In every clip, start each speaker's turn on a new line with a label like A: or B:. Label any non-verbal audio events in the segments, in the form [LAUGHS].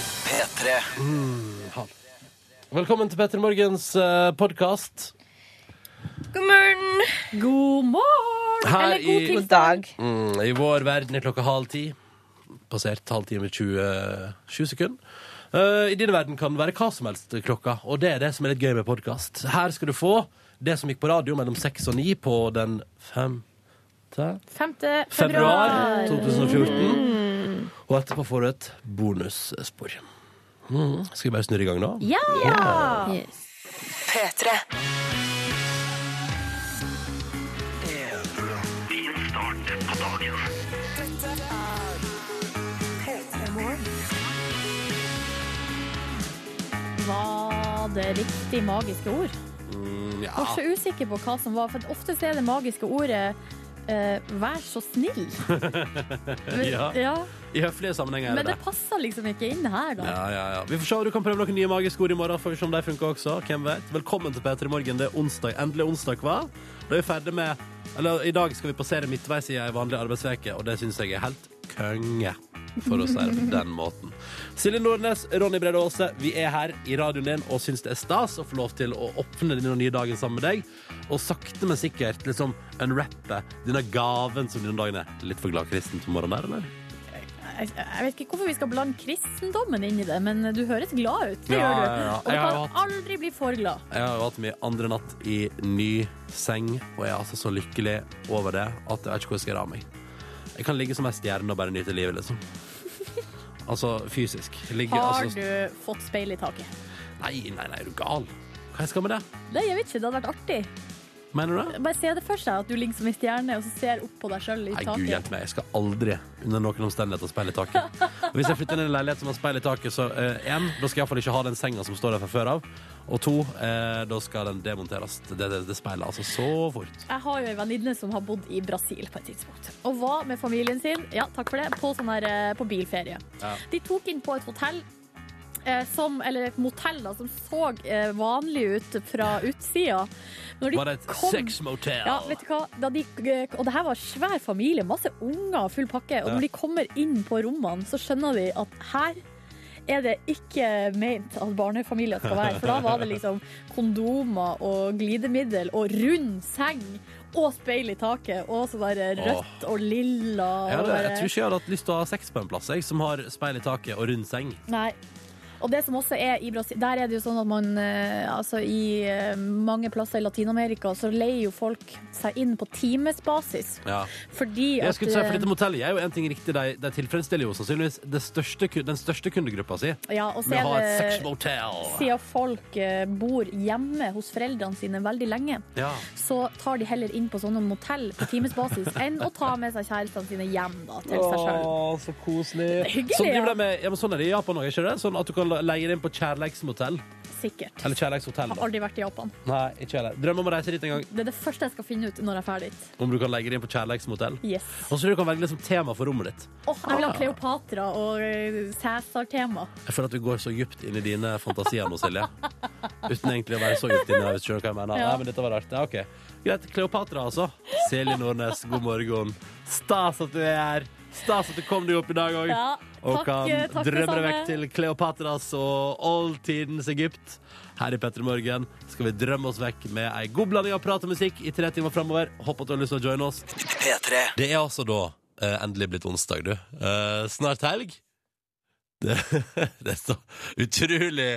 A: P3.
B: Velkommen til Petter Morgens eh, podkast.
C: God morgen.
D: God morgen!
B: Her
D: Eller god
B: i-
D: tilstand.
C: dag.
B: Mm, I vår verden er klokka halv ti. Passert halv ti med 20, 20 sekunder. Eh, I din verden kan det være hva som helst klokka, og det er det som er litt gøy med podkast. Her skal du få det som gikk på radio mellom seks og ni på den femte
D: 5. februar.
B: februar 2014. Og etterpå får du et bonusspor. Mm. Skal vi bare snurre i gang nå?
D: Ja!
C: P3.
D: Var det riktig magiske ord?
B: Mm,
D: Jeg var så usikker på hva som var, for ofte så er det magiske ordet eh, 'vær så snill'.
B: Ja.
D: [LAUGHS] ja.
B: I høflige sammenhenger er
D: Men
B: det
D: det
B: det.
D: passer liksom ikke inn her, da.
B: Ja, ja, ja. Vi får se, du kan prøve noen nye magiske ord i morgen. Får vi se om de funker også. Hvem vet? Velkommen til P3 Morgen. Det er onsdag. Endelig onsdag, hva? Da er vi ferdig med Eller i dag skal vi passere midtveis i ei vanlig arbeidsveke, og det syns jeg er helt konge. For å si det på den måten. Silje Nordnes, Ronny Brede Aase, vi er her i radioen din og syns det er stas å få lov til å åpne denne nye dagen sammen med deg. Og sakte, men sikkert liksom unwrappe denne gaven som denne dagen er. Litt for gladkristen på morgenen der, eller?
D: Jeg, jeg vet ikke hvorfor vi skal blande kristendommen inn i det, men du høres glad ut. Det
B: Ja,
D: gjør du.
B: ja, ja.
D: Og du
B: Jeg har
D: kan aldri bli for glad.
B: Jeg har jo hatt min andre natt i ny seng, og jeg er altså så lykkelig over det at jeg vet ikke hvor jeg skal gjøre av meg. Jeg kan ligge som ei stjerne og bare nyte livet, liksom. Altså fysisk. Ligge,
D: Har
B: altså,
D: du fått speil i taket?
B: nei, nei, nei, er du gal? Hva jeg skal med det?
D: Nei, jeg vet ikke. Det hadde vært artig.
B: Mener du det?
D: Bare se det for seg at du ligger som ei stjerne og så ser opp på deg sjøl i
B: Nei, gud
D: taket.
B: hjelpe meg. Jeg skal aldri under noen omstendigheter speile i taket. Og hvis jeg flytter inn i en leilighet som har speil i taket, så eh, en, da skal jeg iallfall ikke ha den senga som står der fra før av. Og to, eh, da skal den demonteres. Det, det, det speilet altså så fort.
D: Jeg har jo en venninne som har bodd i Brasil på et tidspunkt. Og var med familien sin ja, takk for det, på, sånn her, eh, på bilferie.
B: Ja.
D: De tok inn på et hotell, eh, som, eller et motell da, som så eh, vanlig ut fra utsida. Når de
B: Var det et
D: kom-
B: sexmotel?
D: Ja, vet du hva? Da de, eh, og det her var svær familie, masse unger og full pakke. Og
B: Ja.
D: når de kommer inn på rommene, så skjønner de at her er det ikke meint at barnefamilier skal være. For da var det liksom kondomer og glidemiddel og rund seng. Og speil i taket, og så der rødt og lilla. Og
B: Ja, det, jeg
D: bare-
B: tror ikke jeg hadde hatt lyst til å ha sex på en plass, jeg, som har speil i taket og rund seng.
D: Nei. Og det som også er i Brasil, der er det jo sånn at man eh, altså i eh, mange plasser i Latin-Amerika så leier jo folk seg inn på timesbasis.
B: Ja.
D: Fordi
B: Jeg
D: at
B: skulle si, for
D: eh,
B: dette motellet er jo en ting riktig, de, de tilfredsstiller jo sannsynligvis det største, ku- den største kundegruppa si.
D: Ja, og så
B: Med å ha et
D: er det
B: sexmotel.
D: siden folk eh, bor hjemme hos foreldrene sine veldig lenge,
B: Ja.
D: så tar de heller inn på sånne motell på timesbasis enn å ta med seg kjærestene sine hjem da, til seg sjøl.
B: så koselig.
D: er hyggelig,
B: sånn, driver
D: ja.
B: de med, ja, men sånn er det i Japan òg, ikke det? Sånn at du kan leie inn på kjærleiksmotell.
D: Sikkert.
B: Eller kjærleikshotell,
D: Har
B: da.
D: aldri vært i Japan.
B: Nei, ikke heller. Drømmer om å reise dit en gang,
D: Det er det første jeg skal finne ut når jeg er ferdig.
B: om du kan leie inn på kjærleiksmotell.
D: Yes.
B: Og så tror jeg du kan velge liksom tema for rommet ditt.
D: Åh, jeg vil ha Kleopatra og eh, Cæsar-tema.
B: Jeg føler at vi går så djupt inn i dine fantasier nå, Silje. Uten egentlig å være så djupt inni der, hvis du skjønner hva jeg mener.
D: Ja.
B: Nei, men dette var rart. Ja, ok. Greit. Kleopatra, altså. Silje Nordnes, god morgen. Stas at du er her. Stas at du kom deg opp i dag òg.
D: Ja,
B: og
D: takk,
B: kan
D: eh, takk det
B: drømme deg
D: samme.
B: vekk til Kleopatras og oldtidens Egypt. Her i Petter Morgen skal vi drømme oss vekk med ei god blanding av prat og musikk i tre timer framover. Håper at du har lyst til å joine oss.
A: P3.
B: Det er altså da eh, endelig blitt onsdag, du. Eh, snart helg. [LAUGHS] Det, det er så utrolig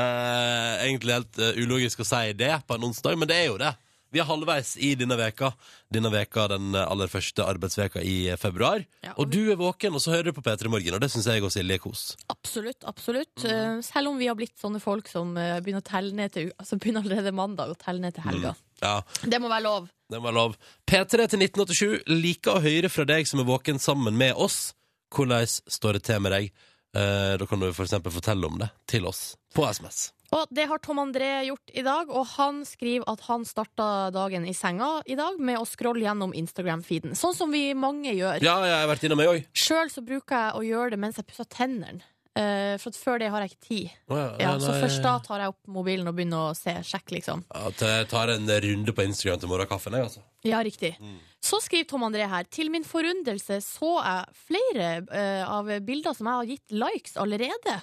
B: eh, Egentlig helt eh, ulogisk å si det på en onsdag, men det er jo det. Vi er halvveis i denne veka. Denne veka, Den aller første arbeidsveka i eh, februar.
E: Ja,
B: og
E: og vi-
B: du er våken, og så hører du på P3 Morgen, og det syns jeg og Silje er kos.
E: Absolutt. absolutt Eh, Selv om vi har blitt sånne folk som eh, begynner å telle ned til u- Altså begynner allerede mandag og telle ned til helga.
B: Ja,
E: Det må være lov.
B: Det må være lov. P3 til 1987 liker å høre fra deg som er våken sammen med oss. Hvordan står det til med deg? Eh, da kan du for eksempel fortelle om det til oss på SMS.
E: Og det har Tom André gjort i dag, og han skriver at han starta dagen i senga i dag med å scrolle gjennom Instagram-feeden. Sånn som vi mange gjør.
B: Ja, ja, jeg har vært innom meg òg.
E: Sjøl så bruker jeg å gjøre det mens jeg pusser tennene. Eh, for at før det har jeg ikke tid. Ja, så først da tar jeg opp mobilen og begynner å se, sjekke, liksom.
B: Jeg tar en runde på Instagram til morgenkaffen, jeg, altså.
E: Ja, riktig. Så skriver Tom André her. Til min forundelse så jeg flere eh, av bilder som jeg har gitt likes allerede.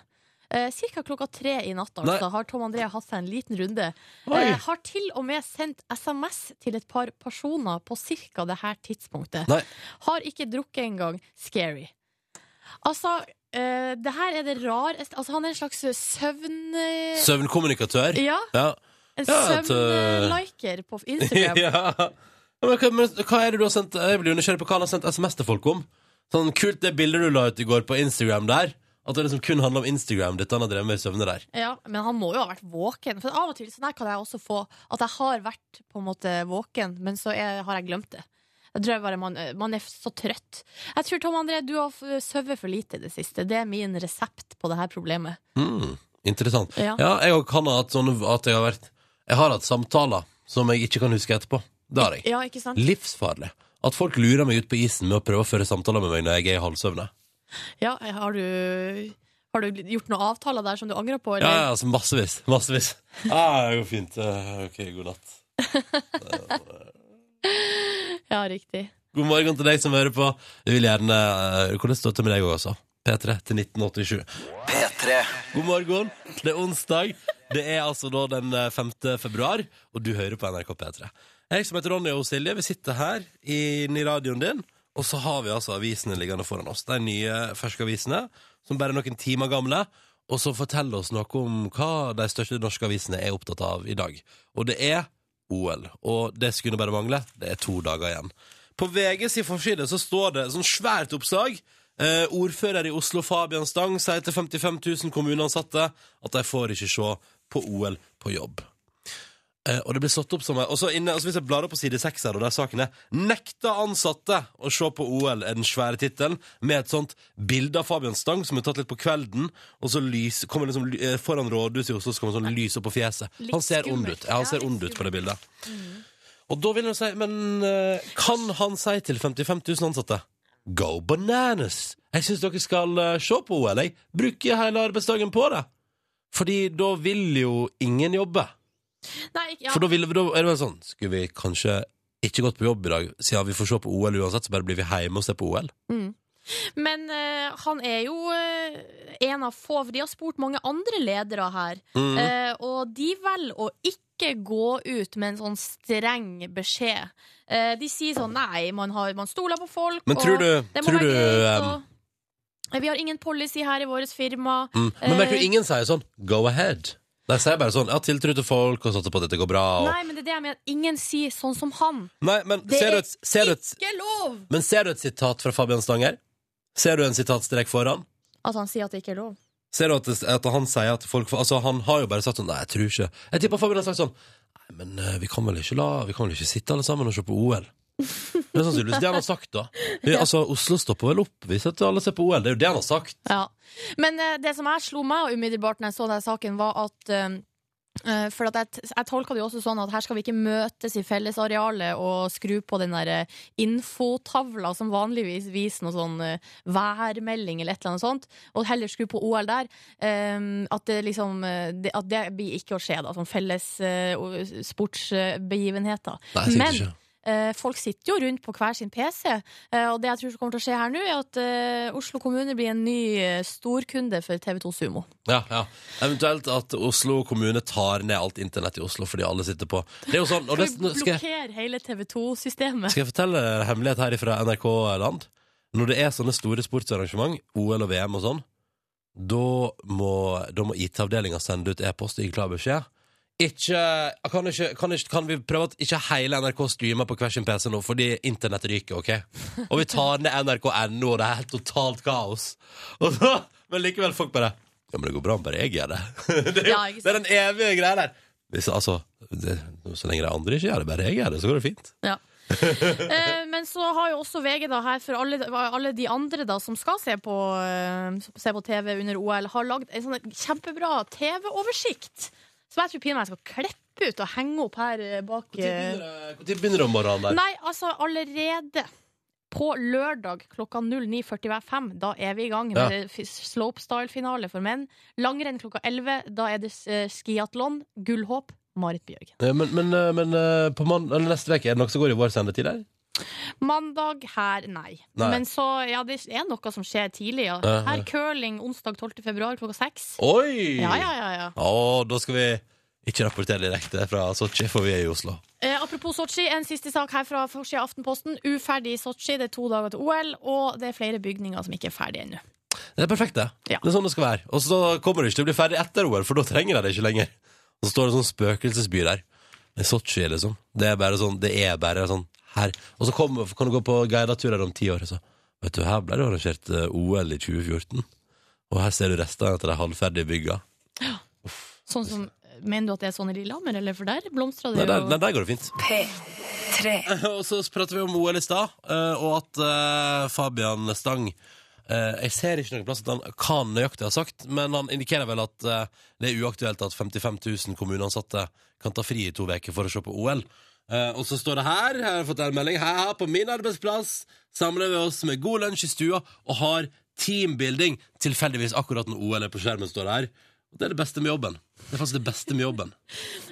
F: Eh, Cirka klokka tre i natt
B: Nei.
F: altså, har Tom André hatt seg en liten runde.
B: Oi.
F: Eh, har til og med sendt SMS til et par personer på cirka det her tidspunktet.
B: Nei.
F: Har ikke drukket engang. Scary. Altså, eh, det her er det rareste Altså, han er en slags søvn...
B: Søvnkommunikatør.
F: Ja,
E: [LAUGHS]
B: Ja.
F: en
B: Ja, at,
F: søvnliker på Instagram.
B: [LAUGHS] ja. Men hva, men hva er det du har sendt Jeg blir jo nysgjerrig på hva han har sendt SMS til folk om. Sånn kult det bildet du la ut i går på Instagram der. At det liksom kun handler om Instagram. Dette han har drevet med i søvne der.
F: Ja, men han må jo ha vært våken. For av og til sånn her kan jeg også få at jeg har vært på en måte våken, men så er, har jeg glemt det. Jeg tror jeg bare man, man er så trøtt. Jeg tror Tom André, du har f- sovet for lite i det siste. Det er min resept på det her problemet.
B: Hmm, interessant.
F: Ja.
B: Ja, jeg òg kan ha hatt sånn at jeg har vært Jeg har hatt samtaler som jeg ikke kan huske etterpå. Det har jeg.
F: Ja, ikke sant?
B: Livsfarlig. At folk lurer meg ut på isen med å prøve å føre samtaler med meg når jeg er i halvsøvne.
F: Ja, har du, har du gjort noen avtaler der som du angrer på?
B: Ja,
F: Eller?
B: ja, altså massevis. Massevis. Ah, det går fint. Eh, OK, god natt.
F: ja. riktig.
B: God morgen til deg som hører på. Vi vil gjerne eh, Hvordan står det til med deg òg, altså? P3 til 1987.
A: P3
B: God morgen. Det er onsdag. Det er altså da den eh, 5. februar, og du hører på NRK P3. Jeg som heter Ronny og Silje, vi sitter her inne i radioen din, og så har vi altså avisene liggende foran oss. De nye ferske avisene, som bare er noen timer gamle. Og så fortell oss noe om hva de største norske avisene er opptatt av i dag. Og det er OL. Og det skulle bare mangle. Det er to dager igjen. På VG sin forside så står det sånn svært oppslag. Eh, ordfører i Oslo Fabian Stang sier til 55 000 kommuneansatte at de får ikke se på OL på jobb. Eh, og det blir slått opp som Og så inne- og så hvis jeg blar opp på side 6 her, og der saken er 'Nekta ansatte å se på OL' er den svære tittelen, med et sånt bilde av Fabian Stang som er tatt litt på kvelden, og så lys, kommer liksom ly- eh, foran rådhuset i Oslo, så kommer sånn lys opp på fjeset.
F: Litt
B: Han ser ond
F: skummelt. Mm.
B: ut. Ja, han
F: Ja,
B: ser
F: litt
B: ond ut på det bildet. Og da vil jeg si Men eh, kan han si til 55 000 ansatte Go bananas! Jeg syns dere skal eh, se på OL, jeg. Bruke hele arbeidsdagen på det. Fordi da vil jo ingen jobbe.
F: Nei, ikke- ja.
B: For da, ville, da er det vel sånn Skulle vi kanskje ikke gått på jobb i dag Siden vi får se på OL uansett Så bare blir vi hjemme og ser på OL
F: Mm. Men eh, han er jo eh, en av få, for de har spurt mange andre ledere her.
B: Mhm.
F: Eh, og de velger å ikke gå ut med en sånn streng beskjed. Eh, de sier sånn nei, man, har, man stoler på folk.
B: Men tror du,
F: og det må
B: tror du
F: være greit,
B: um,
F: og, Vi har ingen policy her i vårt firma.
B: mm, Men merker
F: eh,
B: du ingen sier sånn Go ahead Nei, sier bare sånn Jeg har tiltro til folk og satser på at dette går bra og...
F: Nei, men det er det jeg mener. Ingen sier sånn som han.
B: Nei, men
F: Det
B: ser du,
F: er
B: et, ser, du et,
F: Ikke lov!
B: men ser du et sitat fra Fabian Stanger? Ser du en sitatstrek foran?
F: At han sier at det ikke er lov.
B: Ser du at, det, at han sier at folk Altså, han har jo bare sagt sånn Nei, jeg tror ikke Jeg tipper Fabian har sagt sånn Nei, men eh, vi kan vel ikke la Vi kan vel ikke sitte alle sammen og se på OL Det er sannsynligvis det han har sagt
F: [LAUGHS]
B: da vi, Altså, Oslo stopper vel opp Vi setter alle og ser på OL Det er jo det han har sagt
F: Ja. Men eh, det som jeg slo meg umiddelbart når jeg så denne saken, var at eh, eh, for at jeg, t- jeg tolka det jo også sånn at her skal vi ikke møtes i fellesarealet og skru på den der eh, infotavla som vanligvis viser noe sånn eh, værmelding eller et eller annet sånt, og heller skru på OL der. Eh, at, det liksom, eh, det, at det blir ikke å skje, da. Sånn felles eh, o- sportsbegivenheter.
B: Nei, jeg
F: Men-
B: sitter ikke
F: Eh, folk sitter jo rundt på hver sin PC, eh, og det jeg tror som kommer til å skje her nå, er at eh, Oslo kommune blir en ny eh, storkunde for TV2 Sumo.
B: ja, ja. Eventuelt at Oslo kommune tar ned alt internett i Oslo Fordi alle sitter på Det er jo sånn og
F: Skal
B: det,
F: vi
B: nå skal, jeg,
F: blokkere hele TV2-systemet?
B: skal jeg fortelle dere en hemmelighet her fra NRK-land Når det er sånne store sportsarrangement OL og VM og sånn Da må, da må IT-avdelingen sende ut e-post og gi klar beskjed ikke, kan, ikke, kan, ikke, kan vi prøve at ikke hele NRK streamer på hver sin PC nå, fordi internett ryker, ok? Og vi tar ned NRK.no, og det er helt totalt kaos. Og så, men likevel, folk bare Ja, men det går bra om bare jeg gjør det. Det er, jo,
F: Ja, ikke sant?
B: det er den evige greia der. Hvis, altså, det, så lenge de andre ikke gjør det, bare jeg gjør det, så går det fint.
F: Ja. Eh, men så har jo også VG da her, for alle, alle de andre da som skal se på, eh, som se på TV under OL, har lagd en sånn kjempebra TV-oversikt som jeg tror pinadø jeg skal klippe ut og henge opp her eh, bak eh,
B: Når begynner det om morgenen der?
F: Nei, altså allerede på lørdag klokka 09.45, da er vi i gang med
B: Ja.
F: f- slopestyle-finale for menn. Langrenn klokka 11, da er det eh, skiatlon, gullhåp, Marit Bjørgen.
B: Eh, Men, men, eh, men eh, på mann, eller neste uke, er det noe som går i vår sendetid der?
F: Mandag her, nei.
B: Nei.
F: Men så, ja, det er noe som skjer tidlig. Ja.
B: Ja, ja.
F: Her curling onsdag 12. februar klokka seks.
B: Oi!
F: Ja, ja, ja, ja.
B: Å, da skal vi ikke rapportere direkte fra Sotsji, for vi er i Oslo.
F: Eh, apropos Sotsji, en siste sak her fra forsida av Aftenposten. Uferdig i Sotsji, det er to dager til OL, og det er flere bygninger som ikke er ferdige ennå.
B: Det er perfekt, det.
F: Ja.
B: Det er sånn det skal være. Og så kommer du ikke til å bli ferdig etter OL, for da trenger de det ikke lenger. Og så står det en sånn spøkelsesby der. Det er Sotsji, liksom. Det er bare sånn, det er bare sånn her. Og så kommer- kan du gå på guideturer om ti år, og så Vet du, her ble det arrangert eh, OL i 2014. Og her ser du restene etter de halvferdige bygga.
F: Sånn som, mener du at det er sånn i Lillehammer, eller for der blomstrer
B: Nei,
F: det
B: der,
F: jo
B: nei, der går det fint.
C: P3.
B: [LAUGHS] Og så prater vi om OL i stad, eh, og at eh, Fabian Stang eh, Jeg ser ikke noen plass at han hva han nøyaktig har sagt, men han indikerer vel at eh, det er uaktuelt at 55 000 kommuneansatte kan ta fri i to uker for å se på OL. Eh, og så står det her, her har jeg fått en melding, her på min arbeidsplass samler vi oss med god lunsj i stua og har teambuilding tilfeldigvis akkurat når OL er på skjermen, står det her. Og det er det beste med jobben. Det er faktisk det beste med jobben.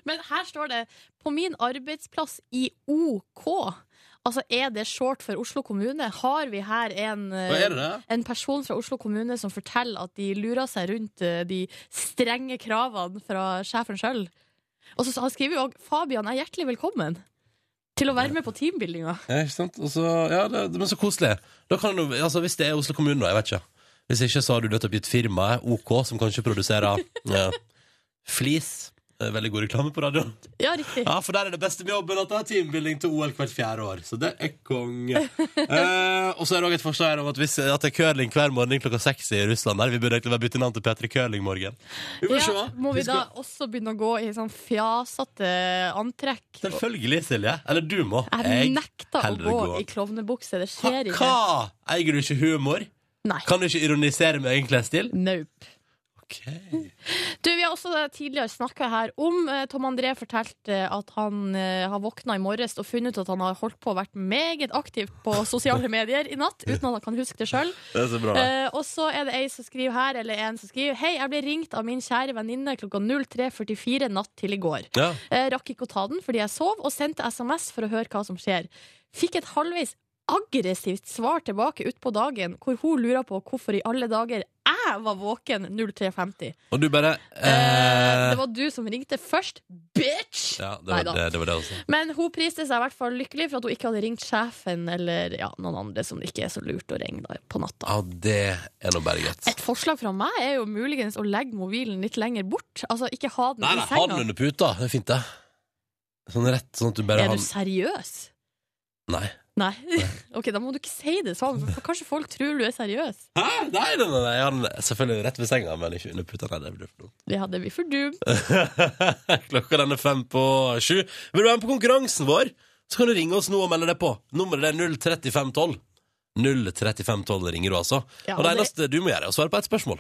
F: Men her står det 'på min arbeidsplass i OK'. Altså, er det short for Oslo kommune? Har vi her en,
B: Hva
F: eh,
B: er det det?
F: en person fra Oslo kommune som forteller at de lurer seg rundt eh, de strenge kravene fra sjefen sjøl? Og så han skriver jo òg 'Fabian er hjertelig velkommen'. Til å være med på teambuildinga.
B: Ja, ikke sant? Og så, ja, det, det- men så koselig. Da kan du, altså, hvis det er Oslo kommune, da. Jeg vet ikke. Hvis ikke, så har du nettopp gitt firmaet OK, som kanskje produserer ja, flis. Eh, Veldig god reklame på radioen.
F: Ja, riktig.
B: Ja, for der er det beste med jobben at det er teambuilding til OL hvert fjerde år. Så det er konge. Eh, og så er det òg et forslag her om at, hvis, at det er curling hver morgen klokka seks i Russland. Der. Vi burde egentlig bare bytte navn til P3 Curling morgen. Vi får
F: Ja,
B: se.
F: må vi
B: skal-
F: da også begynne å gå i sånn fjasete antrekk?
B: Selvfølgelig, Silje. Eller du må.
F: Jeg nekter å
B: holder det
F: gå
B: gående.
F: i klovnebukse. Det
B: Ha-
F: skjer ikke.
B: Hva? Eier du ikke humor?
F: Nei.
B: Kan du ikke ironisere med egen klesstil?
F: Nope.
B: Ok.
F: Du, Vi har også tidligere snakka her om eh, Tom André fortalte at han eh, har våkna i morges og funnet ut at han har holdt på å vært meget aktiv på sosiale medier i natt, uten at han kan huske det sjøl.
B: Det er så bra.
F: og så er det ei som skriver her, eller en som skriver Hei, jeg ble ringt av min kjære venninne klokka 03.44 natt til i går.
B: Ja.
F: Eh, rakk ikke å ta den fordi jeg sov, og sendte SMS for å høre hva som skjer. Fikk et halvveis aggressivt svar tilbake utpå dagen, hvor hun lurer på hvorfor i alle dager jeg var våken 03.50.
B: Og du bare
F: Eh,
B: eh,
F: det var du som ringte først, bitch!
B: Ja, det var
F: Neida.
B: det, det var det altså. også.
F: Men hun priste seg i hvert fall lykkelig for at hun ikke hadde ringt sjefen eller ja, noen andre som det ikke er så lurt å ringe da, på natta.
B: Ja, det er nå bare greit.
F: Et forslag fra meg er jo muligens å legge mobilen litt lenger bort. Altså ikke ha den
B: Nei, nei,
F: i
B: ha den
F: senga.
B: under puta. Det er fint, det. Sånn rett, sånn at du bare
F: Er
B: har
F: du seriøs?
B: Nei.
F: Nei. [LAUGHS] ok, da må du ikke si det sånn, for kanskje folk tror du er seriøs.
B: Hæ? Nei, nei, nei, nei. Jeg har den selvfølgelig rett ved senga, men ikke under puta. Nei, det blir for dumt.
F: Ja, det blir for dumt.
B: [LAUGHS] Klokka den er fem på sju. Vil du være med på konkurransen vår, så kan du ringe oss nå og melde deg på. Nummeret er 03512. 03512 ringer du, altså.
F: Ja,
B: og det
F: og det-
B: eneste du må gjøre, er å svare på ett spørsmål.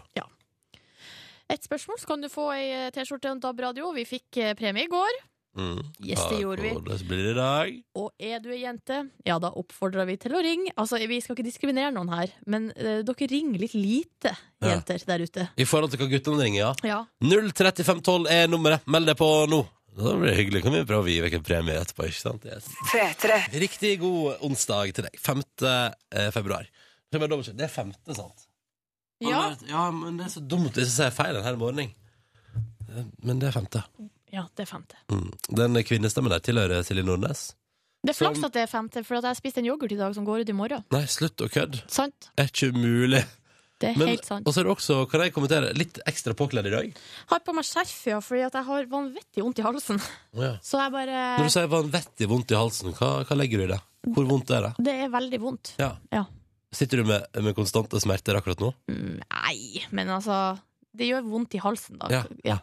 F: Et spørsmål, så kan du få ei eh, T-skjorte og en DAB-radio. Vi fikk eh, premie i går.
B: Mm.
F: Yes, det gjorde vi.
B: Det blir det i dag.
F: Og er du ei jente, ja da oppfordrer vi til å ringe. Altså, Vi skal ikke diskriminere noen her, men eh, dere ringer litt lite,
B: Ja.
F: jenter der ute.
B: I forhold til hva guttene ringer, ja.
F: Ja.
B: 03512 er nummeret. Meld deg på nå. Da blir det hyggelig. Kan vi prøve å gi vekk en premie etterpå, ikke sant? Yes.
C: P3.
B: Riktig god onsdag til deg. 5. eh, februar. Det er bare dobbeltsjekk. Det er 5., sant?
F: Ja.
B: ja, men det er så dumt hvis jeg sier feil en hel morgen. Eh, Men det er 5.
F: ja, det er femte.
B: Mm. Den kvinnestemmen der tilhører Silje Nordnes.
F: Det er
B: Som-
F: flaks at det er femte, for at jeg spiste en yoghurt i dag som går ut i morgen.
B: Nei, slutt å kødde.
F: Sant?
B: Er ikke mulig.
F: Det er
B: Men,
F: helt sant.
B: og så er det også, kan jeg kommentere, litt ekstra påkledd i dag.
F: Har på meg skjerf, ja, fordi at jeg har vanvittig vondt i halsen.
B: Ja.
F: Så jeg bare
B: Når du sier vanvittig vondt i halsen, hva, hva legger du i det? Hvor vondt er det?
F: Det er veldig vondt.
B: Ja.
F: Ja.
B: Sitter du med, med konstante smerter akkurat nå?
F: Mm, Nei, men altså Det gjør vondt i halsen, da.
B: Ja.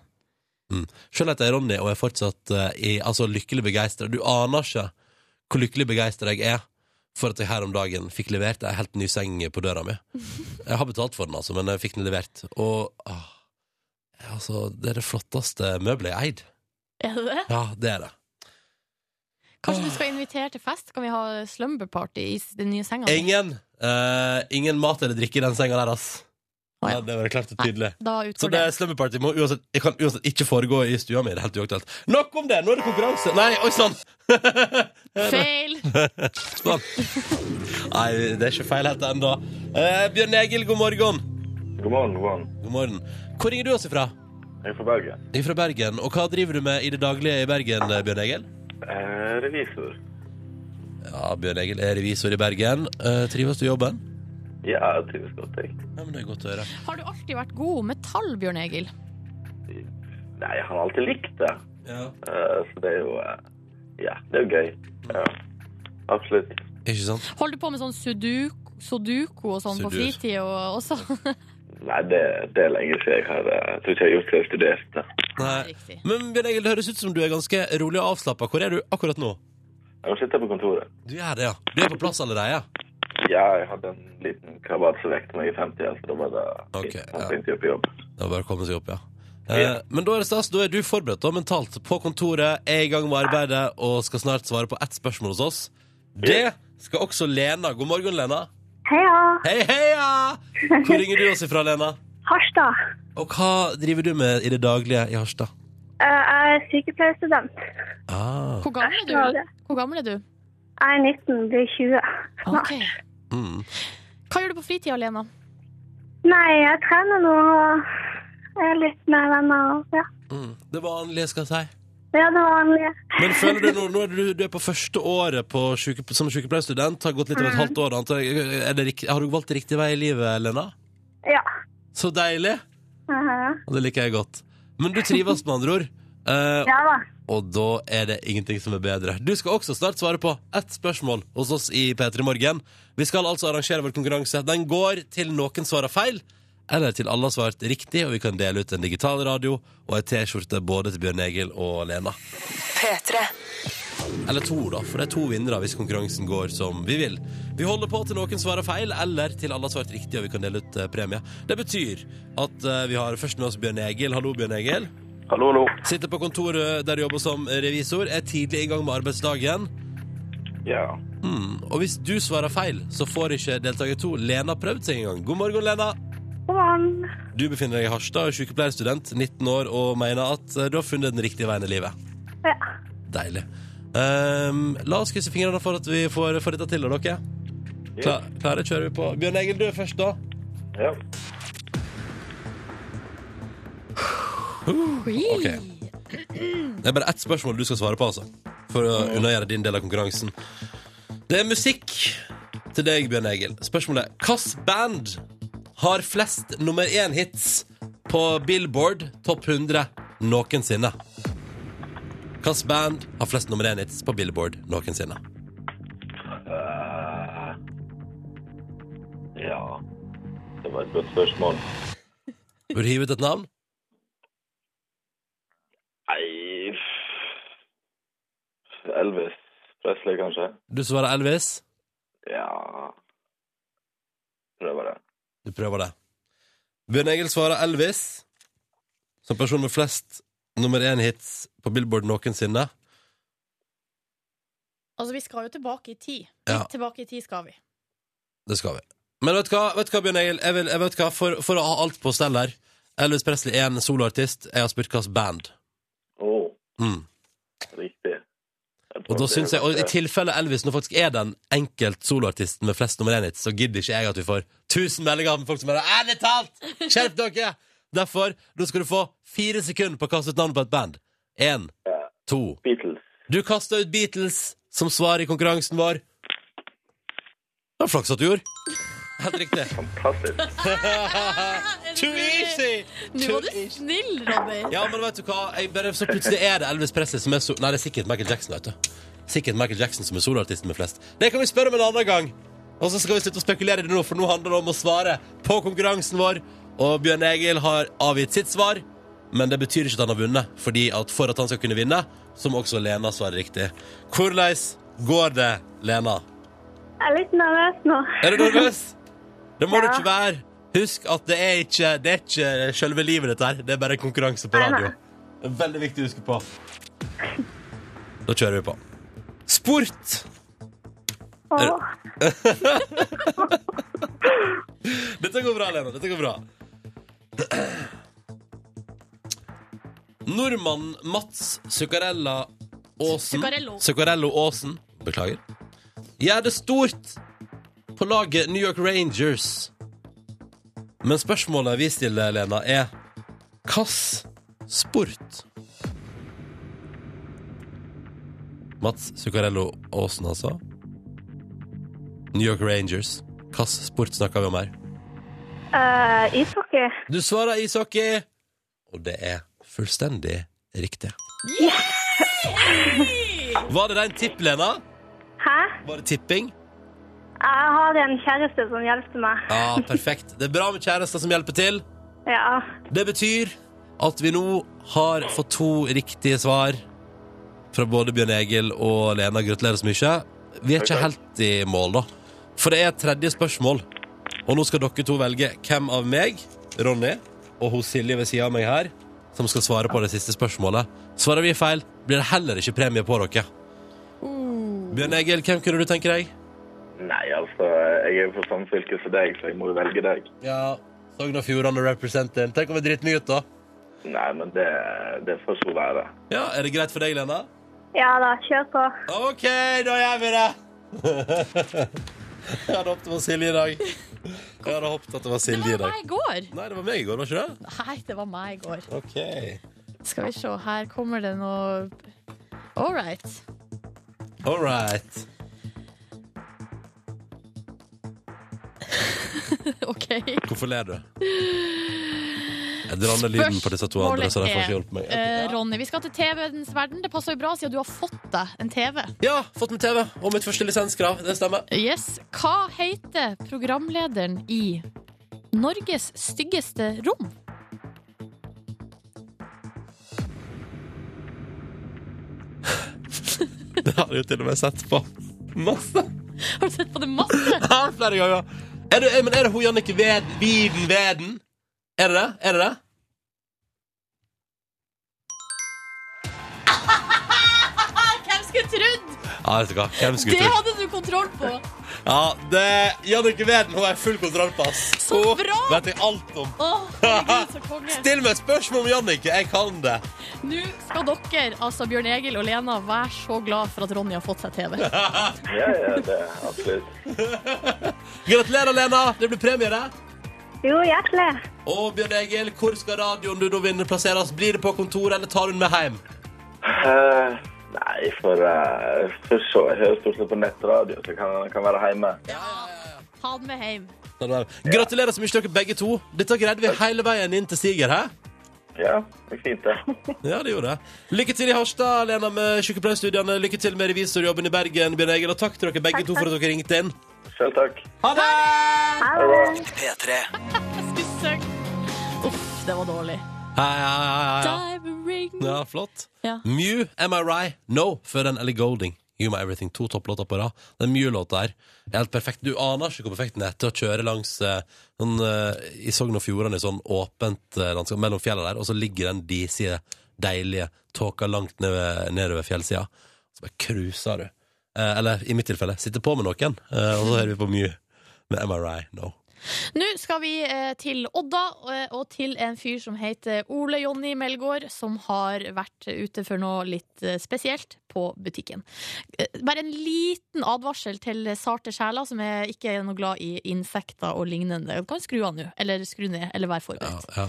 B: Mm. Selv heter jeg Ronny, og jeg er fortsatt eh, i, altså, lykkelig begeistra. Du aner ikke hvor lykkelig begeistra jeg er for at jeg her om dagen fikk levert ei helt ny seng på døra
F: [LAUGHS]
B: mi. Jeg har betalt for den, altså, men jeg fikk den levert. Og ah, altså, det er det flotteste møbelet jeg eide.
F: Er det det?
B: Ja, det er det.
F: Kanskje du skal invitere til fest? Kan vi ha slumber party i s- den nye senga? di?
B: Ingen, eh, ingen mat eller drikke i den senga der, ass.
F: Å, ja.
B: Nei, det var klart og tydelig.
F: Da
B: Så det
F: utgår det.
B: slummerparty må uansett, jeg kan uansett ikke foregå i stua mi. Det er helt uaktuelt. Nok om det! Nå er det konkurranse. Nei, oi sann!
F: Feil!
B: Sånn. Nei, det er ikke feil helt ennå. Eh, Bjørn Egil, god morgen.
G: God morgen, god morgen.
B: God morgen. Hvor ringer du oss ifra?
G: Jeg er fra Bergen.
B: Ifra Bergen. Og hva driver du med i det daglige i Bergen, eh, Bjørn Egil?
G: Eh, revisor.
B: Ja, Bjørn Egil er revisor i Bergen. Eh, trives du i jobben?
G: Ja, jeg trives godt, jeg.
B: Ja, men det er godt å høre.
F: Har du alltid vært god med tall, Bjørn Egil?
G: Nei, jeg har alltid likt det.
B: Ja.
G: Eh, så det er jo eh, Ja, det er jo gøy. Ja, absolutt.
B: Ikke sant?
F: Holder du på med sånn sudoku, sudoku og sånn på
B: Sudur.
F: fritid og også?
G: Nei, det, det er lenge siden jeg har eh, Jeg tror ikke jeg har gjort det jeg studerte.
B: Nei.
F: Riktig.
B: Men Bjørn Egil, det høres ut som du er ganske rolig og avslappa. Hvor er du akkurat nå?
G: Jeg må sitte på kontoret.
B: Du er det, ja. Du er på plass allerede?
G: Ja, jeg hadde en liten krabat som vekte meg i 50, så da var det
B: Ok,
G: jeg
B: ja.
G: måtte ikke på jobb.
B: Det var bare å komme seg opp, ja.
G: Ja.
B: Eh, men da er det stas, da er du forberedt da, mentalt på kontoret, er i gang med arbeidet og skal snart svare på ett spørsmål hos oss. Det skal også Lena. God morgen, Lena.
H: Heia!
B: Hei, heia! Hvor ringer du oss ifra, Lena?
H: Harstad.
B: Og hva driver du med i det daglige i Harstad?
H: Eh, Jeg er sykepleierstudent.
B: Ah,
F: Hvor gammel
H: Ja,
F: er du?
H: det.
F: Hvor gammel er du?
H: Jeg er 19, blir 20.
F: Ok.
B: mm.
F: Hva gjør du på fritida, Lena?
H: Nei, jeg trener nå og er litt med venner. og- Ja,
B: Mm. Det vanlige, skal jeg si.
H: ja det vanlige.
B: Men føler du nå, nå er du, du er på første året på syke, som sykepleierstudent, har gått litt over et halvt år, antar jeg. Er det rik- Har du valgt riktig vei i livet, Lena?
H: Ja.
B: Så deilig!
H: Mhm.
B: Og det liker jeg godt. Men du trives med andre ord. Eh,
H: Ja da.
B: og da er det ingenting som er bedre. Du skal også snart svare på ett spørsmål hos oss i P3 Morgen. Vi skal altså arrangere vår konkurranse. Den går til noen svarer feil, eller til alle har svart riktig, og vi kan dele ut en digital radio og ei T-skjorte både til Bjørn Egil og Lena. Eller to, da, for det er to vinnere hvis konkurransen går som vi vil. Vi holder på til noen svarer feil, eller til alle har svart riktig, og vi kan dele ut eh, premie. Det betyr at eh, vi har først med oss Bjørn Egil. Hallo, Bjørn Egil.
G: Hallo, hallo.
B: Sitter på kontoret der du jobber som revisor, er tidlig i gang med arbeidsdagen.
G: Ja.
B: Hmm. Og hvis du svarer feil, så får ikke deltaker to Lena prøvd seg engang. God morgen, Lena.
H: God morgen.
B: Du befinner deg i Harstad, er sykepleierstudent, 19 år, og mener at eh, du har funnet den riktige veien i livet.
H: Ja.
B: Deilig. Ehm, la oss krysse fingrene for at vi får, får dette til, da, dere. Kla, klare, kjører vi på. Bjørn Egil, du er først, da.
G: Ja.
B: Ok. Det er bare ett spørsmål du skal svare på, altså. For å unnagjøre din del av konkurransen. Det er musikk til deg, Bjørn Egil. Spørsmålet er hvilket band har flest nummer én-hits på Billboard topp 100 noensinne? Hvilket band har flest nummer én-hits på Billboard noensinne?
G: Eh, ja. Det var et godt spørsmål.
B: Vil du hive ut et navn?
G: Nei Elvis Presley, kanskje?
B: Du svarer Elvis.
G: Ja Prøver det.
B: Du prøver det. Bjørn Egil svarer Elvis som person med flest nummer én-hits på Billboard noensinne.
F: Altså, vi skal jo tilbake i tid.
B: Ja.
F: Litt tilbake i tid skal vi.
B: Det skal vi. Men vet du hva, vet du hva Bjørn Egil? Jeg vil, jeg vet hva, for, for å ha alt på stell her Elvis Presley er en soloartist. Jeg har spurt hvilket band.
G: Å,
B: Mm.
G: riktig. Jeg
B: Og
G: tror
B: da
G: det
B: synes
G: er
B: jeg, og I
G: ganske-
B: tilfelle Elvis nå faktisk er den enkelt soloartisten med flest nummer én-hits, så gidder ikke jeg at vi får 1000 meldinger med folk som bare 'Ærlig talt! Skjerp dere!' Derfor, nå skal du få fire sekunder på å kaste ut navnet på et band. Én,
G: Ja.
B: to
G: eh, Beatles.
B: Du kasta ut Beatles som svar i konkurransen vår. Det var flaks at du gjorde. Helt riktig.
G: Fantastisk.
B: Too easy!
F: Nå var du snill, Ronny.
B: Ja, men vet du hva? Jeg bare, så plutselig er det Elvis Presley som er so Nei, det er sikkert Michael Jackson, vet du. Sikkert Michael Jackson som er soloartisten med flest. Det kan vi spørre om en annen gang. Og så skal vi slutte å spekulere i det nå, for nå handler det om å svare på konkurransen vår. Og Bjørn Egil har avgitt sitt svar, men det betyr ikke at han har vunnet. Fordi at for at han skal kunne vinne, så må også Lena svare riktig. Hvordan går det, Lena?
H: Jeg er litt nervøs nå. [LAUGHS]
B: Er du nervøs? Det må du
H: Ja.
B: ikke være. Husk at det er ikke, det er ikke selve livet ditt her. Det er bare konkurranse på
H: Nei,
B: radio.
H: nei.
B: Det er veldig viktig å huske på. Da kjører vi på. Sport.
H: Åh.
B: Dette går bra, Lena. Dette går bra. Nordmann Mats Zuccarella Aasen
F: Zuccarello.
B: Zuccarello Aasen Beklager Gjør det stort på laget New York Rangers Men spørsmålet vi stiller, Lena, er Kass sport Mats Zuccarello Aasen, altså New York Rangers Kass sport snakker vi om her
H: Eh, ishockey.
B: Du svarer ishockey Og det er fullstendig riktig Var det den tipp, Lena?
H: Hæ?
B: Var det tipping?
H: Jeg har en kjæreste som hjelper meg.
B: Ja, perfekt. Det er bra med kjærester som hjelper til.
H: Ja.
B: Det betyr at vi nå har fått to riktige svar fra både Bjørn Egil og Lena. Gratulerer så mye. Vi er ikke helt i mål, da. For det er et tredje spørsmål. Og nå skal dere to velge hvem av meg, Ronny, og hun Silje ved sida av meg her, som skal svare på det siste spørsmålet. Svarer vi feil, blir det heller ikke premie på dere. Bjørn Egil, hvem kunne du tenke deg?
G: Nei, altså, jeg er jo fra samme fylke som deg, så jeg må jo velge deg.
B: Ja, Sogn og Fjordane representer. Tenk om vi driter meg ut, da.
G: Nei, men det, det får så være.
B: Ja, Er det greit for deg, Lena?
H: ja da, kjør på.
B: OK, da gjør vi det! jeg hadde håpet det var Silje i dag. Jeg hadde håpet at det var
F: Det
B: Silje i
F: var
B: dag.
F: meg i går!
B: Nei, det var meg i går, var ikke det?
D: Nei, det var meg i går.
B: OK.
F: Skal vi se, her kommer det noe All right.
B: All right.
F: [LAUGHS] OK.
B: Hvorfor ler du? Jeg drar ned lyden på disse to andre, så de får ikke hjulpet meg.
F: Eh, Ronny, vi skal til TV-ens verden. Det passer jo bra siden du har fått deg en TV.
B: Ja, fått med TV og mitt første lisenskrav. Det stemmer. [LAUGHS]
F: Yes. Hva heter programlederen i Norges styggeste rom?
B: Det har jeg jo til og med sett på. Masse. [LAUGHS]
F: Har du sett på det masse?
B: Ja, flere ganger. Er det, er, men er det hun Jannicke Ved, Viden Veden? Er det det? Er det det?
F: Hvem skulle trodd?
B: Ja, vet du hva. Hvem skulle
F: Det
B: trodd?
F: hadde du kontroll på.
B: Ja, det Jannicke Weden har jeg full kontroll på. ass.
F: Så
B: Hun
F: bra!
B: vet jeg alt om.
F: Å, herregud, så konge.
B: Still meg et spørsmål om Jannicke. Jeg kan det.
F: [LAUGHS] Nå skal dere, altså Bjørn Egil og Lena, være så glad for at Ronny har fått seg TV.
G: Ja, ja, det er absolutt.
B: Gratulerer, Lena. Det blir premie, det.
H: Jo, hjertelig.
B: Og Bjørn Egil, hvor skal radioen du da vinner plasseres? Blir det på kontoret, eller tar hun med hjem?
G: Eh, nei, for, eh, for så jeg hører stort sett på nettradio, så jeg kan, kan være hjemme.
F: Ta den med hjem.
B: Ta den med hjem. Gratulerer så mye, dere begge to. Dette greide vi hele veien inn til Siger, hæ?
G: Ja, det er fint, det.
B: Ja, det gjorde jeg. Lykke til i Harstad, Lena, med sykepleierstudiene. Lykke til med revisorjobben i Bergen, Bjørn Egil. Og takk til dere begge to for at dere ringte inn.
G: Selv takk.
B: Ha det!
H: Ha det.
F: Jeg skulle søke. Uff, det var dårlig.
B: Hei, hei, hei, hei.
F: Diamond ring.
B: Ja, flott.
F: Ja.
B: Mew, Am I Right? No, før den Ellie Golding. You My Everything. To topplåter på rad. Den Mew-låta her er helt perfekt. Du aner ikke hvor perfekt den er til å kjøre langs eh, sånn, eh, i Sogn og Fjordane, i sånn åpent eh, landskap mellom fjellene der, og så ligger den disige, deilige tåka langt ned, nedover fjellsida. Så bare cruiser du. Eh, eller i mitt tilfelle, sitter på med noen, eh, og så hører vi på Mew med Am I Right? No.
F: Nå skal vi eh, til Odda eh, og til en fyr som heter Ole Jonny Melgaard, som har vært ute for noe litt eh, spesielt på butikken. Eh, Bare en liten advarsel til sarte sjeler som er ikke er noe glad i insekter og lignende. Du kan skru av nå, eller skru ned, eller være
B: Ja,
F: forberedt.
B: ja.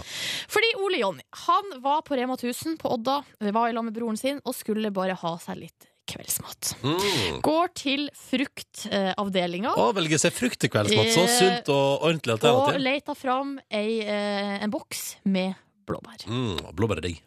F: Fordi Ole Jonny han var på Rema 1000 på Odda, var i lag med broren sin og skulle bare ha seg litt kveldsmat.
B: Mm.
F: Går til eh, fruktavdelinga.
B: Å, velge seg frukt til kveldsmat. Så sunt og ordentlig
F: Og
B: alternativ.
F: leita fram ei, eh, en boks med blåbær.
B: Mm, Blåbær er digg.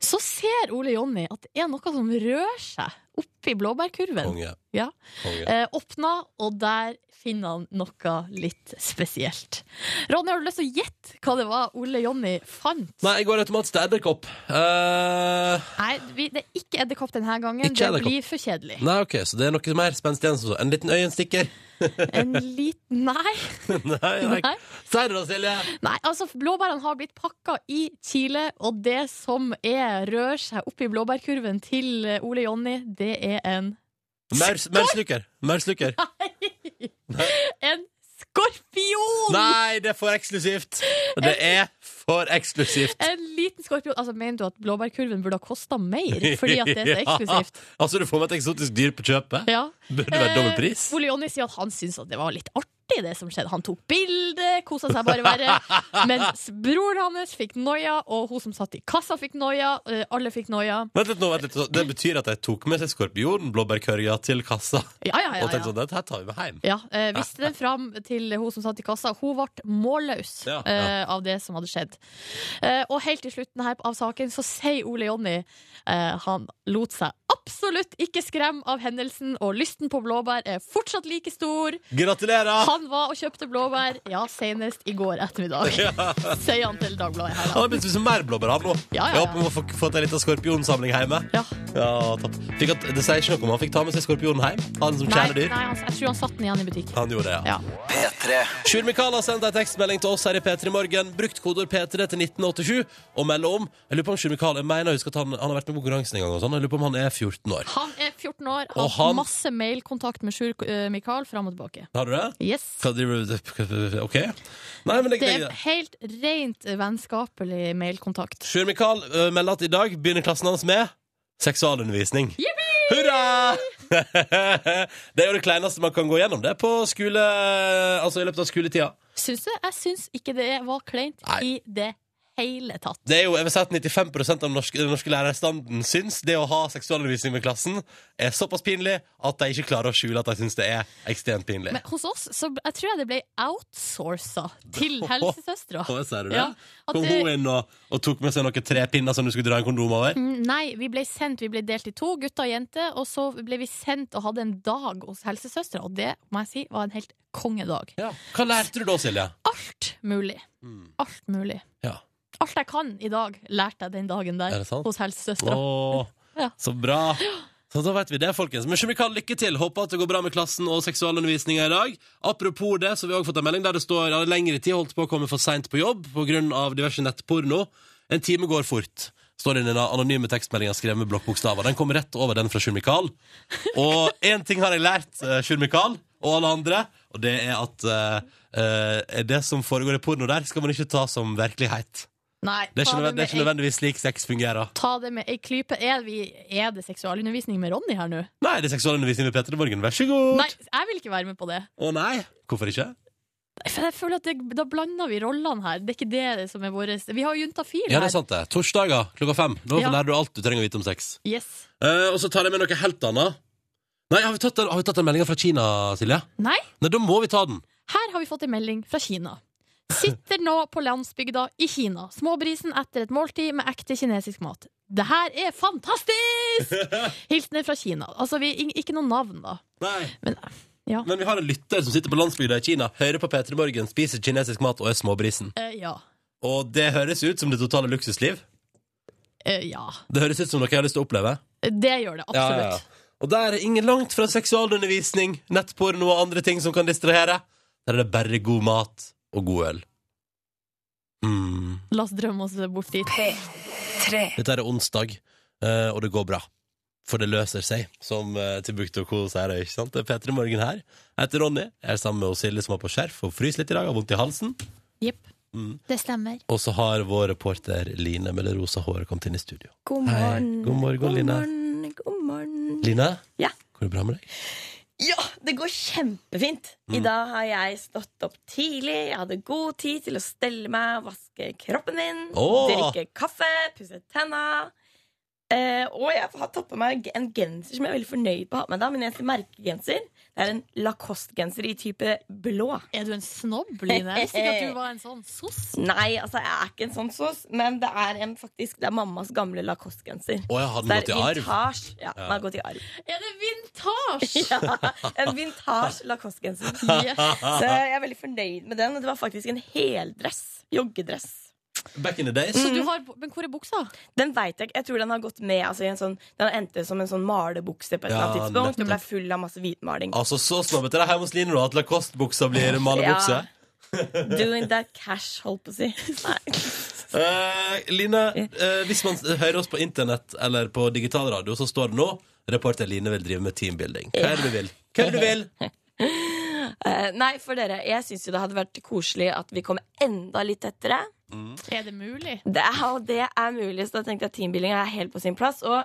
F: Så ser Ole Jonny at det er noe som rører seg oppi blåbærkurven.
B: Konge.
F: Ja.
B: Konge.
F: Eh, åpna, og der finner han noe litt spesielt. Ronny, har du lyst til å gjette hva det var Ole Jonny fant?
B: Nei, jeg går automatisk til edderkopp. Eh,
F: Nei, vi, det er ikke edderkopp denne gangen.
B: Ikke edderkopp.
F: Det blir for kjedelig.
B: nei, OK, så det er noe mer spenstig enn som så. En liten øyenstikker? [LAUGHS]
F: En liten Nei.
B: nei, nei.
F: Nei.
B: Si det da, Silje.
F: Nei, altså blåbærene har blitt pakka i Chile, og det som er rører seg oppi blåbærkurven til eh, Ole Jonny, det er en
B: Maur- Maursluker. Maursluker.
F: En Skorpion!
B: Nei, det er for eksklusivt! Det er for eksklusivt.
F: En liten skorpion. Altså, Mener du at blåbærkurven burde ha kosta mer fordi at det er
B: [LAUGHS]
F: så
B: Ja.
F: eksklusivt?
B: Altså, du får med et eksotisk dyr på kjøpet.
F: Ja.
B: Burde være dobbel pris.
F: Eh, Ole Jonny sier at han syntes at det var litt artig, det som skjedde. Han tok bilde, kosa seg bare verre.
B: [LAUGHS]
F: Mens broren hans fikk noia, og hun som satt i kassa, fikk noia. eh, Alle fikk noia.
B: Vent litt nå, vent litt. nå. Det betyr at jeg tok med seg skorpionen, blåbærkørja, til kassa.
F: Ja, ja, ja.
B: Og tenkte
F: ja.
B: sånn, dette her tar vi med hjem.
F: Ja, eh, Viste den fram til hun som satt i kassa. Hun ble målløs
B: Ja, ja.
F: eh, av det som hadde skjedd. Eh, og helt til slutten her av saken så sier Ole Jonny eh, han lot seg absolutt ikke skremme av hendelsen, og lysten på blåbær er fortsatt like stor.
B: Gratulerer!
F: Han var og kjøpte blåbær, ja, senest i går ettermiddag. Sier han til Dagbladet her,
B: Han
F: da.
B: har begynt å spise mer blåbær, han nå.
F: Ja, ja,
B: Jeg
F: ja.
B: håper vi må få, få til en liten skorpionsamling hjemme.
F: Ja.
B: Ja, topp. Fikk at, det sier ikke noe om han fikk ta med seg skorpionen hjem. Han som
F: Nei,
B: kjæledyr.
F: nei, han- jeg tror han satt den igjen i butikk.
B: Han gjorde det, ja.
F: Ja.
B: Sjur Mikael har sendt en tekstmelding til oss her i P3 Morgen. Brukt kodeord P3 til 1987 og melde om. Jeg lurer på om Sjur Mikael jeg mener jeg husker at han, han har vært med på konkurransen en gang. og sånn. Jeg lurer på om han er 14 år.
F: Han er 14 år, har
B: Og
F: hatt
B: han-
F: masse mailkontakt med Sjur eh, Mikael fram og tilbake.
B: Har du det?
F: Yes.
B: Hva driver du med? OK? Nei, men det,
F: Det
B: det,
F: er helt rent vennskapelig mailkontakt.
B: Sjur Mikael eh, melder at i dag begynner klassen hans med seksualundervisning. Hurra! [LAUGHS] det er jo det kleineste man kan gå gjennom det på skole, altså i løpet av skoletida.
F: Syns du? Jeg syns ikke det var kleint
B: Nei.
F: i det hele tatt.
B: Det er jo, jeg vil si at 95 av den norske, den norske lærerstanden syns det å ha seksualundervisning med klassen er såpass pinlig at de ikke klarer å skjule at de syns det er ekstremt pinlig.
F: Men hos oss så jeg tror jeg det ble outsourca til helsesøstera.
B: Hva sier du det?
F: Ja, at
B: Kom
F: det-
B: hun inn og, og tok med seg noen trepinner som du skulle dra en kondom over?
F: Mm, Nei, vi ble sendt, vi ble delt i to, gutter og jenter, og så ble vi sendt og hadde en dag hos helsesøstera, og det må jeg si var en helt kongedag.
B: Ja. Hva lærte du da, Silje?
F: Alt mulig. Alt mulig.
B: Ja.
F: Alt jeg kan i dag, lærte jeg den dagen
B: Er
F: der
B: det sant?
F: hos helsesøstera.
B: Åh,
F: Ja.
B: Så bra. Så da vet vi det, folkens. Men Kjemikal, lykke til. Håper at det går bra med klassen og seksualundervisninga i dag. Apropos det, så har vi også fått en melding der det står at lengre tid holdt på å komme for seint på jobb pga. diverse nettporno. En time går fort. Står det i den anonyme tekstmeldinga skrevet med blokkbokstaver. Den kom rett over den fra Sjur-Mikael. Og én ting har jeg lært eh, Sjur-Mikael og alle andre, og det er at eh, eh, det som foregår i porno der, skal man ikke ta som virkelighet.
F: Nei,
B: Det er
F: ta
B: ikke, nødvendig, det
F: med
B: er ikke
F: ei-
B: nødvendigvis slik sex fungerer.
F: Ta det med ei klype. Er, vi, er det seksualundervisning med Ronny her nå?
B: Nei, det er seksualundervisning med Petter i morgen. Vær så god.
F: Nei, jeg vil ikke være med på det.
B: Å nei. Hvorfor ikke?
F: For jeg føler at det, Da blander vi rollene her. Det er ikke det som er våres Vi har jo juntafil
B: Ja, det er
F: her.
B: sant det. Torsdager klokka fem. Da
F: Ja.
B: lærer du alt du trenger å vite om sex.
F: Yes.
B: Eh, og så tar jeg med noe helt annet. Nei, har vi tatt den, har vi tatt den meldinga fra Kina, Silje?
F: Nei,
B: Nei, da må vi ta den.
F: her har vi fått en melding fra Kina. Sitter nå på landsbygda i Kina. Småbrisen etter et måltid med ekte kinesisk mat. Det her er fantastisk!
B: [LAUGHS]
F: Hilsener fra Kina. Altså, vi, ing- ikke noe navn, da.
B: Nei.
F: Men ja.
B: Men vi har en lytter som sitter på landsbygda i Kina, hører på P3 Morgen, spiser kinesisk mat og er småbrisen.
F: Eh, ja.
B: Og det høres ut som det totale luksusliv.
F: Eh, ja.
B: Det høres ut som noe jeg har lyst til å oppleve.
F: Det gjør det absolutt.
B: Ja, ja, ja. Og der er ingen langt fra seksualundervisning, nettporno og andre ting som kan distrahere. Der er det bare god mat og god øl. Mm.
F: La oss drømme oss bort dit.
B: Dette er onsdag, eh, og det går bra. For det løser seg, som eh, til Bukt og Co. sier det. ikke sant? Det er P3 Morgen her. Jeg heter Ronny. Jeg er sammen med Silje, som har på skjerf og fryser litt i dag. Har vondt i halsen.
F: Jepp.
B: Mm.
F: Det stemmer.
B: Og så har vår reporter Line med det rosa håret kommet inn i studio.
C: God
B: Hei.
C: morgen.
B: God morgen, Line.
C: morgen, god morgen.
B: Line,
C: Ja.
B: går det bra med deg?
C: Ja, det går kjempefint.
B: Mm.
C: I dag har jeg stått opp tidlig. Jeg hadde god tid til å stelle meg, vaske kroppen min,
B: Åh.
C: drikke kaffe, pusse tenna. Eh, og jeg har tatt på meg en genser som jeg er veldig fornøyd på å ha på meg. da Min eneste merkegenser. Det er en Lacoste-genser i type blå.
F: Er du en snobb, Line? Jeg visste ikke at du var en sånn sos.
C: Nei, altså jeg er ikke en sånn sos, men det er en faktisk Det er mammas gamle Lacoste-genser.
B: Å, jeg hadde
C: Det er
B: gått i arv.
C: vintage. Ja, den har gått i arv.
F: Er det vintage?
C: [LAUGHS] Ja, en vintage Lacoste-genser.
F: Yes.
C: Så jeg er veldig fornøyd med den. og Det var faktisk en heldress. Joggedress.
B: Back in the
C: Mm.
B: days.
F: Så du har, men hvor er buksa?
C: Den vet jeg ikke. Jeg tror den har gått med altså, i en sånn, Den har endt som en sånn malebukse på et eller
B: Ja,
C: annet tidspunkt. Den ble full av masse hvitmaling.
B: Altså, så snobbete er det hjemme hos Line nå, at Lacoste-buksa blir malebukse.
C: Ja. Doing that cash, holdt på å si. [LAUGHS] Nei.
B: Eh, Line, eh, hvis man hører oss på internett eller på digital radio, så står det nå Reporter Line vil drive med teambuilding. Hva er det du vil? Hva er det du vil?
I: Eh, nei, for dere, jeg syns jo det hadde vært koselig at vi kom enda litt tettere.
B: Mm.
F: Er det mulig?
I: Det er, og det er mulig, så da tenkte jeg at teambuilding er helt på sin plass. Og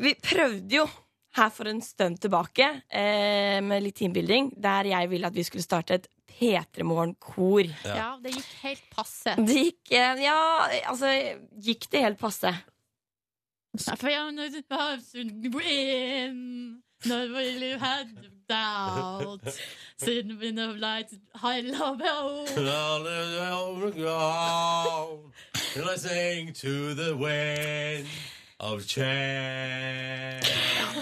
I: vi prøvde jo her for en stund tilbake eh, med litt teambuilding, der jeg ville at vi skulle starte et P3 Morgen-kor.
B: Ja.
F: Ja. det gikk helt passe.
I: Det gikk eh, Ja, altså Gikk det helt passe?
F: Ja, for jeg- når det var sunn gå inn, når vi had doubt, siden vi nå leit high love oh.
B: Can I sing to the wind of change?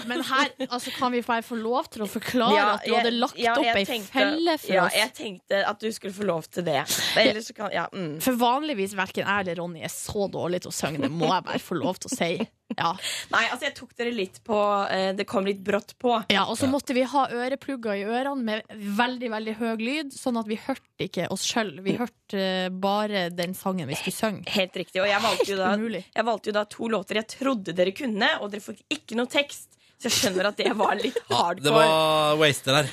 F: Men her altså, kan vi bare få lov til å forklare at du hadde lagt
I: ja,
F: opp
I: jeg
F: ei
I: tenkte-
F: felle for
I: ja,
F: oss.
I: Jeg tenkte at du skulle få lov til det. Ellers så kan Ja. Mm.
F: For vanligvis verken jeg eller Ronny er så dårlig til å synge, det må jeg bare få lov til å si. Ja,
I: Nei, altså, jeg tok dere litt på eh, Det kom litt brått på.
F: ja Og så måtte vi ha øreplugger i ørene med veldig veldig høy lyd, sånn at vi hørte ikke oss sjøl. Vi hørte eh, bare den sangen vi skulle synge.
I: Helt riktig. Og jeg valgte, jo da,
F: Helt umulig.
I: jeg valgte jo da to låter jeg trodde dere kunne, og dere fikk ikke noe tekst. Så jeg skjønner at det var litt
B: Ja,
I: hardcore.
B: det var waste, det der.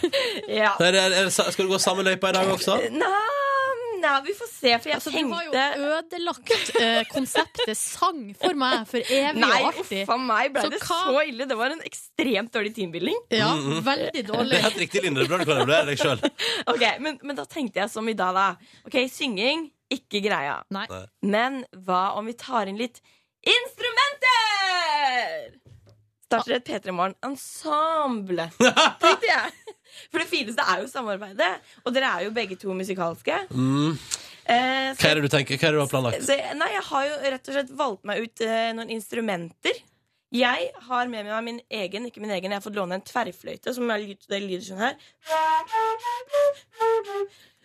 I: ja.
B: Der er- er- Skal du gå samme løypa i dag også?
I: Nei, nei, vi får se, for jeg
F: Altså, du har jo
I: tenkte
F: ødelagt eh, konseptet sang for meg for evig
I: Nei,
F: og
I: uff
F: alltid.
I: a meg, ble
F: Så
I: det
F: hva-
I: så ille? Det var en ekstremt dårlig teambuilding.
F: Ja, veldig
B: Det
F: dårlig.
B: er helt riktig, Linde. Det er Bra du kan evaluere deg sjøl.
I: [LAUGHS] Ok, men, men da tenkte jeg som i dag, da. Ok, synging, ikke greia.
F: Nei.
B: Nei.
I: Men hva om vi tar inn litt instrumenter? Starter et P3 Morgen
B: [LAUGHS]
I: ensemble, tenkte jeg. For det fineste er jo samarbeidet. Og dere er jo begge to musikalske.
B: Mm.
I: Eh,
B: Hva er
I: så,
B: det du tenker? Hva er det du har planlagt?
I: så, nei, jeg har jo rett og slett valgt meg ut eh, noen instrumenter. Jeg har med meg min egen, ikke min egen, jeg har fått låne en tverrfløyte, som er lyd, det lyder sånn her.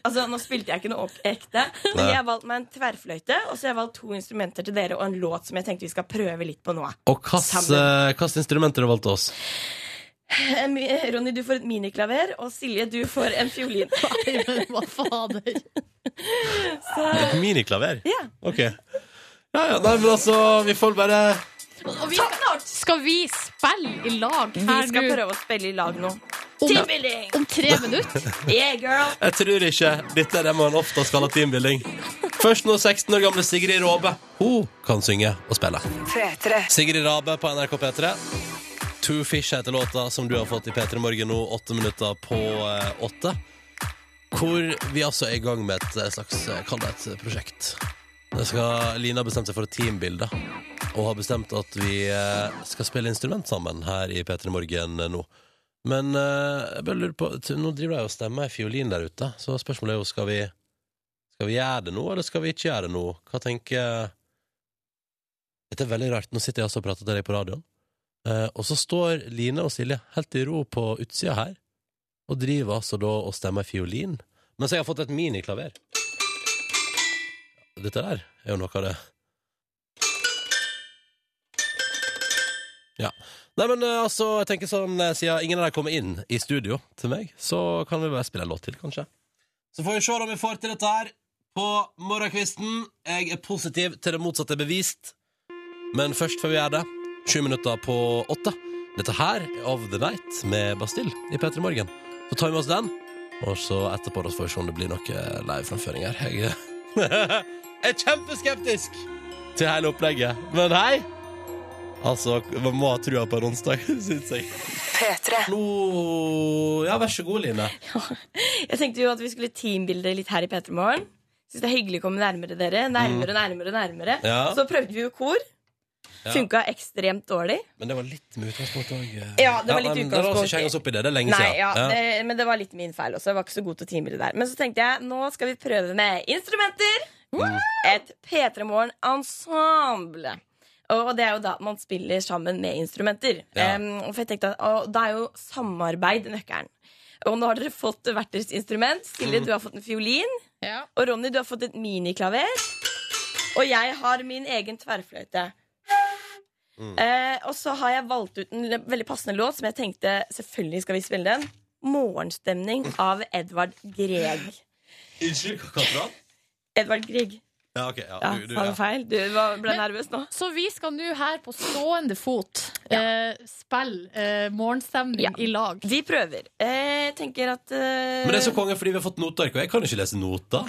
I: Altså, nå spilte jeg ikke noe ok- ekte, men
B: Nei.
I: jeg har valgt meg en tverrfløyte, og så har jeg valgt to instrumenter til dere og en låt som jeg tenkte vi skal prøve litt på nå.
B: Og hvilket instrument har du valgt til oss?
I: Eh, mi- eh, Ronny, du får et miniklaver, og Silje, du får en fiolin.
F: Nei, men hva fader?
B: Et miniklaver?
I: Ja.
B: Ok. Ja, ja, nei, men altså, vi får bare
F: Og vi, skal vi spille i lag
I: Vi
F: her
I: skal
F: nå
I: prøve å spille i lag nå.
F: om,
I: Teambuilding!
F: om tre minutter?
I: Yeah, girl!
B: Jeg tror ikke dette er det man oftest kaller teambuilding. Først nå 16 år gamle Sigrid Råbe. Hun kan synge og spille. Sigrid Rabe på NRK P3. Two Fish heter låta som du har fått i P3 Morgen nå, åtte minutter på eh, åtte. Hvor vi altså er i gang med et eh, slags eh, Kall det et prosjekt. Det skal, Lina har bestemt seg for et teambilde, og har bestemt at vi eh, skal spille instrument sammen her i P3 Morgen eh, nå. Men eh, jeg bare lurer på t- Nå driver de og stemmer ei fiolin der ute, så spørsmålet er jo skal vi Skal vi gjøre det nå, eller skal vi ikke gjøre det nå? Hva tenker Dette er veldig rart. Nå sitter jeg også og prater til deg på radioen, eh, og så står Line og Silje helt i ro på utsida her, og driver altså da og stemmer ei fiolin, mens jeg har fått et miniklaver. Dette der er jo noe av det Nei, men eh, altså, jeg tenker sånn eh, Siden ingen av dere kommer inn i studio til meg Så kan vi bare spille en låt til, kanskje Så får vi se om vi får til dette her På morgenkvisten Jeg er positiv til det motsatte er bevist Men først før vi gjør det 20 minutter på 8 Dette her er Of The Night med Bastille I Petra Morgen Så tar vi med oss den Og så etterpå da får vi se om det blir noe live framføring her [LAUGHS] Jeg er kjempeskeptisk Til hele opplegget Men hei Altså, man må ha trua på en onsdag, [LAUGHS] syns jeg. Nå Ja, vær så god, Line.
I: [LAUGHS] Jeg tenkte jo at vi skulle teambilde litt her i P3 Morgen. Syns det er hyggelig å komme nærmere dere. Nærmere, nærmere, nærmere.
B: Mm. Ja.
I: Så prøvde vi jo kor.
B: Ja.
I: Funka ekstremt dårlig.
B: Men det var litt med utgangspunkt eh. òg.
I: Ja, det var litt
B: La oss ikke
I: utgangspunkt.
B: henge oss opp i det. Det er lenge
I: Nei,
B: siden.
I: ja,
B: Ja.
I: det- Men det var litt min feil også. Jeg var ikke så god til å teambilde der. Men så tenkte jeg nå skal vi prøve med instrumenter.
B: Mm.
I: Et P3 Morgen-ensemble. Og det er jo da man spiller sammen med instrumenter.
B: Ja.
I: Em, for jeg tenkte at, og da er jo samarbeid nøkkelen. Og nå har dere fått hvert deres instrument.
B: Mm.
I: Silje, du har fått en fiolin. Og Ronny, du har fått et miniklaver. Og jeg har min egen tverrfløyte.
B: Mm.
I: Eh, og så har jeg valgt ut en l- veldig passende låt som jeg tenkte selvfølgelig skal vi spille den. 'Morgenstemning' av Edvard Grieg.
B: Unnskyld, hva kalte du han?
I: Edvard Grieg.
B: Ja, ok. Ja,
I: Ja,
B: du, du,
I: sa
B: ja.
I: du feil? Du var, ble nervøs nå?
F: Så vi skal nå her på stående fot
D: eh, spille eh, morgenstemning
I: Ja.
D: i lag.
I: Vi prøver. Eh, Jeg tenker at eh,
B: Men det er så konge fordi vi har fått noteark, og jeg kan jo ikke lese noter.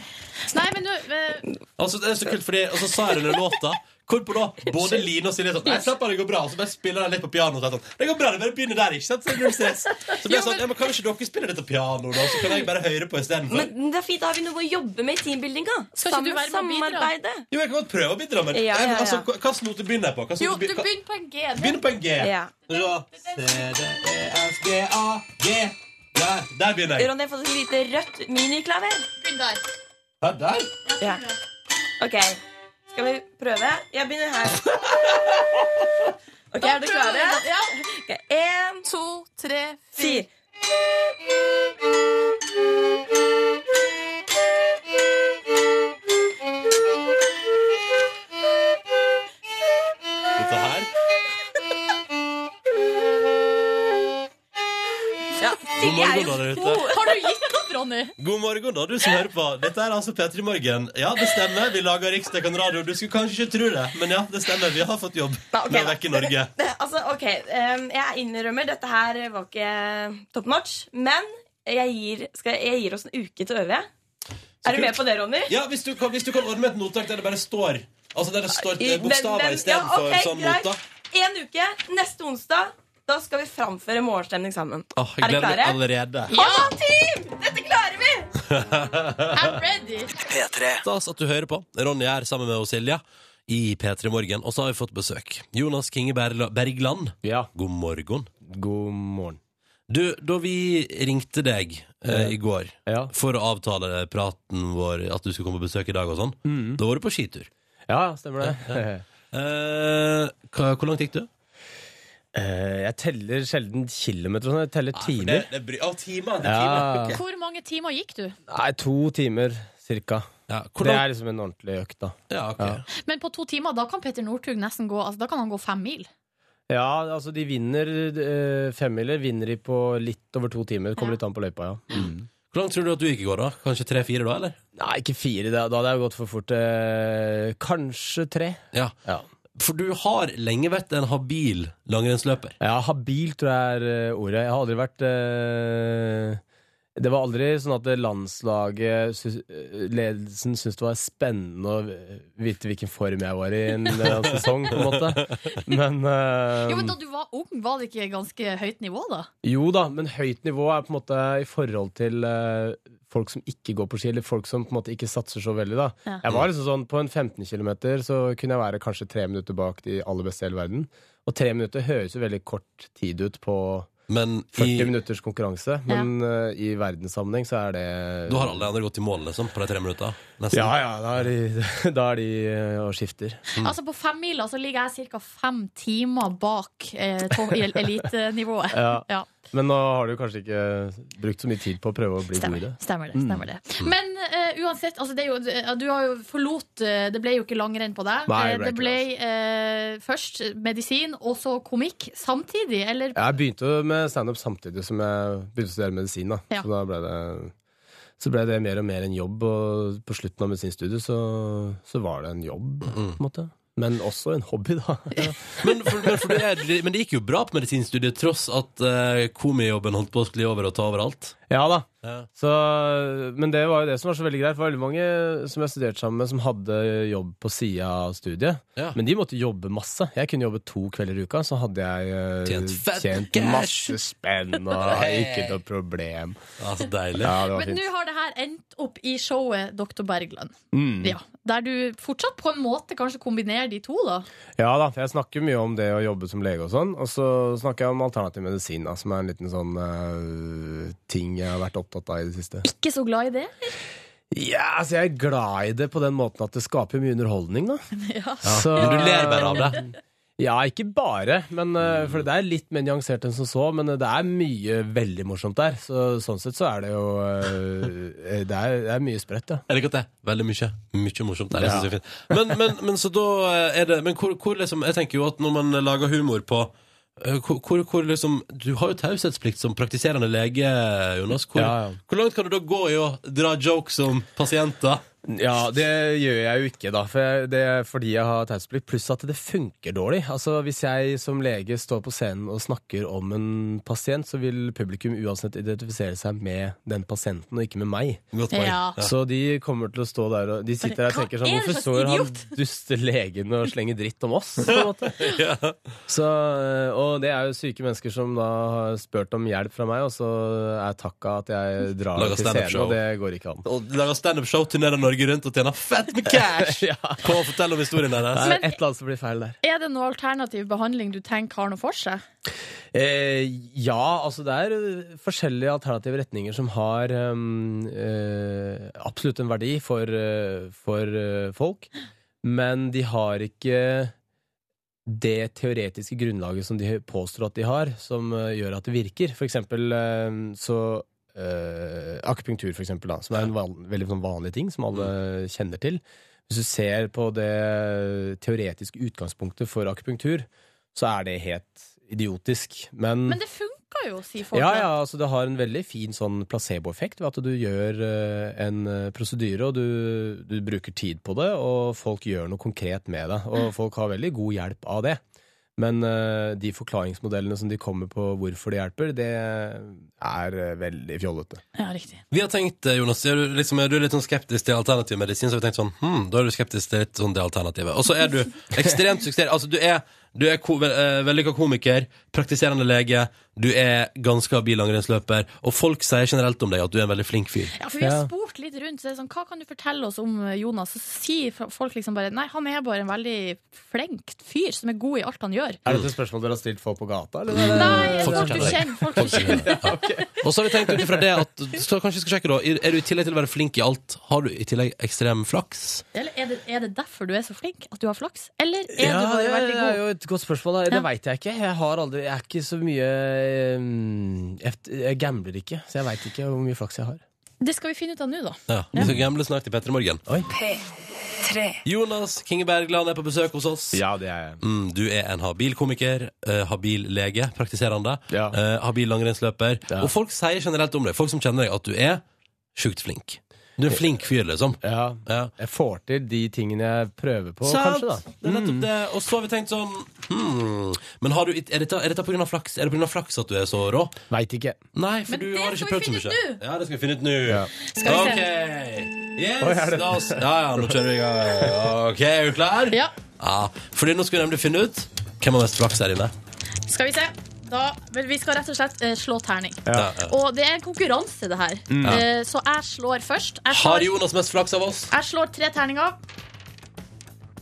D: Nei, men nå eh,
B: Altså, det er så kult, fordi, og så sa jeg det under låta. Hvorpå da både Line og Silje sånn Nei, slapp av, det går bra. Og så bare spiller de litt på pianoet. og så er jeg Sånn, det går bra, det bare begynner der, ikke sant? Så det er null stress. Så ble jeg sånn, ja, men kan ikke dere spille dette pianoet, da? Så kan jeg bare høre på istedenfor.
I: Men det er fint, da har vi noe å jobbe med i teambuildinga.
D: Skal ikke du være med og bidra?
I: Samarbeide.
B: Jo, jeg kan godt prøve å bidra, men
I: Ja, ja, ja.
B: Altså, hva slags note begynner jeg på? Hva slags
D: Jo,
B: note
D: du
B: be- hva-
D: begynner på en G. Det-
B: Begynner på en G.
I: Ja.
B: Så, C, D, E, F, G, A, G. Der, der begynner jeg.
I: Ronny har fått et lite rødt miniklaver.
D: Begynn der.
B: Ja, der?
I: Ja. Ok, skal vi prøve? Jeg begynner her. Ok, er dere klare?
D: Ja.
I: Ok, En,
D: To, tre,
I: fire.
B: Dette her.
I: Ja,
B: God
I: Silje er
B: morgen,
I: jo
B: da, der ute.
D: fire. Har du gitt opp, Ronny?
B: God morgen, da, du som hører på. Dette er altså P3 Morgen. Ja, det stemmer. Vi lager riksdekkende radio. Du skulle kanskje ikke tro det, men ja, det stemmer. Vi har fått jobb
I: Nei, ok,
B: med å
I: da.
B: vekke Norge.
I: Altså, ok, em, jeg innrømmer Dette her var ikke top notch Men jeg gir, skal, jeg gir oss en uke til å øve Er du
B: kult.
I: med på det, Ronny?
B: Ja, hvis du, kan, hvis du kan ordne med et notak der det bare står Altså der det står eh,
I: I-
B: bokstaver
I: men- men-
B: istedenfor
I: ja, ok,
B: sånn
I: greit.
B: noter.
I: En uke, neste onsdag Da skal vi framføre morgenstemning sammen Er dere klare?
B: allerede.
I: Kom an, team! Dette klarer vi!
D: I'm ready.
B: Stas at du hører på. Ronny er sammen med oss, Silja, i P3 Morgen. Og så har vi fått besøk. Jonas Kinge Berla- Bergland,
J: Ja,
B: god morgen.
J: god morgen.
B: Du, da vi ringte deg eh, i går
J: Ja.
B: for å avtale praten vår, at du skulle komme på besøk i dag og sånn, da var du på skitur.
J: Ja, stemmer det.
B: Eh, hva, hvor langt gikk du?
J: [LAUGHS] Eh, Jeg teller sjelden kilometer og sånn. Jeg teller timer.
B: Å, timer.
J: Ja.
D: Hvor mange timer gikk du?
J: Nei, to timer cirka.
B: Ja, hvor
J: Det
B: langt?
J: er liksom en ordentlig økt, da.
B: Ja, ok.
J: Ja.
D: Men på to timer, da kan Petter Northug nesten gå altså, Da kan han gå fem mil.
J: Ja, altså de vinner eh, femmiler. Vinner de på litt over to timer.
D: Ja.
J: Kommer litt an på løypa, ja.
B: Hvor langt tror du at du gikk i går, da? Kanskje tre-fire, da? eller?
J: Nei, ikke fire. Da, da hadde jeg gått for fort. Eh, kanskje tre.
B: Ja.
J: Ja.
B: For du har lenge vært en habil langrennsløper.
J: Ja, habil tror jeg er eh, ordet. Jeg har aldri vært eh, Det var aldri sånn at landslaget sy- eh, Ledelsen syntes det var spennende å vite hvilken form jeg var i en eh, sesong, på en måte. Men, eh,
D: Jo, men Da du var ung, var det ikke ganske høyt nivå, da?
J: jo da, men høyt nivå er på en måte i forhold til eh, folk som ikke går på ski, eller folk som på en måte ikke satser så veldig. da.
D: Ja.
J: Jeg var liksom sånn, På en 15 km så kunne jeg være kanskje tre minutter bak de aller beste i hele verden. Og tre minutter høres jo veldig kort tid ut på 40
B: Men i,
J: minutters konkurranse, men eh, i verdenssammenheng så er det
B: du har alle andre gått i mål, liksom, på de tre minutta? Nesten.
J: Ja, ja, da er de, [LAUGHS] da er de eh, og skifter.
D: Altså På femmila så ligger jeg ca. fem timer bak eh, to- el- elitenivået.
J: Ja.
D: Ja.
J: Men nå har du kanskje ikke brukt så mye tid på å prøve å bli god Mm. i
D: Stemmer,
J: det.
D: stemmer det. Stemmer det. Men eh, uansett, altså det er jo, du har jo forlot eh, Det ble jo ikke langrenn på deg.
J: Nei,
D: Eh,
J: det altså.
D: det ble
J: ble
D: eh, først medisin, og så komikk samtidig. Eller
J: Jeg begynte jo med standup samtidig som jeg begynte å studere medisin. Da.
D: Ja.
J: Så da ble det, så ble det mer og mer en jobb, og på slutten av medisinstudiet så, så var det en jobb, på en måte. Men også en hobby, da.
B: [LAUGHS]
J: [LAUGHS]
B: Men, for, men, for det er, men det gikk jo bra på medisinstudiet, tross at eh, komijobben holdt på å skli over og ta overalt.
J: Ja da.
B: Ja.
J: Så, men det var jo det som var så veldig greit. Det var veldig mange som jeg studerte sammen med, som hadde jobb på sida av studiet.
B: Ja.
J: Men de måtte jobbe masse. Jeg kunne jobbe to kvelder i uka, så hadde jeg eh,
B: Tjent fett
J: tjent
B: cash.
J: masse
B: [LAUGHS]
J: spenn og ikke noe problem.
B: Ja, så deilig.
J: Ja, det var
D: Men nå
J: fint.
D: har det her endt opp i showet Dr. Bergland.
J: Mm.
D: Ja, der du fortsatt på en måte kanskje kombinerer de to, da.
J: Ja da, for jeg snakker mye om det å jobbe som lege og sånn. Og så snakker jeg om alternativ medisin, da, som er en liten sånn eh, ting jeg har vært opptatt av i det siste.
D: Ikke så glad i det.
J: Ja, altså jeg er glad i det på den måten at det skaper mye underholdning, da.
D: Ja.
J: Så-
B: Men du ler bare av det.
J: Ja, ikke bare, men, eh, for det er litt mer nyansert enn som så. Men eh, det er mye veldig morsomt der. Så, sånn sett så er det jo eh, det, er, det er mye sprøtt, ja.
B: Jeg liker at det er veldig mye, mye morsomt der. Jeg
J: Ja.
B: synes det er fint. Men, men, men så da er det Men hvor, hvor liksom Jeg tenker jo at når man lager humor på eh, hvor, hvor, hvor liksom Du har jo taushetsplikt som praktiserende lege, Jonas. Hvor,
J: Ja, ja.
B: hvor langt kan du da gå i å dra jokes om pasienter?
J: Ja, det gjør jeg jo ikke, da. For jeg, det er fordi jeg har taushetsplikt. Pluss at det funker dårlig. Altså, Hvis jeg som lege står på scenen og snakker om en pasient, så vil publikum uansett identifisere seg med den pasienten, og ikke med meg.
B: Godt poeng. [LAUGHS]
F: Ja.
J: Så de kommer til å stå der og De sitter der og
C: Hva
J: tenker
C: er
J: sånn
C: det
J: Hvorfor
C: slags
J: står han
C: idiot?»
J: duste legen og slenger dritt om oss? På en måte. så, øh, og det er jo syke mennesker som da har spurt om hjelp fra meg, og så er takka at jeg drar
B: Lager
J: til scenen,
B: stand-up-show.
J: og det går ikke an.
B: Og lager standup-show, turnerer Norge rundt og tjener fett med cash!
J: [LAUGHS] Ja.
B: Kom og fortell om historien
J: Det
B: deres.
J: er
F: Men-
J: et eller annet som blir feil der.
F: Er det noe alternativ behandling du tenker har noe for seg?
J: Eh, ja, altså det er øh, forskjellige alternative retninger som har øhm, øh, absolutt en verdi for, øh, for øh, folk, men de har ikke det teoretiske grunnlaget som de påstår at de har, som øh, gjør at det virker. For eksempel øh, så øh, Akupunktur, for eksempel, da, som er en van, veldig sånn vanlig ting som alle kjenner til. Hvis du ser på det teoretiske utgangspunktet for akupunktur, så er det helt idiotisk. Men,
F: Men det funka jo, sier folk.
J: ja, ja, altså det har en veldig fin sånn placeboeffekt ved at du gjør eh, en eh, prosedyre, og du, du bruker tid på det, og folk gjør noe konkret med det. Og folk har veldig god hjelp av det. Men eh, de forklaringsmodellene som de kommer på hvorfor det hjelper, det er eh, veldig fjollete.
F: Ja, riktig.
B: Vi har tenkt, eh, Jonas, er du, liksom, er du litt sånn skeptisk til alternativ medisin, så har vi tenkt sånn hm, da er du skeptisk til litt sånn det alternativet. Og så er du ekstremt suksess. Altså, du er, du er ko ve- eh, vellykka komiker, praktiserende lege, du er ganske habil langrennsløper, og folk sier generelt om deg at du er en veldig flink fyr.
F: Ja, for vi har
J: Ja.
F: spurt litt rundt. Så det er sånn, hva kan du fortelle oss om eh,
D: altså,
F: Jonas? Så sier f- folk liksom bare Nei, han er bare en veldig flink fyr som er god i alt han gjør.
J: Er dette spørsmål dere har stilt folk på gata? Eller?
F: Nei,
B: Folk
F: folk
B: som
F: du
B: kjenner deg.
F: kjenner. Folk du kjenner.
B: Ja. Og så har vi tenkt ut ifra det at så kanskje vi skal sjekke da, Er du i tillegg til å være flink i alt, har du i tillegg ekstrem flaks?
F: Eller er det, er det derfor du er så flink? At du har flaks? Eller er du bare
J: det,
F: veldig
J: det er
F: god?
J: jo et godt spørsmål. Da. Det
F: Ja.
J: veit jeg ikke. Jeg har aldri Jeg er ikke så mye eh, Jeg, jeg gambler ikke, så jeg veit ikke hvor mye flaks jeg har.
F: Det skal vi finne ut av nå, da.
B: Ja, Vi skal gamble snart i P3 Morgen. Jonas Kinge Bergland er på besøk hos oss.
J: Ja, det er jeg.
B: Mm, du er en habil komiker, eh, habil lege, praktiserende,
J: Ja.
B: eh, habil langrennsløper.
J: Ja.
B: Og folk sier generelt om deg, folk som kjenner deg, at du er sjukt flink. Du er en flink fyr, liksom.
J: Ja,
B: Ja.
J: jeg får til de tingene jeg prøver på,
B: Sant?
J: kanskje, da. Mm.
B: Det er nettopp det. Og så har vi tenkt sånn hmm, Men har du, er dette, er dette på grunn av flaks? Er det på grunn av flaks at du er så rå?
J: Veit ikke.
B: Nei, for
F: Men
B: du
F: det
B: har ikke
F: skal vi
B: prøvd så
F: finne
B: mye.
F: ut
B: Ja, det skal vi finne ut nå.
J: Ja.
F: Skal vi se.
B: OK. Yes,
J: Oi, er det-
B: la oss Ja, ja, nå kjører vi i gang. OK, er du klar?
F: Ja,
B: Ja, fordi nå skal vi nemlig finne ut hvem har mest flaks her inne.
F: skal vi se. Da, vel, vi skal rett og slett eh, slå terning.
B: Ja. Ja.
F: Og det er en konkurranse, det her. Eh, så jeg slår først. Jeg
B: Har
F: slår,
B: Jonas mest flaks av oss?
F: jeg slår tre terninger.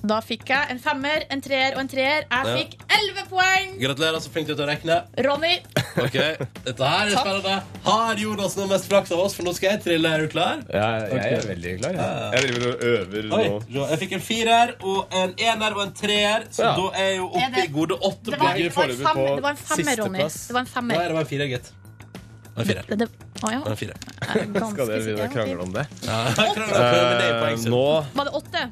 F: Da fikk jeg en femmer, en treer og en treer. Jeg
B: Ja.
F: fikk elleve poeng!
B: Gratulerer, så flink du er til å regne.
F: Ronny,
B: Ok, Dette her er spennende. Har Jonas noe mest flaks av oss? For nå skal jeg trille. Er du klar?
J: jeg er veldig klar.
K: Jeg driver og øver
B: Oi,
K: nå.
B: så Jeg fikk en firer og en ener og en treer, så
J: Ja.
B: da er jeg jo
F: Er
B: oppe
F: det-
B: i gode åtte
F: det var,
B: poeng.
F: det var en
K: foreløpig
F: femmer,
K: på
F: det var en femmer, Ronny.
J: sisteplass.
F: Det var en
B: Nei,
F: femmer.
B: det var en firer, gitt. Det var en firer.
F: Det, det, å, ja.
B: Det var en firer.
F: Jeg er ganske
K: Skal dere
F: sikker.
K: begynne å krangle om det?
B: Ja, jeg klarer å prøve det i poeng,
K: Eh,
B: så.
K: nå
F: Var det åtte?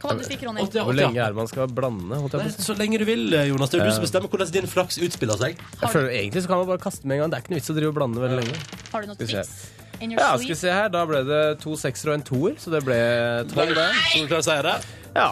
F: Hva var det du fikk, Ronny?
B: Åtte, ja,
J: Hvor
B: åtte, ja.
J: lenge er det man skal blande? Holdt
B: Nei,
J: jeg på. å si?
B: Så lenge du vil, Jonas. Det er jo du som bestemmer hvordan din flaks utspiller seg.
J: Jeg føler Egentlig så kan man bare kaste med en gang. Det er ikke noe vits å drive og blande veldig lenge.
F: Har du noen
J: vi se.
F: triks? In your
J: Ja, skal vi
F: sweet?
J: se her. Da ble det to seksere og en toer, så det ble tolv. det.
B: Så du klarer å si det?
J: Ja.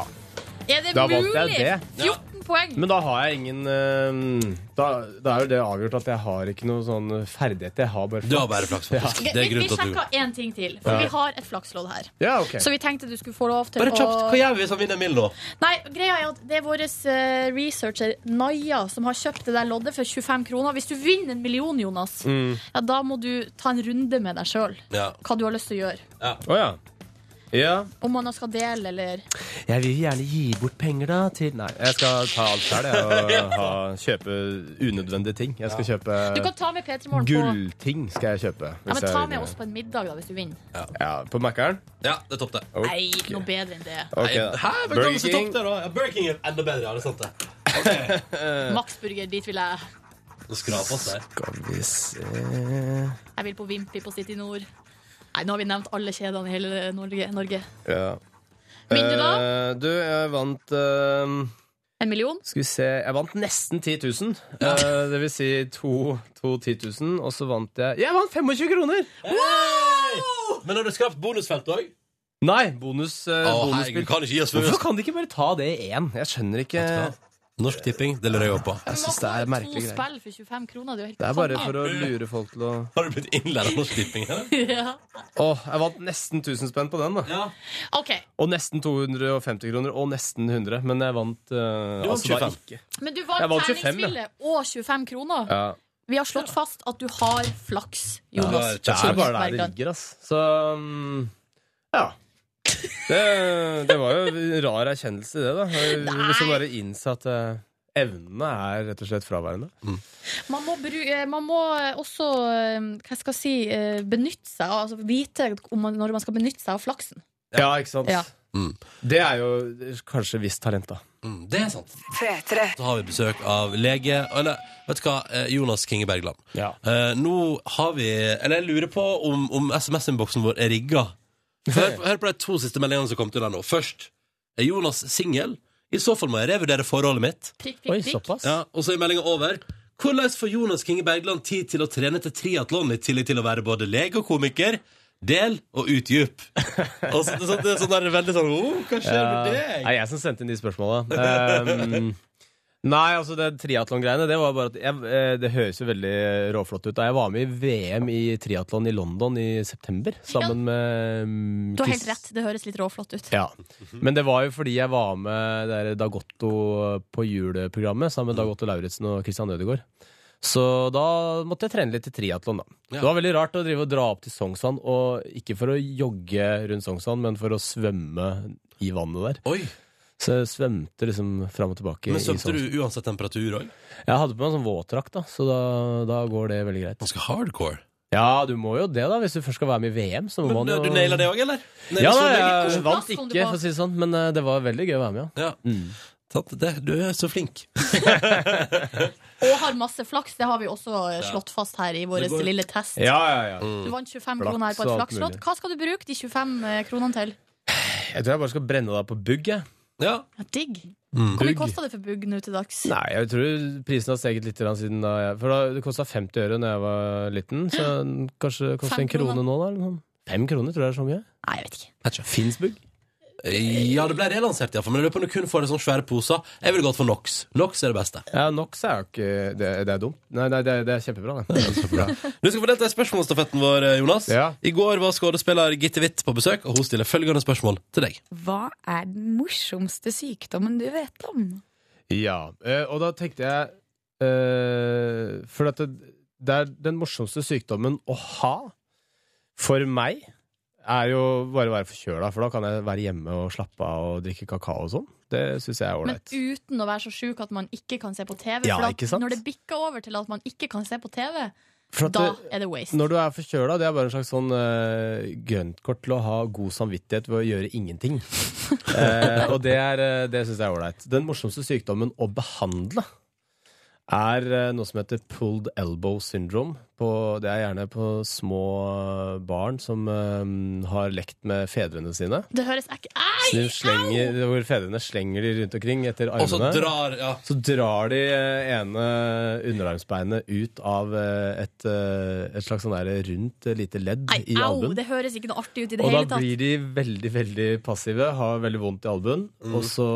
F: Er det
J: Da
F: mulig?
J: valgte jeg det.
F: 14 poeng!
J: Men da har jeg ingen eh, da, da er jo det avgjort at jeg har ikke noe sånn ferdighet. Jeg har bare
B: Du har bare flaks, faktisk.
F: Vi,
B: Det er
F: vi
B: grunnen til at
F: sjekka
B: du
F: én ting til, for vi har et flakslodd her.
J: Ja, ok.
F: Så vi tenkte du skulle få lov til
B: Bare kjapt,
F: å
B: hva gjør vi hvis han vinner Emil nå?
F: Nei, greia er at Det er vår eh, researcher Naya som har kjøpt det der loddet for 25 kroner. Hvis du vinner en million, Jonas,
J: Mm.
F: ja, da må du ta en runde med deg sjøl.
B: Ja.
F: Hva du har lyst til å gjøre.
J: Å ja. Ja.
F: Om man skal dele, eller
J: Jeg vil gjerne gi bort penger da til Nei, jeg skal ta alt
F: [LAUGHS]
J: sjøl og ha, kjøpe unødvendige ting. Jeg skal kjøpe
F: Du kan ta med P3 Morgen på
J: gullting. skal jeg kjøpe.
F: ja, men
J: hvis jeg
F: Ta
J: vinner.
F: med oss på en middag, da, hvis du vinner.
J: Ja, på Mækkern?
B: Ja, det er topp, det.
J: Ok.
F: Nei, ikke noe bedre enn det.
J: Ok, da.
B: Hæ, men
J: Burger
B: Burger
J: King.
B: King. Der, da. ja, Burger King er enda bedre, ja, det er sant det.
J: Eh.
F: Max Burger, dit vil jeg.
B: Nå skraper oss der.
J: Skal vi se
F: Jeg vil på Vimpy på City Nord. Nei, nå har vi nevnt alle kjedene i hele Norge. Norge.
J: ja.
F: Vinner du, da?
J: Eh, Du, jeg vant eh,
F: En million?
J: Skal vi se Jeg vant nesten 10 000. Eh, det vil si to, to 10 000, og så vant jeg Jeg vant 25 kroner!
B: Hey! Men har du skapt bonusfelt òg?
J: Nei, bonus, eh,
B: Å, herregud,
J: bonusspill.
B: kan ikke gi oss
J: Hvorfor kan de ikke bare ta det i én? Jeg skjønner ikke
B: Vet Norsk Tipping, det lurer jeg òg på.
J: Jeg syns det er
F: To
J: merkelige greier.
F: spill for 25 kroner, det er jo helt
J: Det er bare for å lure folk til å
B: Har du blitt innlært av Norsk Tipping? Eller?
F: Ja.
J: Åh, jeg vant nesten 1000 spenn på den, da.
F: OK,
J: Og nesten 250 kroner, og nesten 100. Men jeg vant eh, altså da
B: 25.
J: ikke.
F: men du
J: Jeg
F: vant
J: vant 25,
F: terningsspillet og 25 kroner.
J: Ja.
F: Vi har slått fast at du har flaks, Jonas.
J: Det er
D: Oh
J: bare der det
F: Bergan.
J: ligger, ass. Så mm, ja. Det, [LAUGHS] det var jo en rar erkjennelse, det, da. Jeg liksom bare innse at eh, evnene er rett og slett fraværende.
F: Man må, bru, eh, man må eh, også eh, hva skal jeg si, eh, benytte seg av altså Vite om man, når man skal benytte seg av flaksen.
J: Ja, ikke sant?
F: Ja.
B: Mm.
J: Det er jo kanskje visst talent, da.
B: Mm, det er sant. Så har vi besøk av lege Eller vet du hva, eh, Jonas Kinge Bergland.
J: Ja.
B: Eh, nå har vi Eller jeg lurer på om, om SMS-innboksen vår er rigga. Hør, hør på de to siste meldingene som kom til deg nå. Først er Jonas singel. I så fall må jeg revurdere forholdet mitt.
F: Prikk, prikk,
J: Oi,
F: prikk.
J: såpass?
B: Ja, og så er meldinga over. Hvordan får Jonas Kinge Bergland tid til å trene til triatlon i tillegg til å være både lege og komiker? Del og utdyp. Og så, så, det er sånn der veldig sånn oh, Hva skjer med
J: Ja.
B: deg?
J: Nei, jeg som sendte inn de spørsmåla. Um, nei, altså det triatlon-greiene, det var bare at jeg, eh, Det høres jo veldig råflott ut. Da jeg var med i VM i triatlon i London i september sammen med um,
F: Du har helt
J: Chris-
F: rett, det høres litt råflott ut.
J: Ja. Men det var jo fordi jeg var med det der Dagotto på juleprogrammet
F: Mm.
J: sammen med Dagotto Lauritzen og Christian Ødegaard. Så da måtte jeg trene litt i triatlon, da.
B: Ja.
J: Det var veldig rart å drive og dra opp til Sognsvann, og ikke for å jogge rundt Sognsvann, men for å svømme i vannet der.
B: Oi,
J: Så jeg svømte liksom fram og tilbake.
B: Men
J: i
B: svømte
J: sånn-
B: du uansett temperatur òg?
J: Jeg hadde på meg en sånn våtdrakt, da, så da, da går det veldig greit.
B: Ganske hardcore.
J: Ja, du må jo det, da, hvis du først skal være med i VM. Så må
B: Men
J: man jo
B: du naila det òg, eller? Nailer
J: Ja,
B: så
J: da,
B: lenge.
J: jeg vant ikke, for å si det sånn, men eh, det var veldig gøy å være med, ja.
B: ja.
J: Mm.
B: Sant, det, du er så flink.
F: Og har masse flaks, det har vi også eh, slått fast her i vår
B: Det går-
F: lille test.
J: Ja, Mm. ja, ja.
F: Du vant 25
J: Flaks
F: kroner her på
J: og
F: et
J: alt
F: flakslodd.
J: mulig.
F: Hva skal du bruke de 25 kronene til?
J: Jeg tror jeg bare skal brenne deg på bugg, jeg.
B: Ja.
F: Ja, digg.
B: Mm.
F: Hvor mye
J: Bugg?
F: kosta det for bugg nå til dags?
J: Nei, jeg tror prisen har steget litt grann siden da jeg For da, det kosta 50 øre da jeg var liten, så den kanskje det koster
F: Fem
J: en krone
F: kroner.
J: nå, da? eller noe sånt. Fem kroner, tror jeg det er så mye.
F: Nei, jeg vet ikke.
J: Finsbugg?
B: ja, det ble relansert, iallfall. Men jeg lurer på om du kun får det sånne svære poser. Jeg ville gått for Nox. Nox er det beste.
J: Ja, Nox er jo ikke Det, det er dumt. Nei, nei det, det er kjempebra, [LAUGHS] det. det. er kjempebra.
B: Du skal få delta i spørsmålsstafetten vår, eh, Jonas.
J: Ja.
B: I går var skådespiller Gitte Witt på besøk, og hun stiller følgende spørsmål til deg.
K: Hva er den morsomste sykdommen du vet om?
J: Ja, eh, og da tenkte jeg eh, For at det, det er den morsomste sykdommen å ha for meg er jo bare å være forkjøla, for da kan jeg være hjemme og slappe av og drikke kakao og sånn. Det syns jeg er
F: Men
J: ålreit.
F: uten å være så sjuk at man ikke kan se på TV.
J: Ja,
F: for
J: ikke
F: at
J: sant?
F: når det bikker over til at man ikke kan se på TV,
J: For at
F: da
J: det-
F: er det waste.
J: Når du er forkjøla, det er bare en slags sånn eh, grøntkort til å ha god samvittighet ved å gjøre ingenting. Eh, og det, er, eh, det syns jeg er ålreit. Den morsomste sykdommen å behandle er eh, noe som heter pulled elbow syndrome. På, det er gjerne på små barn som eh, har lekt med fedrene sine.
F: Det høres ek... Ai!
J: Så de slenger, hvor fedrene slenger de rundt omkring etter
B: Og så
J: armene.
B: drar ja.
J: Så drar de eh, ene underarmsbeinet ut av eh, et, eh, et slags sånn der rundt eh, lite ledd
F: Nei,
J: i
F: au!
J: albuen.
F: Det høres ikke noe artig ut i det
J: Og da
F: hele tatt.
J: blir de veldig veldig passive, har veldig vondt i albuen. Og, så,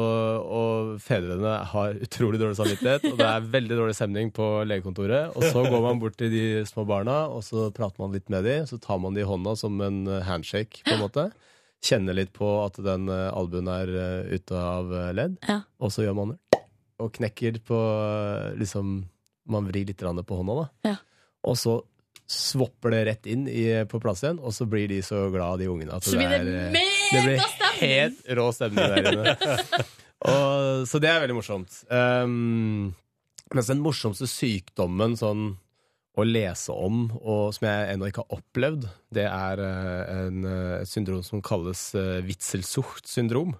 J: og fedrene har utrolig dårlig samvittighet, og det er veldig dårlig stemning på legekontoret. Og så går man bort til de små barna, og så prater man litt med dem. Så tar man de i hånda som en eh, handshake, på en måte. Kjenner litt på at den eh, albuen er eh, ute av eh, ledd,
F: Ja.
J: og så gjør man det. Og knekker på eh, liksom Man vrir litt grann på hånda, da.
F: Ja.
J: Og så svopper det rett inn i, på plass igjen, og så blir de så glad de ungene. At
F: Så blir det
J: er, det blir
F: megastemning!
J: helt rå stemning der
F: [LAUGHS]
J: inne. Og, så det er veldig morsomt. Um, mens den morsomste sykdommen sånn å lese om, og som jeg ennå ikke har opplevd, det er eh, en, eh, et syndrom som kalles uh, Witzelsucht-syndrom.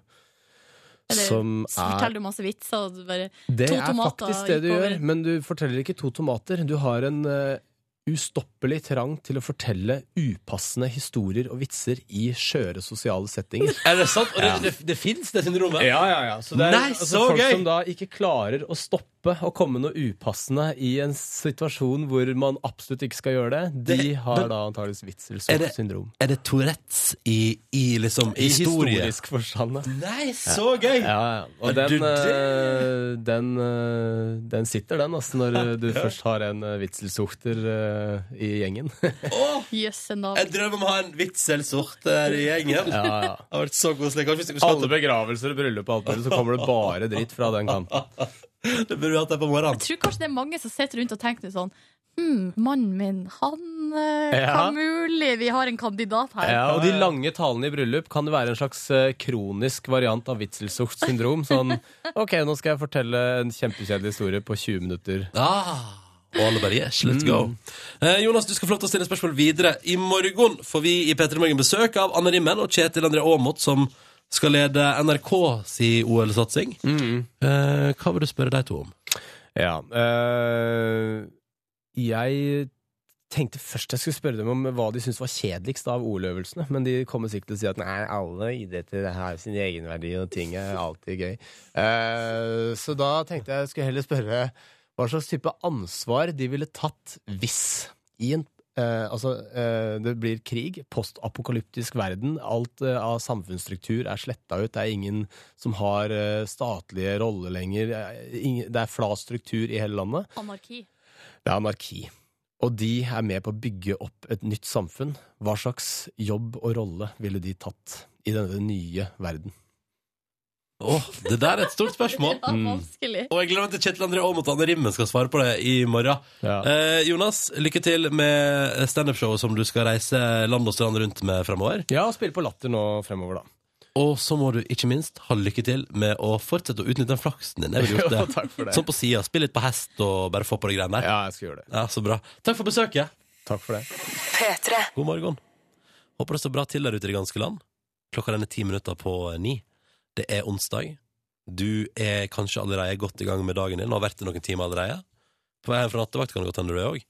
F: Eller,
J: Som
F: Så
J: er
F: forteller du masse vitser, og du bare
J: det
F: To
J: er
F: tomater
J: faktisk det du
F: gikk over.
J: gjør, men du forteller ikke to tomater. Du har en, eh, ustoppelig trang til å fortelle upassende historier og vitser i skjøre sosiale settinger.
B: Er det sant? Og det,
J: Ja.
B: det, det fins, det syndromet?
J: [LAUGHS] Ja, ja, ja. Så det er
B: Nei,
J: altså,
B: så
J: folk
B: gøy!
J: som da ikke klarer å stoppe å komme noe upassende i en situasjon hvor man absolutt ikke skal gjøre det, de
B: Det-
J: har
B: men-
J: da antakeligvis
B: Er det-
J: Witzels syndrom.
B: Er det Tourettes i, i liksom
J: I
B: historie?
J: historisk forstand. da.
B: Nei, så gøy!
J: Ja, ja. Og
B: Er
J: den,
B: du
J: eh, den, eh, den sitter, den, altså, når eh, du først har en eh, Witzelsuchter eh, i gjengen.
B: Åh,
D: Jøsse navn.
B: jeg drømmer om å ha en vitselsorte der i gjengen.
J: Ja, [LAUGHS] ja.
B: Det har vært så koselig. Kanskje hvis dere skulle
J: Alle begravelser og bryllup og alt mulig, så kommer det bare dritt fra den kanten.
B: hatt det, burde vi hatt det på morgenen.
D: Jeg tror kanskje det er mange som sitter rundt og tenker litt sånn Hm, mannen min, han eh,
J: Ja.
D: Hva mulig? Vi har en kandidat her.
J: Ja, og de lange talene i bryllup kan jo være en slags eh, kronisk variant av Witzelsucht syndrom. Sånn OK, nå skal jeg fortelle en kjempekjedelig historie på 20 minutter.
B: Ah, og alle bare yes, let's go. Eh, Jonas, du skal få lov til å stille spørsmål videre. I morgen får vi i P3 Morgen besøk av Anne Rimmen og Kjetil André Aamodt, som skal lede NRK si OL-satsing. Eh, hva vil du spørre de to om?
J: Ja. eh, jeg tenkte først jeg skulle spørre dem om hva de syntes var kjedeligst av OL-øvelsene, men de kommer sikkert til å si at nei, alle idretter har sin egenverdi, og ting er alltid gøy. Eh, så da tenkte jeg jeg skulle heller spørre hva slags type ansvar de ville tatt hvis i en eh, altså, eh, det blir krig, postapokalyptisk verden, alt eh, av samfunnsstruktur er sletta ut, det er ingen som har eh, statlige roller lenger, eh, ingen, det er flat struktur i hele landet.
D: Anarki.
J: Det er anarki. Og de er med på å bygge opp et nytt samfunn. Hva slags jobb og rolle ville de tatt i denne nye verden?
B: Åh, det der er et stort spørsmål.
D: Ja,
J: Mm.
D: vanskelig.
B: Og jeg gleder meg til Kjetil André Aamodt og Anne Rimmen skal svare på det i morgen. Eh, Jonas, lykke til med standup-showet som du skal reise land og strand rundt med framover.
J: Ja, spille på latter nå fremover, da.
B: Og så må du ikke minst ha lykke til med å fortsette å utnytte den flaksen din. Jeg ville gjort det.
J: [LAUGHS] Jo, takk for det.
B: Sånn på sida. Spill litt på hest og bare få på deg greiene der.
J: Ja, jeg skal gjøre det.
B: Ja, så bra. Takk for besøket.
J: Takk for det.
B: God morgen. Håper det står bra til der ute i det ganske land. Klokka den er ti minutter på ni. Det er onsdag. Du er kanskje allerede godt i gang med dagen din og har vært det noen timer allerede. På vei hjem fra nattevakt kan det godt hende du er òg.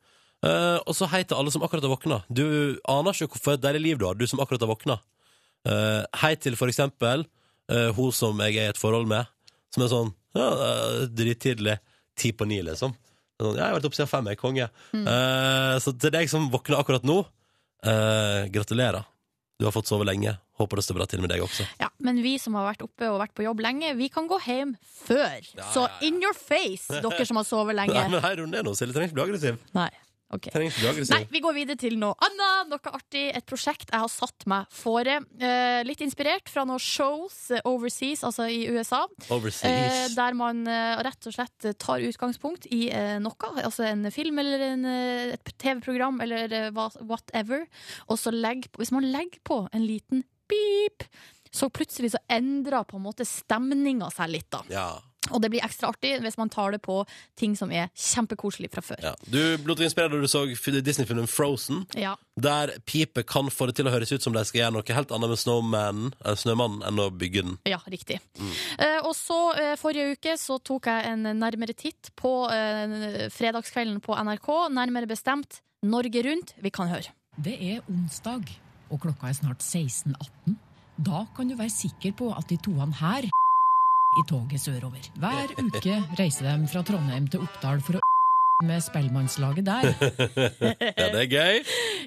B: og så hei til alle som akkurat har våkna. Du aner ikke hvorfor et deilig liv du har, du som akkurat har våkna. Eh, hei til for eksempel eh, hun som jeg er i et forhold med, som er sånn ja, eh, drittidlig. Ti på ni, liksom. Sånn, ja, jeg har vært oppe siden fem, jeg er konge. Eh, så til deg som våkner akkurat nå, Eh, gratulerer. Du har fått sove lenge. Håper det står bra til med deg også.
D: Ja, men vi som har vært oppe og vært på jobb lenge, vi kan gå hjem før. Så in your
J: [LAUGHS]
D: face, dere som har sovet
B: Nei,
D: lenge.
B: men hei, runde er nå, Silje. Trenger ikke bli aggressiv.
D: Nei, ok.
B: Trenger ikke bli
D: Nei,
B: aggressiv.
D: vi går videre til noe annet. Noe artig. Et prosjekt jeg har satt meg fore. Eh, litt inspirert fra noen shows eh, overseas, altså i USA. Eh,
B: Overseas.
D: der man eh, rett og slett eh, tar utgangspunkt i eh, noe, altså en film eller en, eh, et TV-program eller eh, hva- whatever, og så legger på, hvis man legger på en liten beep, så plutselig så endrer på en måte stemninga seg litt, da.
B: Ja.
D: Og det blir ekstra artig hvis man tar det på ting som er kjempekoselig fra før.
B: ja. Du ble så inspirert da du så f- Disney-filmen Frozen,
D: Ja.
B: der pipet kan få det til å høres ut som de skal gjøre noe helt annet med Snowmanen, eh, Snømannen enn å bygge
D: [LAUGHS]
B: den.
D: Ja, riktig. Eh, og så eh, forrige uke så tok jeg en nærmere titt på eh, fredagskvelden på NRK, nærmere bestemt Norge Rundt. Vi kan høre.
F: Det er onsdag, og klokka er snart 16.18. Da kan du være sikker på at de toene her i toget sørover. Hver uke reiser de fra Trondheim til Oppdal for å [LAUGHS] med spellemannslaget der.
B: Ja, det er gøy.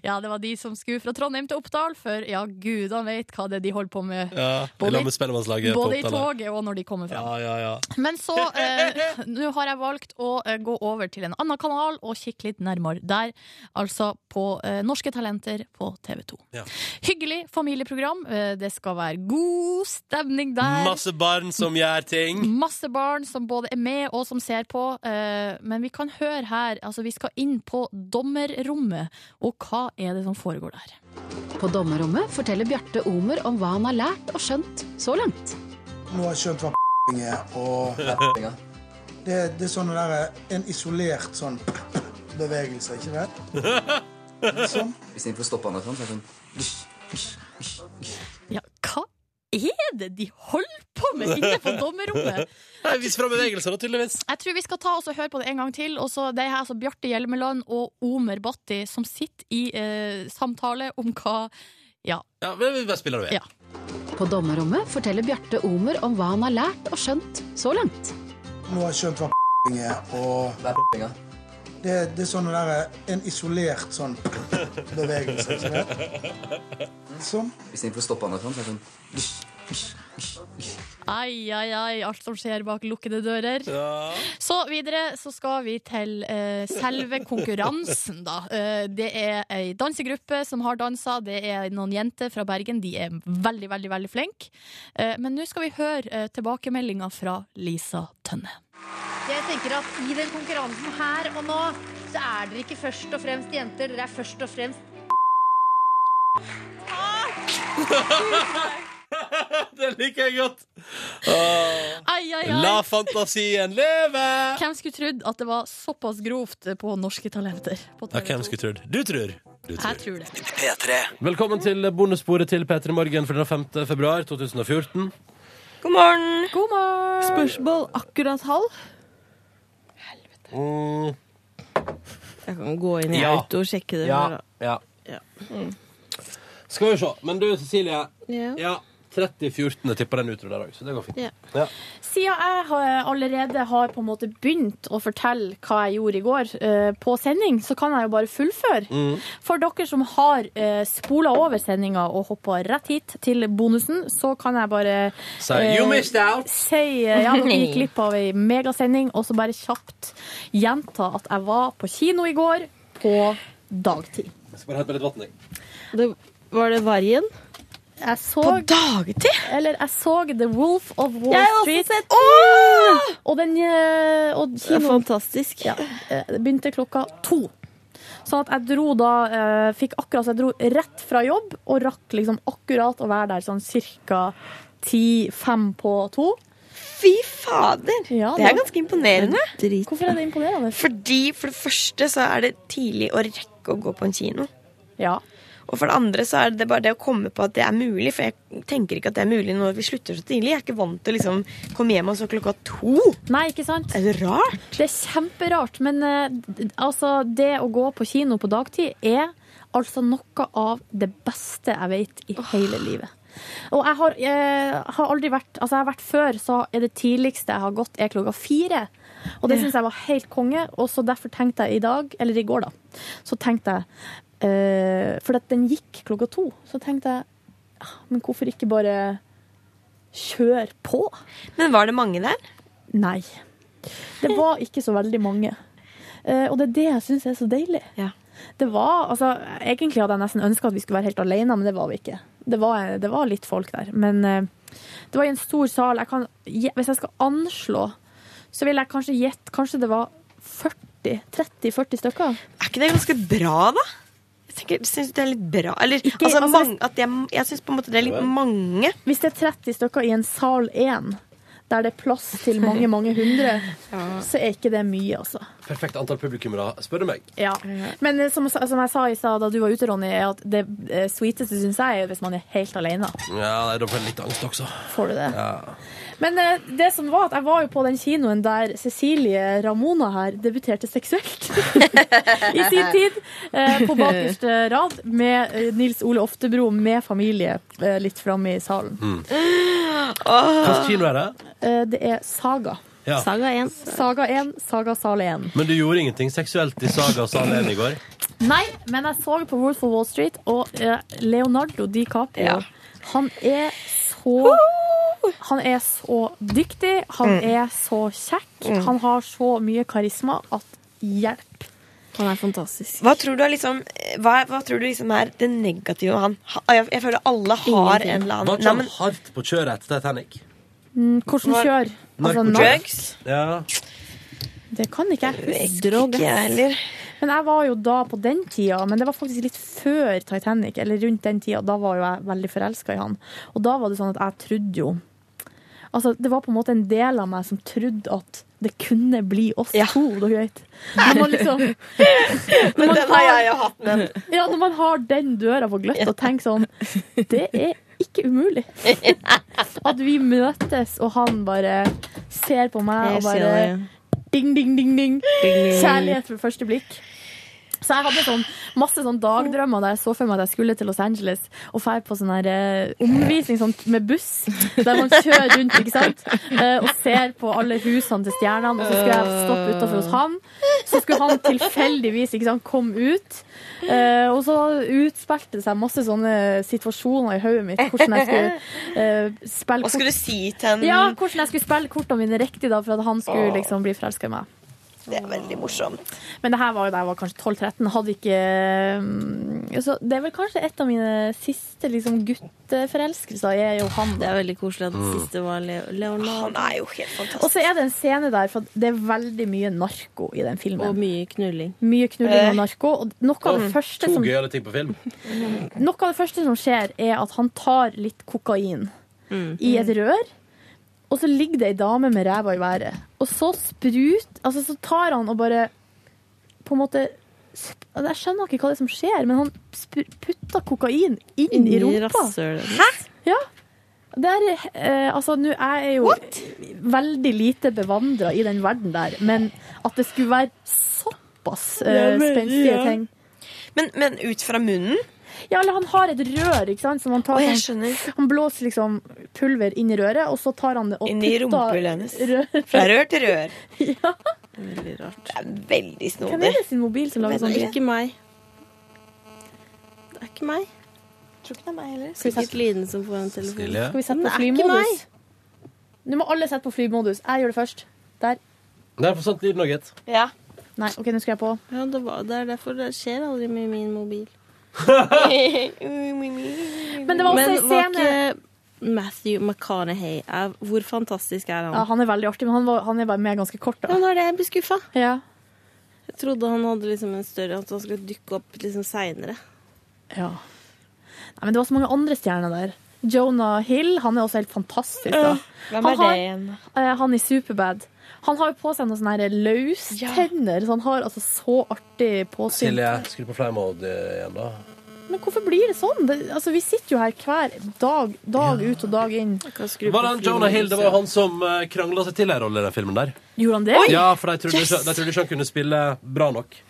D: Ja, det var de som skulle fra Trondheim til Oppdal, for ja, gudene vet hva det er de holder på med.
B: Ja.
D: Både-
B: I lag med Spellemannslaget.
D: Både i
B: på Oppdal.
D: toget og når de kommer fram.
B: Ja, ja, ja.
D: Men så, eh, nå har jeg valgt å eh, gå over til en annen kanal og kikke litt nærmere der. Altså på eh, Norske Talenter på TV 2.
B: Ja.
D: Hyggelig familieprogram. Eh, det skal være god stemning der.
B: Masse barn som gjør ting.
D: Masse barn som både er med og som ser på. eh, Men vi kan høre her, altså vi skal inn på dommerrommet, og hva er det som foregår der?
F: På dommerrommet forteller Bjarte Omer om hva han har lært og skjønt så langt.
L: Nå har jeg skjønt hva p***ing er, og det, det er sånn det der, en isolert sånn [CLEARS THROAT] bevegelse, ikke det? Sånn.
F: Istedenfor å stoppe han sånn, så er det sånn
D: Ja, hva er det de holder på
F: på med inne på dommerrommet?
B: Nei, Vis fra bevegelser, da, tydeligvis.
F: Jeg tror vi skal ta oss og høre på det en gang til. Og så det er altså Bjarte Hjelmeland og Omer Bhatti som sitter i eh, samtale om hva Ja.
B: Ja, men vi bare spiller det, vi.
M: På dommerrommet forteller Bjarte Omer om hva han har lært og skjønt så langt.
N: Nå har jeg skjønt hva er, og det, det er sånn det der, en isolert sånn bevegelse. Ikke det? Sånn.
O: Hvis jeg får stoppa han derfra, så er det sånn
F: Ai, ai, ai, alt som skjer bak lukkede dører.
B: Ja.
F: Så videre så skal vi til eh, selve konkurransen, da. Eh, det er ei dansegruppe som har dansa. Det er noen jenter fra Bergen. De er veldig, veldig veldig flinke. Eh, men nå skal vi høre uh, tilbakemeldinga fra Lisa Tønne.
P: Jeg tenker at i den konkurransen her og nå, så er dere ikke først og fremst jenter, dere er først og fremst
B: det liker jeg godt.
F: Ai, ai, ai.
B: La fantasien leve!
F: Hvem skulle trodd at det var såpass grovt på Norske Talenter? På
B: Ja, hvem skulle trodd? Du tror. Du tror.
F: Jeg tror det.
Q: Velkommen til bonussporet til P3 Morgen for den 5. februar 2014.
I: God morgen.
R: God morgen. Spørsmål akkurat halv.
B: Mm,
I: Jeg kan gå inn i
B: Ja.
I: auto og sjekke det.
B: ja,
I: bare.
B: ja.
I: Ja. Mm.
B: Skal vi se. Men du, Cecilie.
I: Ja.
B: Ja, 30-14 tipper den utro der òg, så det går fint.
D: Ja.
B: Ja.
D: Siden jeg har, allerede har på en måte begynt å fortelle hva jeg gjorde i går eh, på sending, så kan jeg jo bare fullføre.
B: Mm.
D: For dere som har uh, spola over sendinga og hoppa rett hit til bonusen, så kan jeg bare
B: Si,
D: eh,
B: "You missed out."
D: Si, eh, ja, dere gikk glipp av ei megasending, og så bare kjapt gjenta at jeg var på kino i går på dagtid.
B: Jeg skal bare hente meg litt vann, jeg.
D: Det, var det Vargen? Jeg så, På dagtid? Eller jeg så The Wolf of Wall
I: Jeg har også
D: Street.
I: sett
D: den! Og den eh, og
I: Det er
D: kinoen-
I: fantastisk.
D: Ja, eh, det begynte klokka to. Sånn at jeg dro da eh, Fikk akkurat så jeg dro rett fra jobb og rakk liksom akkurat å være der sånn cirka ti-fem på to. Fy fader! Ja,
I: Det er ganske imponerende.
D: Hvorfor er det imponerende?
I: Fordi for det første så er det tidlig å rekke å gå på en kino.
D: Ja.
I: Og for det andre så er det bare det å komme på at det er mulig, for jeg tenker ikke at det er mulig når vi slutter så tidlig. Jeg er ikke vant til å liksom komme hjem og så klokka to.
D: Nei, ikke sant?
I: Er det rart?
D: Det er kjemperart, men eh, d- altså, det å gå på kino på dagtid er altså noe av det beste jeg vet i hele livet. Og jeg har, eh, har aldri vært Altså, jeg har vært før, så er det tidligste jeg har gått, er klokka fire. Og det syns jeg var helt konge, og så derfor tenkte jeg i dag, eller i går, da, så tenkte jeg eh, For at den gikk klokka to, så tenkte jeg ah, Men hvorfor ikke bare kjøre på?
I: Men var det mange der?
D: Nei. Det var ikke så veldig mange. Eh, og det er det jeg syns er så deilig. Det var, altså, egentlig hadde jeg nesten ønska at vi skulle være helt alene, men det var vi ikke. Det var, det var litt folk der. Men eh, det var i en stor sal. Jeg kan, gje- hvis jeg skal anslå, så vil jeg kanskje gjette Kanskje det var 40? 30-40 stykker?
I: Er ikke det ganske bra, da? Jeg tenker, synes det er litt bra. Eller, altså,
D: altså,
I: mange, at det er, jeg syns på en måte det er litt mange.
D: Hvis det er 30 stykker i en sal 1, der det er plass til mange, mange hundre, så er ikke det mye, altså.
B: Perfekt antall publikummere, spør du meg.
D: Ja. Men eh, som, som jeg sa i stad da du var ute, Ronny, er at det eh, sweeteste syns jeg er hvis man er helt alene.
B: Ja, nei, da får jeg litt angst også.
D: Får du det?
B: Ja.
D: Men eh, det som var at jeg var jo på den kinoen der Cecilie Ramona her debuterte seksuelt. [LAUGHS] I sin tid. eh, på bakerste rad med eh, Nils Ole Oftebro med familie eh, litt framme i salen.
B: Mm. Hvilken
D: Hvilken
B: kino er det?
D: det er Saga.
B: Ja.
D: Saga 1. Saga 1, Saga sal 1.
B: Men du gjorde ingenting seksuelt i Saga Sal 1 i går?
D: Nei, men jeg så på Wolf of Wall Street, og eh, Leonardo DiCaprio
B: Ja.
D: Han er så Han er så dyktig, han
I: Mm.
D: er så kjekk,
I: Mm.
D: han har så mye karisma at hjelp. Han er fantastisk.
I: Hva tror du er, liksom, hva, hva tror du liksom er det negative med han? Ha- ah, Jeg, jeg føler alle har en eller
B: Var
I: annen
B: ikke
I: Nei,
B: han
I: men,
B: hardt på kjøret etter Titanic?
D: Mm, hvordan
I: Hva-
D: kjør? Altså,
B: Narko-
D: nark?
B: Ja.
D: Det kan ikke jeg
I: vet
D: huske.
I: ikke jeg heller.
D: Men jeg var jo da på den tida, men det var faktisk litt før Titanic, eller rundt den tida, da var jo jeg veldig forelska i han. Og da var det sånn at jeg trodde jo Altså, det var på en måte en del av meg som trodde at det kunne bli oss to, dere vet. Når man liksom
I: men
D: man
I: den har jeg jo hatt, men
D: ja, når man har den døra på gløtt og tenker sånn Det er ikke umulig. At vi møtes, og han bare ser på meg og
I: Jeg ser
D: bare
I: det.
D: ding, ding, ding, ding.
I: ding, ding.
D: Kjærlighet ved første blikk. Så jeg hadde sånn, masse sånn dagdrømmer der jeg så for meg at jeg skulle til Los Angeles og dra på sånn her eh, omvisning sånn, med buss, der man kjører rundt ikke sant? Eh, og ser på alle husene til stjernene. Og så skulle jeg stoppe utafor hos han. Så skulle han tilfeldigvis ikke sant, komme ut. Eh, og så utspilte det seg masse sånne situasjoner i hodet mitt. Hvordan jeg skulle eh, spille
I: Hva skulle du si til henne?
D: Ja, hvordan jeg skulle spille kortene mine riktig da, for at han skulle
I: Åh.
D: liksom bli forelska i meg.
I: Det er veldig morsomt.
D: Men det her var jo da jeg var kanskje 12-13. Hadde ikke mm, så Det er vel kanskje et av mine siste liksom, gutteforelskelser. Jeg er jo han. Det er veldig koselig at
I: den
D: siste var Leonardo.
I: Han er jo helt fantastisk.
D: Og så er det en scene der, for det er veldig mye narko i den filmen.
O: Og
D: mye knulling. Mye knulling og narko. Og noe av det første
B: To
D: som
B: gøyale ting på film.
D: noe av det første som skjer, er at han tar litt kokain i et rør. Og så ligger det ei dame med ræva i været. Og så sprut Altså, så tar han og bare På en måte sp- altså, Jeg skjønner ikke hva det er som skjer, men han spr- putter kokain inn
O: Inn
D: i
O: i
D: rumpa.
O: rasshølet ditt.
D: Hæ?! Ja. Det er, eh, altså, nå er jeg jo veldig lite bevandra i den verden der, men at det skulle være såpass eh,
I: Ja, men-
D: spenstige
I: ja.
D: ting
I: Men, men ut fra munnen?
D: ja, eller han har et rør, ikke sant? Som han, tar,
I: Å, jeg
D: sånn- han blåser liksom pulver inn i røret, og så tar han det og
I: Inn i rumpehullet hennes. Fra rør til rør. Veldig rart. Det er veldig
D: Hvem
I: snodig.
D: er det sin mobil som lager
I: Vet
D: sånn?
I: ikke.
O: Ikke meg.
I: Det er ikke meg. Tror ikke det er meg heller.
O: Sikkert Line som får en telefon.
B: Silje?
D: Skal vi sette
O: Men
D: på
O: det er ikke
D: flymodus? Nå må alle sette på flymodus. Jeg gjør det først. Der.
B: Det er for sant lyd nå, gitt.
D: Ja. Nei, OK, nå skal jeg på.
O: Ja, det, var, det er derfor det skjer aldri med min mobil.
D: Men det var også en scene
O: ikke Matthew McConaughey er, Hvor fantastisk er han?
D: ja, Han er veldig artig, men han, var, han er bare med ganske kort. Da.
O: Ja, nå er det jeg blir skuffa.
D: Ja.
O: Jeg trodde han hadde liksom en større At han skulle dukke opp liksom seinere.
D: Ja. Nei, men det var så mange andre stjerner der. Jonah Hill, han er også helt fantastisk. Da. Han
I: Hvem er
D: har-
I: det igjen?
D: Eh, han i Superbad. Han har jo på seg noen sånne her løstenner, så han har altså så artig påsyn.
B: Silje, skru på fly mode igjen, da.
D: Men hvorfor blir det sånn? Det, altså, vi sitter jo her hver dag, dag ut og dag inn.
B: Var han Jonah Hill, det var jo han som krangla seg til ei rolle i den filmen der.
D: Gjorde han det? Oi!
B: Ja, for de trodde,
D: Yes!
B: ikke, de trodde ikke han kunne spille bra nok.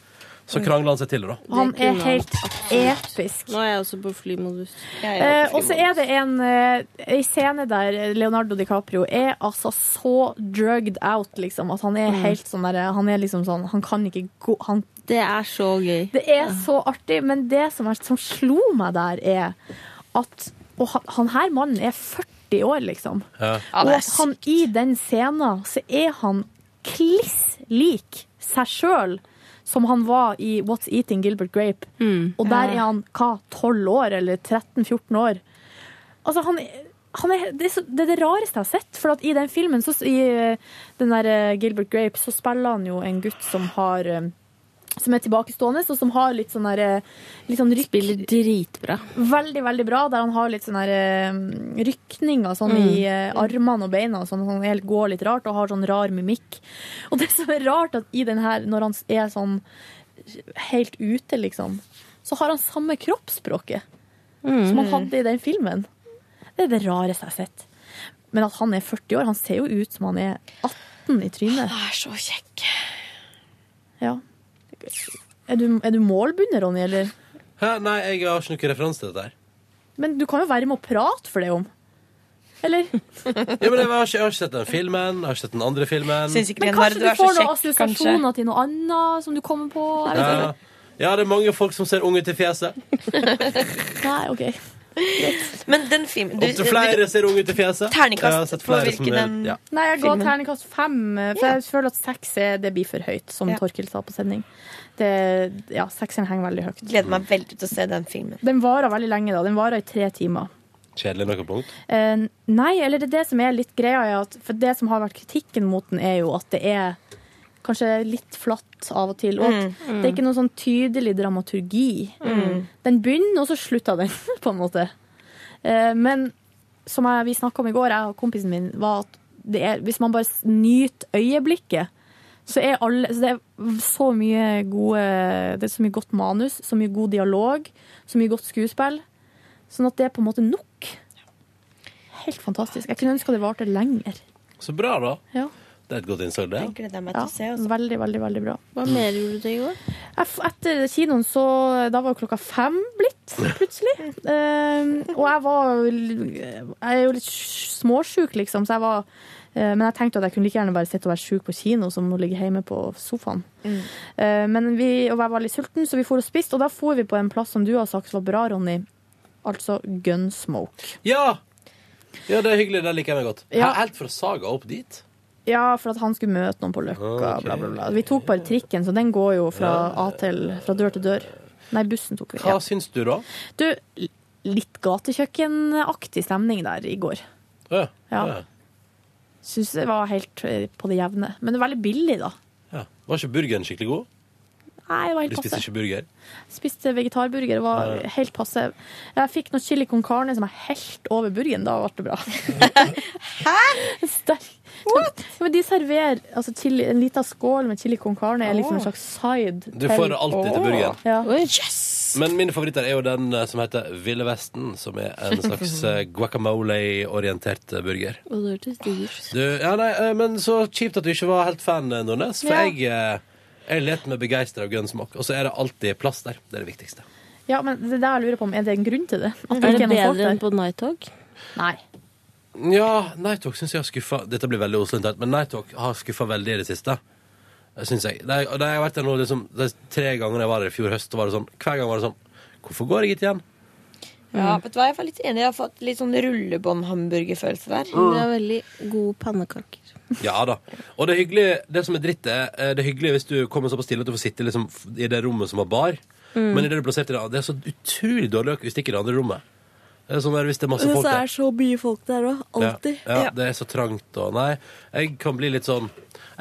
B: Så krangla han seg til det, da.
D: Han
O: Det
D: er
O: kunne han
D: helt episk.
O: Nå er jeg også på flymodus.
D: Eh, og så er det en eh, ei scene der Leonardo DiCaprio er altså så drugged out, liksom, at han er
O: Mm.
D: helt sånn der Han er liksom sånn Han kan ikke gå han,
O: Det er så gøy.
D: Det er så artig, men det som, er, som slo meg der, er at Og han, han her mannen er 40 år, liksom.
I: Ja,
D: Og
I: det er
D: at han i den scenen så er han kliss lik seg sjøl som han var i What's Eating Gilbert Grape. Og der
I: Mm. Ja.
D: er han hva, 12 år, eller 13-14 år. Altså, han, han er, det, er så, det er det rareste jeg har sett. For at i den filmen, så, i eh, den der eh, Gilbert Grape, så spiller han jo en gutt som har eh, som er tilbakestående, og som har litt sånn der eh, litt sånn rykk... Spiller
O: dritbra.
D: Veldig, veldig bra, der han har litt sånn der eh, rykninger sånn
O: Mm.
D: i eh, armene og beina og sånn. Han helt går litt rart og har sånn rar mimikk. Og det som er rart, at i den her, når han er sånn helt ute, liksom, så har han samme kroppsspråket som han hadde i den filmen. Det er det rareste jeg har sett. Men at han er 40 år, han ser jo ut som han er 18 i trynet. Han
I: er så kjekk.
D: Ja. Er du, er du målbundet, Ronny, eller?
B: Hæ? Nei, jeg har ikke noen referanse til dette her.
D: Men du kan jo være med og prate for det om. Eller?
B: Ja, men jeg har, ikke, jeg har ikke sett den filmen, jeg har ikke sett den andre filmen.
D: Men kanskje du får noen assosiasjoner til noe annet som du kommer på? Jeg vet
B: Ja.
D: ikke.
B: ja, det er mange folk som ser unge ut i fjeset.
D: Nei, ok.
I: Men den filmen du-
B: Opptil flere ser unge ut i fjeset.
I: Terningkast
B: Jeg har sett
I: på
B: flere
I: hvilken
B: som er-
I: den-
B: ja.
D: Nei, jeg ga
I: Filmen.
D: terningkast fem, for jeg føler at seks er, det blir for høyt, som
I: Ja.
D: Torkild sa på sending. Det, ja, sekseren henger veldig høyt.
I: Gleder meg veldig til å se den filmen.
D: Den varer veldig lenge, da. Den varer i tre timer.
B: Kjedelig noe punkt.
D: Eh, nei, eller det er det som er litt greia, er at, for det som har vært kritikken mot den, er jo at det er kanskje litt flatt av og til. Og at
I: Mm, mm.
D: Det er ikke noe sånn tydelig dramaturgi.
I: Mm.
D: Den begynner, og så slutter den, [LAUGHS] på en måte. Eh, men som jeg, vi snakka om i går, jeg og kompisen min, var at det er, hvis man bare s- nyter øyeblikket, så er alle så Det er så mye gode Det er så mye godt manus, så mye god dialog, så mye godt skuespill. Sånn at det er på en måte nok. helt fantastisk. Jeg kunne ønska det varte lenger.
B: Så bra, da.
D: Ja.
B: Det er et godt innsalg, det.
O: gleder
D: Ja, veldig, veldig, veldig bra.
O: Hva
B: Mm.
O: mer gjorde du i går?
D: Jeg f- Etter kinoen så Da var jo klokka fem blitt, plutselig. Eh, og jeg var jo l- Jeg er jo litt sj- småsjuk, liksom, så jeg var eh, men jeg tenkte at jeg kunne like gjerne bare sitte og være sjuk på kino som å ligge hjemme på sofaen. Eh, Men vi, og jeg var litt sulten, så vi for og spiste, og da for vi på en plass som du har sagt var bra, Ronny. Altså Gunsmoke.
B: Ja! Ja, det er hyggelig. Det liker jeg meg godt.
D: Ja.
B: Helt fra Saga opp dit.
D: Ja, for at han skulle møte noen på Løkka,
B: Ah,
D: bla, bla, bla. Vi tok bare trikken, så den går jo fra A til Fra dør til dør. Nei, bussen tok vi.
B: Hva syns du, da?
D: Du, l- litt gatekjøkkenaktig stemning der i går.
B: Ja.
D: Ja. Syns det var helt eh, på det jevne. Men det var veldig billig, da.
B: Ja. Var ikke burgeren skikkelig god?
D: Nei, det
B: Du
D: var helt
B: spiste
D: passe.
B: ikke burger?
D: Spiste vegetarburger, det var
B: Ja.
D: helt passe. Jeg fikk noe chili con carne som jeg helt over burgeren, da ble det bra.
B: [LAUGHS]
D: Hæ?! Sterk. What? Men de serverer altså, chili, en liten skål med chili con carne, er liksom en slags side.
B: Du får alltid til burgeren.
D: Ja.
B: Men mine favoritter er jo den eh, som heter Ville Vesten, som er
O: [LAUGHS]
B: en slags eh, guacamole-orientert eh, burger.
O: Og det hørtes digg ut.
B: Du, ja, nei, eh, men så kjipt at du ikke var helt fan, eh, Nordnes. For
D: Ja.
B: jeg, eh, jeg let meg begeistre av Gunsmoke. Og så er det alltid plass der. Det er det viktigste.
D: ja, men det der jeg lurer på om, er det en grunn til det? At
O: Er
D: ikke
O: det
D: noen folk
O: bedre
D: der?
O: enn på Nighthog?
D: Nei.
B: Ja, Nighthawk syns jeg har skuffa Dette blir veldig Oslo internt, men Nighthawk har skuffa veldig i det siste. Syns jeg. Det, det har vært der nå liksom, de tre gangene jeg var der i fjor høst, så var det sånn Hver gang var det sånn Hvorfor går jeg ikke igjen?
I: Ja,
B: Mm.
I: vet du hva, jeg var litt enig. Jeg har fått litt sånn rullebånd-hamburgerfølelse der.
B: Mm. Det er
I: veldig gode pannekaker.
B: Ja da. Og det hyggelige, det som er dritt, er eh, det er hyggelig hvis du kommer såpass stille at du får sitte liksom f- i det rommet som har bar.
O: Mm.
B: Men i det du plasserte det, det er så utrolig dårlig akustikk i det andre rommet. Det er sånn der hvis det er masse
O: Men
B: folk
O: så
B: der.
O: er så mye folk der òg. Alltid.
B: Ja, ja, det er så trangt og Nei, jeg kan bli litt sånn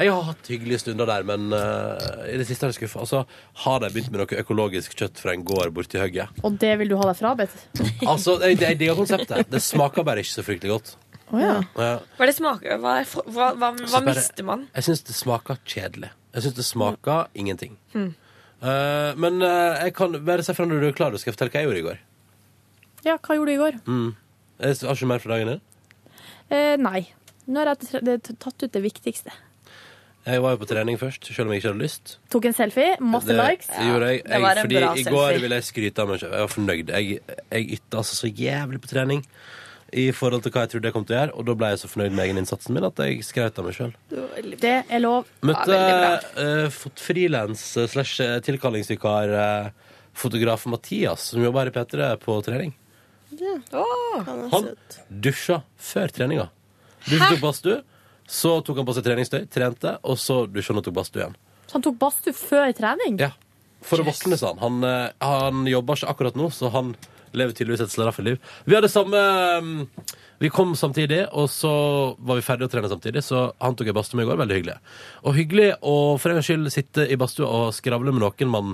B: Jeg har hatt hyggelige stunder der, men eh, i det siste er det skuffa. Altså, har de begynt med noe økologisk kjøtt fra en gård borti
O: [LAUGHS]
B: hugget?
D: Og det vil du ha deg frabedt?
B: Altså, jeg, jeg digger konseptet. Det smaker bare ikke så fryktelig godt. Ja.
I: Hva er det smaker? Hva, hva, hva, hva
B: Så bare-
I: mister man?
B: Jeg syns det smaker kjedelig. Jeg syns det smaker ingenting.
I: Hmm.
B: Eh, men eh, jeg kan bare se fram når du er klar. Du skal jeg fortelle hva jeg gjorde i går.
D: Ja, hva gjorde du i går?
B: Mm. Jeg har ikke mer fra dagen din.
D: Eh, nei. Nå har jeg t- det- tatt ut det viktigste.
B: Jeg var jo på trening først, selv om jeg ikke hadde lyst.
D: Tok en selfie, masse
B: det
D: likes.
B: gjorde jeg.
D: Det
B: jeg
D: var en
B: fordi
D: bra
B: i
D: selfie.
B: går ville jeg skryte av meg selv. Jeg var fornøyd. Jeg, jeg ytta altså så jævlig på trening i forhold til hva jeg trodde jeg kom til å gjøre, og da ble jeg så fornøyd med egeninnsatsen min at jeg skrøt av meg sjøl.
D: Det er lov.
B: Møtte eh, fot- frilans eh, slash eh, tilkallingsvikar eh, fotograf Mathias, som jobber her i P3 på trening.
O: Ja. Han er
B: Han
O: søt.
B: dusja før treninga. Du tok badstue, så tok han på seg treningstøy, trente, og så dusja han og tok badstue igjen.
D: Så han tok badstue før trening?
B: Ja. For å våkne, sa han. Han, eh, han jobber ikke akkurat nå, så han lever tydeligvis et slaraffeliv. Vi hadde samme mm, Vi kom samtidig, og så var vi ferdige å trene samtidig, så han tok ei badstue med i går. Veldig hyggelig. Og hyggelig å for en gangs skyld sitte i badstua og skravle med noen man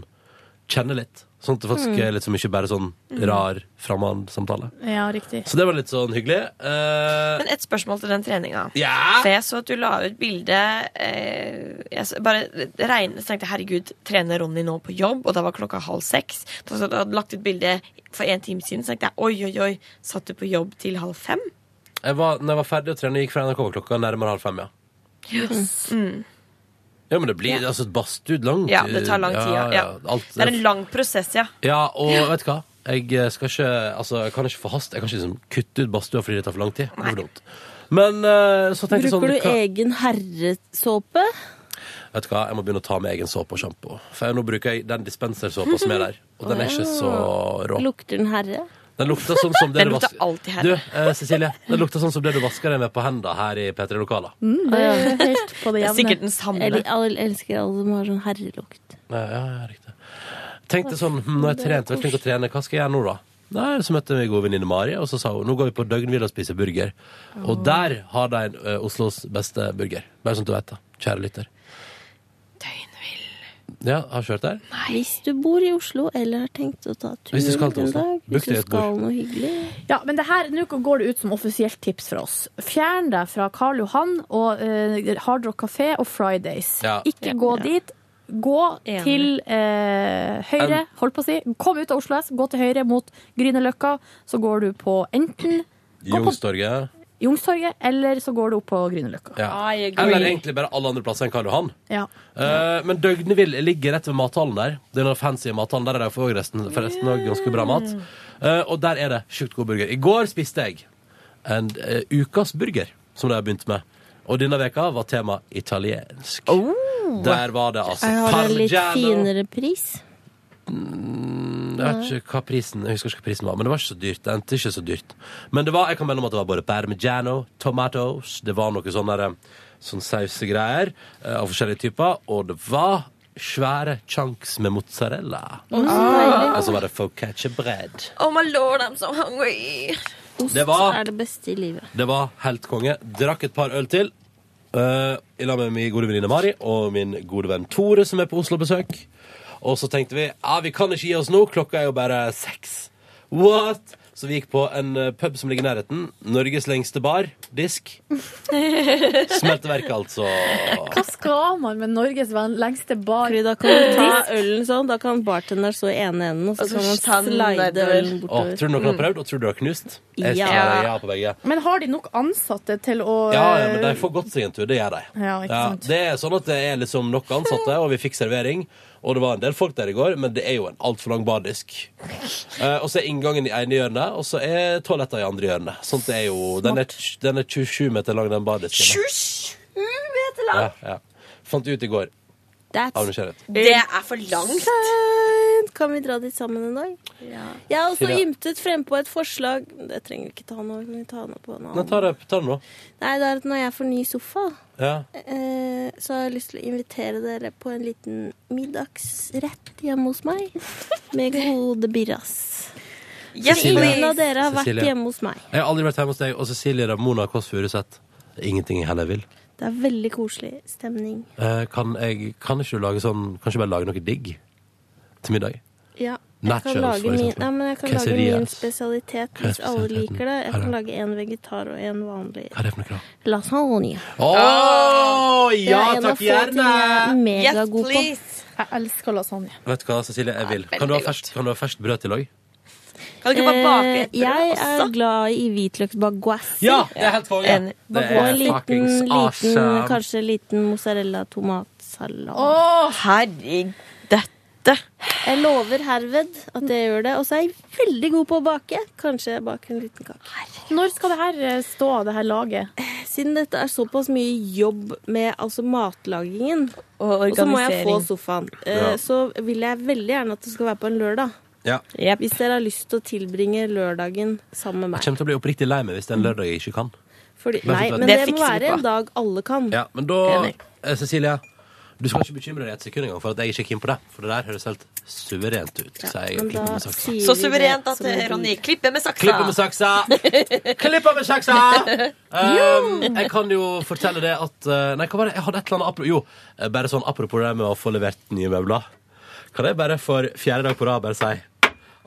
B: kjenner litt. Sånn at det faktisk
D: Mm.
B: er litt så mye bare sånn
I: Mm.
B: rar framand-samtale.
D: Ja, riktig.
B: Så det var litt sånn hyggelig. Eh,
I: Men et spørsmål til den treninga.
B: Ja?
I: For jeg så at du la ut bilde eh, Jeg s- bare regnet, så tenkte jeg, herregud, trener Ronny nå på jobb? Og da var klokka halv seks. Da så du hadde lagt ut bilde for en time siden, så tenkte jeg oi, oi, oi, satt du på jobb til halv fem?
B: jeg var, når jeg var ferdig å trene, gikk fra NRK var klokka nærmere halv fem, ja.
I: Mm.
B: Ja, men det blir altså et badstue langt.
I: Ja, det tar lang tid. Ja, ja.
B: Alt,
I: Det er en lang prosess, ja.
B: Ja, og vet du hva? Jeg eh, skal ikke, altså, jeg kan ikke forhaste. Jeg kan ikke liksom, kutte ut badstua fordi det tar for lang tid. Det blir for dumt. Men eh, så tenkte jeg sånn
O: Bruker du e-
B: hva,
O: egen herresåpe?
B: Vet du hva, jeg må begynne å ta med egen såpe og sjampo. For jeg, nå bruker jeg den dispensersåpa som er der, og den er ikke så rå.
O: Lukter den herre?
B: Den lukter sånn
O: [LAUGHS]
B: som det
O: Den
B: du
O: lukter
B: vasker
O: alltid her.
B: Du, eh, Cecilie, den lukter sånn som det du vasker deg med på hendene her i P3 Lokala.
O: det er
D: helt på
B: Det er
D: det
B: jevne. sikkert den samme.
O: Jeg, li- alle- elsker alle som har sånn herrelukt.
B: Ja, ja, ja, riktig. Tenkte sånn, hm, nå har jeg trent, vært flink til å trene, hva skal jeg gjøre nå da? Nei, så møtte jeg min gode venninne Mari, og så sa hun, nå går vi på døgnhvile og spiser burger. Og der har de en, eh, Oslos beste burger. Bare sånn at du vet det, kjære lytter. Døgnhvile. Ja, har du kjørt der?
O: Hvis du bor i Oslo eller har tenkt å ta tur
B: Hvis du skal til
O: en
B: Oslo,
O: dag,
B: book
O: hvis du
B: deg et
O: skal
B: bord.
O: noe hyggelig
D: Ja, men det her, nå går det ut som offisielt tips fra oss. Fjern deg fra Karl Johan og eh, Hard Rock Café og Fridays.
O: Ja.
D: Ikke
O: Ja.
D: gå
O: Ja.
D: dit. Gå
O: Enig.
D: til eh, høyre,
B: En-
D: holdt på å si. Kom ut av Oslo S, gå til høyre mot Grünerløkka, så går du på enten
B: Youngstorget.
S: Youngstorget, eller så går det opp på Grünerløkka.
B: Ja.
S: I agree.
B: Eller egentlig bare alle andre plasser enn Karl Johan.
S: Ja.
B: Eh, men Døgnevill ligger rett ved mathallen der. Den fancy mathallen Der er det for resten, forresten også ganske bra mat. Eh, og der er det sjukt god burger. I går spiste jeg en eh, ukas burger, som de har begynt med. Og denne veka var tema italiensk. Der var det altså
O: Oh. Jeg har en litt
B: parmigiano.
O: finere pris.
B: Jeg vet ikke hva prisen Jeg husker ikke hva prisen var, men det var ikke så dyrt. Det endte ikke så dyrt. Men det var, jeg kan melde om at det var både parmigiano, tomatoes, det var noe sånn der, sånn sausegreier eh, av forskjellige typer, og det var svære chunks med mozzarella.
I: Å, så deilig.
B: Og så var det focaccia bread.
I: Oh my lord, I'm so hungry.
B: Ost Det var- er
I: det beste i livet.
B: Det var helt konge. Drakk et par øl til. eh, I lag med min gode venninne Mari og min gode venn Tore, som er på Oslo-besøk. Og så tenkte vi ja, vi kan ikke gi oss nå, klokka er jo bare seks. What? Så vi gikk på en eh, pub som ligger i nærheten. Norges lengste bar. Disk. Smelteverk, altså.
D: Hva skal man med Norges ven- lengste bar?
O: Da kan man ta ølen sånn, da kan bartender stå i ene enden, og så kan man slide ølen
B: Å,
O: bortover.
B: tror du noen har prøvd, og tror du har knust? Jeg
D: Ja.
B: svarer ja på begge.
D: Men har de nok ansatte til å eh,
B: Ja, ja, men de får gått seg en tur, det gjør de.
D: Ja, ikke sant.
B: det er sånn at det er liksom nok ansatte, og vi fikk servering. Og det var en del folk der i går, men det er jo en altfor lang
O: [LAUGHS]
B: bardisk. Eh, og så er inngangen i ene hjørnet, og så er toalettene i andre hjørnet. Sånt er jo, den er, den er 27 meter lang, den bardisken.
I: 27 meter
B: Ja,
I: lang!
B: ja. Fant ut i går. Av nysgjerrighet.
I: Det er for langt.
O: Langt! Kan vi dra dit sammen en dag? Jeg har også
B: Silje.
O: ymtet frempå et forslag Det trenger vi ikke ta nå. Kan vi ta nå på en
B: Nei,
O: annen?
B: ta det, ta det nå.
O: Nei, det er at når jeg får ny sofa,
B: Ja.
O: eh, så har jeg lyst til å invitere dere på en liten middagsrett hjemme hos meg.
I: [LAUGHS]
O: Med gode birras.
B: Yes,
O: Ingen
B: please.
O: av dere har vært
B: Cecilie.
O: hjemme hos meg.
B: Jeg har aldri vært hjemme hos deg, og Cecilie Ramona Kåss Furuseth. Det er Ingenting jeg heller vil.
O: Det er veldig koselig stemning.
B: Eh, kan jeg, kan ikke du lage sånn, kan ikke du bare lage noe digg til middag?
O: Ja, jeg
B: Nachos,
O: kan lage
B: for
O: min,
B: eksempel.
O: nei, men jeg kan lage
B: Quesadillas.
O: min spesialitet
B: Hva er
O: hvis alle
B: spesialiteten?
O: liker det. Jeg
B: Hva er
O: kan
B: det?
O: lage en vegetar og en vanlig
B: Hva er det for noe da?
O: lasagne.
B: Å,
O: Det er
B: ja,
O: en av
B: takk
O: få ting
B: gjerne!
O: jeg er megagod på.
D: Jeg elsker lasagne.
B: Vet du hva, Cecilie, jeg vil. Kan du ha ferskt, kan du ha ferskt brød til òg?
I: Kan du ikke bare bake et
O: Eh, Jeg
I: brød
O: er
I: også?
O: glad i hvitløksbagouassi.
B: Ja, det er helt konge.
O: Enig.
B: Det er
O: Og en liten,
B: fuckings
O: liten,
B: awesome.
O: kanskje liten mozzarella-tomatsalat.
I: Å, herregud.
O: Jeg lover herved at jeg gjør det. Og så er jeg veldig god på å bake. Kanskje jeg baker en liten kake.
D: Når skal det her eh, stå, det her laget?
O: Siden dette er såpass mye jobb med altså matlagingen,
D: Og
O: så må jeg få
D: organisering.
O: sofaen,
B: Ja.
O: eh, så vil jeg veldig gjerne at det skal være på en lørdag.
B: Ja.
O: Hvis dere har lyst til å tilbringe lørdagen
B: Jeg
O: sammen med meg.
B: kommer til å bli oppriktig lei meg hvis det er en lørdag jeg ikke kan.
O: Fordi,
B: Men
O: nei,
B: fortell. Det
O: men det, må
B: fikser vi
O: være
B: på.
O: en dag alle kan.
B: Ja, men da, eh, Cecilie, du skal ikke bekymre deg et sekund engang for at jeg ikke er keen på det. For det der høres helt suverent ut. Så jeg
O: men da
B: klipper med saksa.
O: sier
I: Så suverent at eh,
O: Som en
I: Ronny klipper med saksa.
B: Klipper med saksa!
O: [LAUGHS]
B: Klipper med saksa! Um, jeg kan jo fortelle det at eh, Nei, hva var det? Jeg hadde et eller annet apro- Jo, eh, bare sånn apropos det med å få levert nye møbler. Kan jeg bare for fjerde dag på rad bare si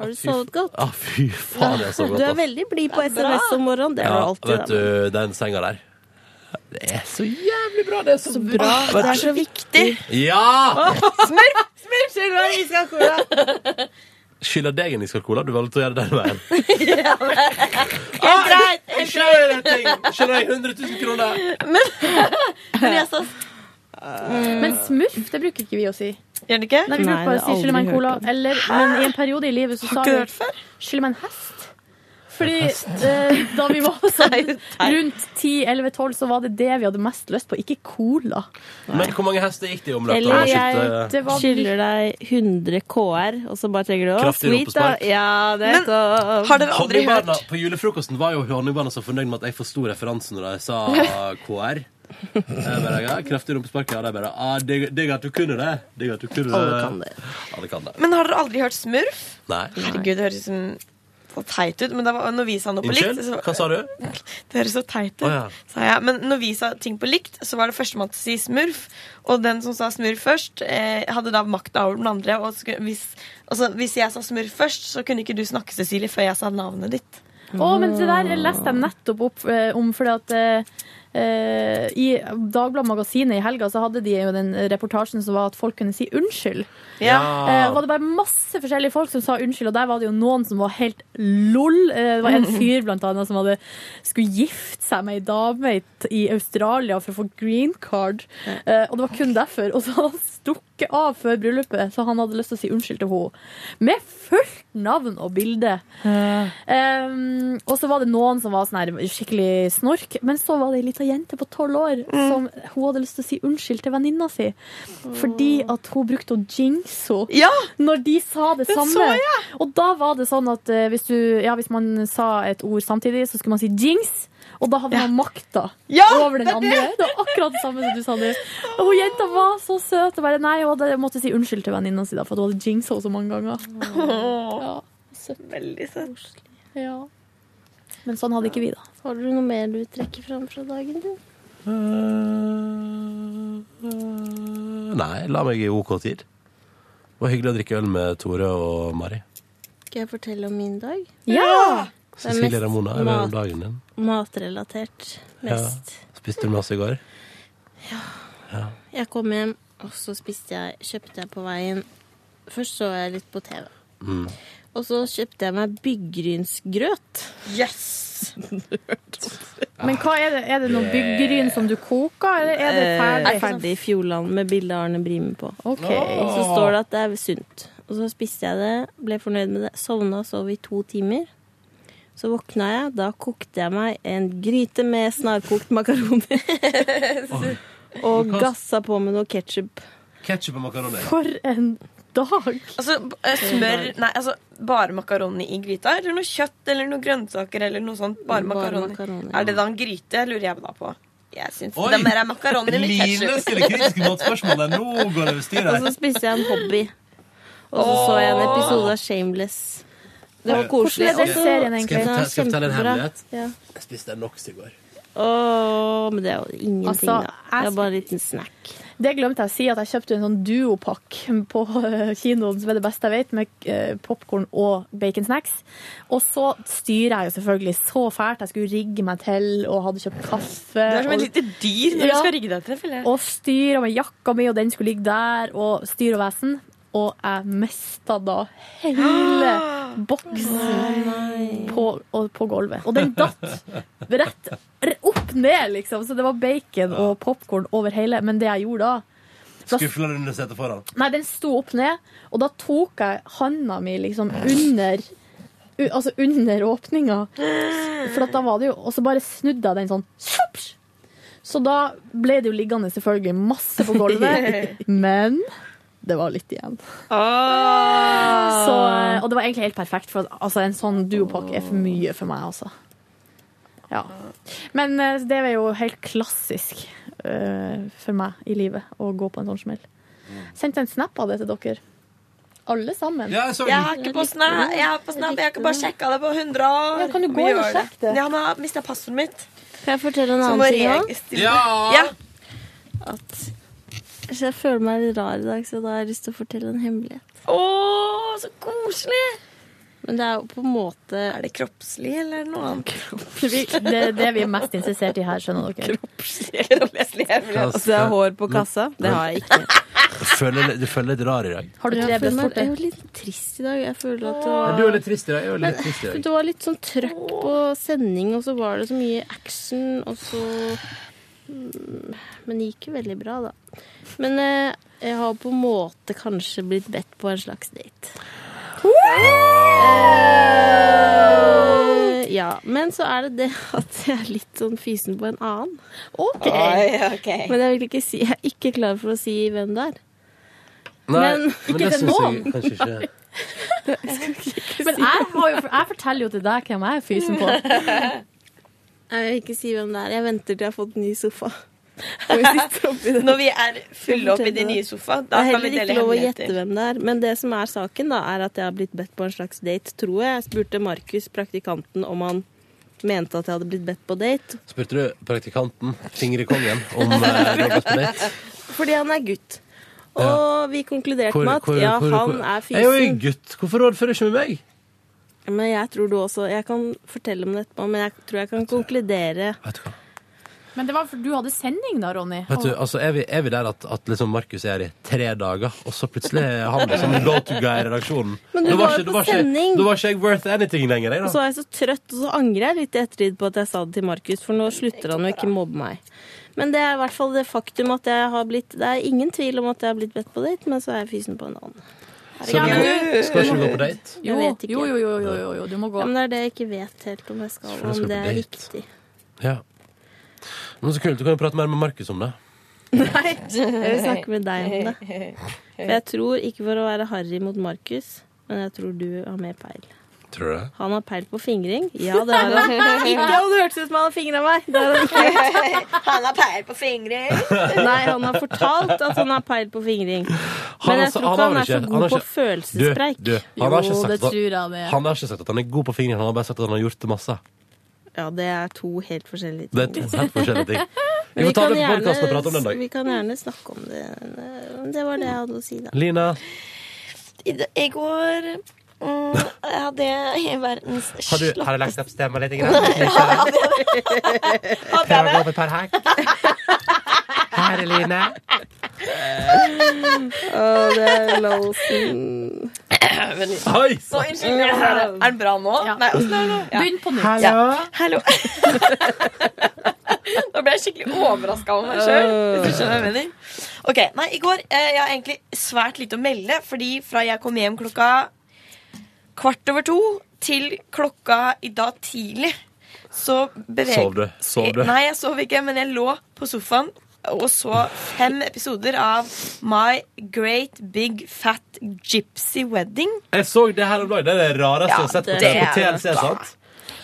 O: Har du sovet godt?
B: ah, fy faen, jeg sover
O: [LAUGHS] Du
B: godt.
O: er
B: ass.
O: veldig blid på SMS om morgenen. Det er du alltid.
B: vet
O: da.
B: du, den senga der. Det er så jævlig bra! Det er så, Ah,
O: Bra. Det er
B: Vet
O: så Ah.
B: du-
O: viktig.
B: Ja!
O: Smurf! Smurf! Skyld meg, vi skal ha cola.
B: Skylder deg en iskald cola. Du valgte å gjøre det den veien.
O: [LAUGHS]
B: Ah,
I: Helt greit. Helt
B: greit. Skylder deg 100 000 kroner.
I: Men jeg sa
D: Men smurf, det bruker ikke vi å si.
I: Gjør det ikke?
D: Nei, vi bruker bare å si 'skyller meg en cola'. Eller, men i en periode i livet så sa
I: Har
D: vi
I: ikke hørt
D: 'skyller meg en hest'. Fordi eh, da vi
I: [LAUGHS]
D: var sånn rundt 10-11-12, så var det det vi hadde mest lyst på, ikke cola.
B: Men hvor mange hester gikk det i omløp? da?
O: Eller
B: Shit, eh,
O: jeg skylder deg 100 KR, og så bare trenger du å
B: Kraftig
O: Sweet, da.
B: ropespark.
O: Ja, det
I: Men,
O: kom.
B: Honningbarna På julefrokosten var jo honningbarna så fornøyd med at jeg forsto referansen når
O: [LAUGHS]
B: jeg sa KR. Jeg bare, ja, kraftig rumpespark. Ja, de bare ah, digg, digg at du kunne det. Digg at du kunne
I: Alle kan
B: det. Alle kan det.
I: Men har dere aldri hørt smurf?
B: Nei.
I: Herregud, det høres som for teit ut. Men det var, når vi sa noe på likt
B: Unnskyld?
I: så-
B: Hva sa du?
I: [LAUGHS] Det høres så teit ut,
B: Å, ja.
I: sa jeg. Men når vi sa ting på likt, så var det førstemann til å si smurf. Og den som sa smurf først, eh, hadde da makta over den andre. Og skulle, hvis, altså, hvis jeg sa smurf først, så kunne ikke du snakke, Cecilie, før jeg sa navnet ditt.
D: Å, men det der leste jeg nettopp opp eh, om, fordi at eh, eh, I Dagbladet Magasinet i helga så hadde de jo den reportasjen som var at folk kunne si unnskyld.
T: Ja.
D: Eh, og var det bare masse forskjellige folk som sa unnskyld, og der var det jo noen som var helt lol. Eh, det var en fyr blant annet som hadde skulle gifte seg med ei dame i, i Australia for å få green card, eh, og det var kun derfor. Og så hadde han stukket av før bryllupet, så han hadde lyst til å si unnskyld til henne. Med fullt navn og bilde. Um, og så var det noen som var sånn her skikkelig snork, men så var det ei lita jente på tolv år som hun hadde lyst til å si unnskyld til venninna si. Fordi at hun brukte å jinxe henne når de sa det
T: Den
D: samme.
T: så jeg.
D: Og da var det sånn at eh, hvis, du, ja, hvis man sa et ord samtidig, så skulle man si jinx. Og da hadde man makta over den
T: Ah, det er det.
D: andre. Det var akkurat det samme som du sa nå. Og hun jenta var så søt. Og bare, nei, hun hadde, måtte si unnskyld til venninna si, da, for at hun hadde jinxa henne så mange ganger. Ja.
O: Veldig søtt.
D: Ja. Men sånn hadde ikke vi, da.
O: Har du noe mer du trekker fram fra dagen din?
B: Eh, Nei, la meg i OK tid. Det var hyggelig å drikke øl med Tore og Mari.
O: Skal jeg fortelle om min dag?
B: Ja!
O: Det er
B: Cecilie
O: mest
B: Ramona, er det om
O: mat,
B: dagen din?
O: matrelatert. Mest.
B: Ja. Spiste du masse i går?
O: Jeg kom hjem, og så spiste jeg, kjøpte jeg på veien Først så jeg litt på TV.
B: Mm.
O: Og så kjøpte jeg meg byggrynsgrøt. Yes!
D: Men hva er det? Er det noe byggryn som du koker, eller er det ferdig?
O: ferdig Fjordland med bilde av Arne Brime på.
D: Ok.
O: Og så står det at det er sunt. Og så spiste jeg det, ble fornøyd med det, sovna og sov i to timer. Så våkna jeg, da kokte jeg meg en gryte med snarkokt makaroni. og gassa på med noe ketsjup.
B: Ketchup og makaroni.
D: en dag!
I: Altså, b- eh, smør Nei, altså bare makaroni i gryta? Eller noe kjøtt eller noe grønnsaker eller noe sånt? Bare makaroni.
O: makaroni.
I: Er det da en gryte, lurer jeg da på. Jeg syns
B: Oi!
I: det er mer er makaroni
B: [LAUGHS]
I: eller
B: Line stiller kritiske matspørsmål der. Nå går det over styr her.
O: Og så spiste jeg en hobby. Og så så jeg en episode av Shameless. Det var koselig.
B: Hvordan er den
O: Og så-
B: serien egentlig? Skal jeg
O: Den var
B: fortelle- skal jeg fortelle en
O: kjempebra.
B: hemmelighet?
O: Ja.
B: Jeg spiste en NOx i går.
O: Åh, men det er jo ingenting,
D: Altså,
O: da. Det
D: jeg
O: er bare en liten snack.
D: Det glemte jeg å si, at jeg kjøpte en sånn duopakk på eh, kinoen, som er det beste jeg vet, med popkorn og baconsnacks. Og så styrer jeg jo selvfølgelig så fælt. Jeg skulle rigge meg til og hadde kjøpt kaffe.
I: Det er som et
D: og-
I: lite dyr
D: Ja.
I: når du skal rigge deg til, føler jeg.
D: Eh, Og styr og med jakka mi, og den skulle ligge der, og styr og vesen. Og jeg mista da hele boksen på, og, på gulvet. Og den datt rett r- opp ned, liksom. Så det var bacon og popkorn over hele. Men det jeg gjorde da da-
B: Skufla den under setet foran.
D: Nei, den sto opp ned, og da tok jeg handa mi liksom under u, Altså under åpninga. For at da var det jo Og så bare snudde jeg den sånn. Sjops! Så da ble det jo liggende selvfølgelig masse
S: [LAUGHS]
D: på gulvet, men det var litt igjen. Så, eh, og det var egentlig helt perfekt, for at, altså, en sånn duopakke er for mye for meg, altså. Ja. Men eh, det er jo helt klassisk eh, for meg i livet å gå på en sånn smell. Sendte en snap av det til dere. Alle sammen.
I: Ja, jeg så den. Jeg har ikke på Snap. Jeg har på Snap. Jeg har ikke bare sjekka det på 100 år.
D: Ja, kan du gå
I: Vi
D: inn og
I: gjør
D: sjekke det?
I: Ja, men jeg har mista passordet mitt.
O: Kan jeg fortelle en
I: Så
O: annen
I: må
O: ting
I: jeg
O: også?
I: stille- Ja. Ja.
O: At så jeg føler meg litt rar i dag, så da har jeg lyst til å fortelle en hemmelighet.
I: Å, så koselig!
O: Men det er jo på en måte Er
I: det kroppslig eller
O: [LAUGHS]
I: noe annet?
D: Vi- Det er det vi er mest interessert i her, skjønner dere.
O: Altså, jeg har hår på kassa. Det har jeg ikke.
B: Føler, du føler litt rar i dag.
D: Har du
O: Jeg
D: drevet
O: føler meg-
D: sport,
O: Jeg er jo litt trist i dag. Jeg føler at det
B: Ja,
O: var
B: Du er litt trist i dag. Jeg er
O: Men
B: litt trist i dag.
O: det var litt sånn trøkk på sending, og så var det så mye action, og så Mm, Men det gikk jo veldig bra, da. Men eh, jeg har på en måte kanskje blitt bedt på en slags date. Eh, ja. Men så er det det at jeg er litt sånn fysen på en annen.
T: Oi, ok.
O: Men jeg vil ikke si Jeg er ikke klar for å si hvem det er.
B: Nei, men det
O: til
B: syns jeg kanskje ikke.
O: Nei.
D: Men jeg, har jo, jeg forteller jo til deg hvem jeg er fysen på.
O: Jeg vil ikke si hvem det er. Jeg venter til jeg har fått en ny
I: [LAUGHS]
O: sofa.
I: Når vi er fulle opp i de nye sofa,
O: det
I: da
O: er
I: kan vi
O: heller
I: dele
O: ikke lov å gjette
I: hemmeligheter.
O: hvem det er. Men det som er saken, da, er at jeg har blitt bedt på en slags date, tror jeg. Jeg spurte Markus, praktikanten, om han mente at jeg hadde blitt bedt på date.
B: Spurte du praktikanten, Fingrekongen, om eh, du har gått på date?
O: Fordi han er gutt. Og
B: Ja.
O: vi konkluderte
B: Hvor-
O: med at
B: hvor-
O: ja,
B: hvor-
O: han
B: hvor-
O: er
B: Jeg er jo en
O: fysen.
B: gutt. Hvorfor rådfører ikke med meg?
O: Men jeg tror du også Jeg kan fortelle om det etterpå, men jeg tror jeg kan konkludere
S: [LAUGHS] Men det var for du hadde sending da, Ronny.
B: Vet du,
S: Og-
B: altså Er vi, er vi der at, at liksom Markus er her i tre dager, og så plutselig er han liksom go to guy i redaksjonen?
O: Men du
B: Da
O: var jo
B: ikke- da
O: på
B: ikke-
O: sending. Altså,
B: Da var ikke jeg worth anything lenger, jeg,
O: Og
B: da.
O: så var jeg så trøtt, og så angrer jeg litt i ettertid på at jeg sa det til Markus, for nå slutter han å ikke mobbe meg. Men det er i hvert fall det faktum at jeg har blitt Det er ingen tvil om at jeg har blitt bedt på date, men så er jeg fysen på en annen.
B: Så Ja, men du- skal ikke du gå på date?
O: Jeg
S: Jo,
O: vet ikke.
S: jo, jo, jo, jo, jo, jo, du må gå.
O: Ja, men det er det jeg ikke vet helt om jeg skal,
B: Skal du
O: om
B: skal
O: det
B: på
O: er
B: date?
O: riktig.
B: Ja. Men så kult, du kan jo prate mer med Markus om det.
O: Nei, jeg vil snakke med deg om det. For jeg tror, ikke for å være harry mot Markus, men jeg tror du har mer peil.
B: Tror du det?
O: Han har peil på fingring. Ja, det har han. Ikke om det hørtes ut som han har fingra meg. Det har han ikke.
T: Han har peil på fingring.
O: Nei, han har fortalt at han har peil på fingring.
B: Han
O: Men
B: har
O: jeg
B: sa-
O: tror
B: han
O: ikke
B: har
O: han
B: vel
O: er så
B: ikke- han
O: god
B: har
O: på
B: ikke-
O: følelsespreik.
B: Du, du, han har ikke
O: Jo,
B: sagt
O: det
B: at,
O: tror jeg det.
B: Han har ikke sagt at han er god på fingeren, han har bare sagt at han har gjort det masse.
O: Ja, det er to helt forskjellige ting.
B: Det er to helt forskjellige
O: [LAUGHS]
B: ting. Vi
O: Men
B: får ta
O: kan
B: det på podkasten og
O: gjerne-
B: prate om det en dag.
O: Vi kan gjerne snakke om det. Det var det jeg hadde å si, da.
B: Lina,
I: I, d- I går mm, hadde jeg verdens
B: har du, har du lagt opp stemmen litt? Grann?
I: Hadde
B: Prøv å gå
I: jeg det?
B: opp et par hakk. Her, Line.
O: Å, det er Lolsen.
B: Oi!
I: Så unnskyld. Er den bra nå? Nei, åssen er den nå? Ja.
S: Begynn på nytt.
I: Ja. Hallo. [LAUGHS] Nå ble jeg skikkelig overraska over meg sjøl. Hvis du skjønner hva jeg mener. Ok, nei, I går eh, jeg har egentlig svært lite å melde, fordi fra jeg kom hjem klokka kvart over to til klokka i dag tidlig, så beveg...
B: Sov du? Sov du?
I: Nei, jeg sov ikke, men jeg lå på sofaen og så fem episoder av My Great Big Fat Gypsy Wedding.
B: Jeg så det her om dagen. Det er det rareste jeg har sett på,
I: det
B: på
I: er-
B: TLC, sant?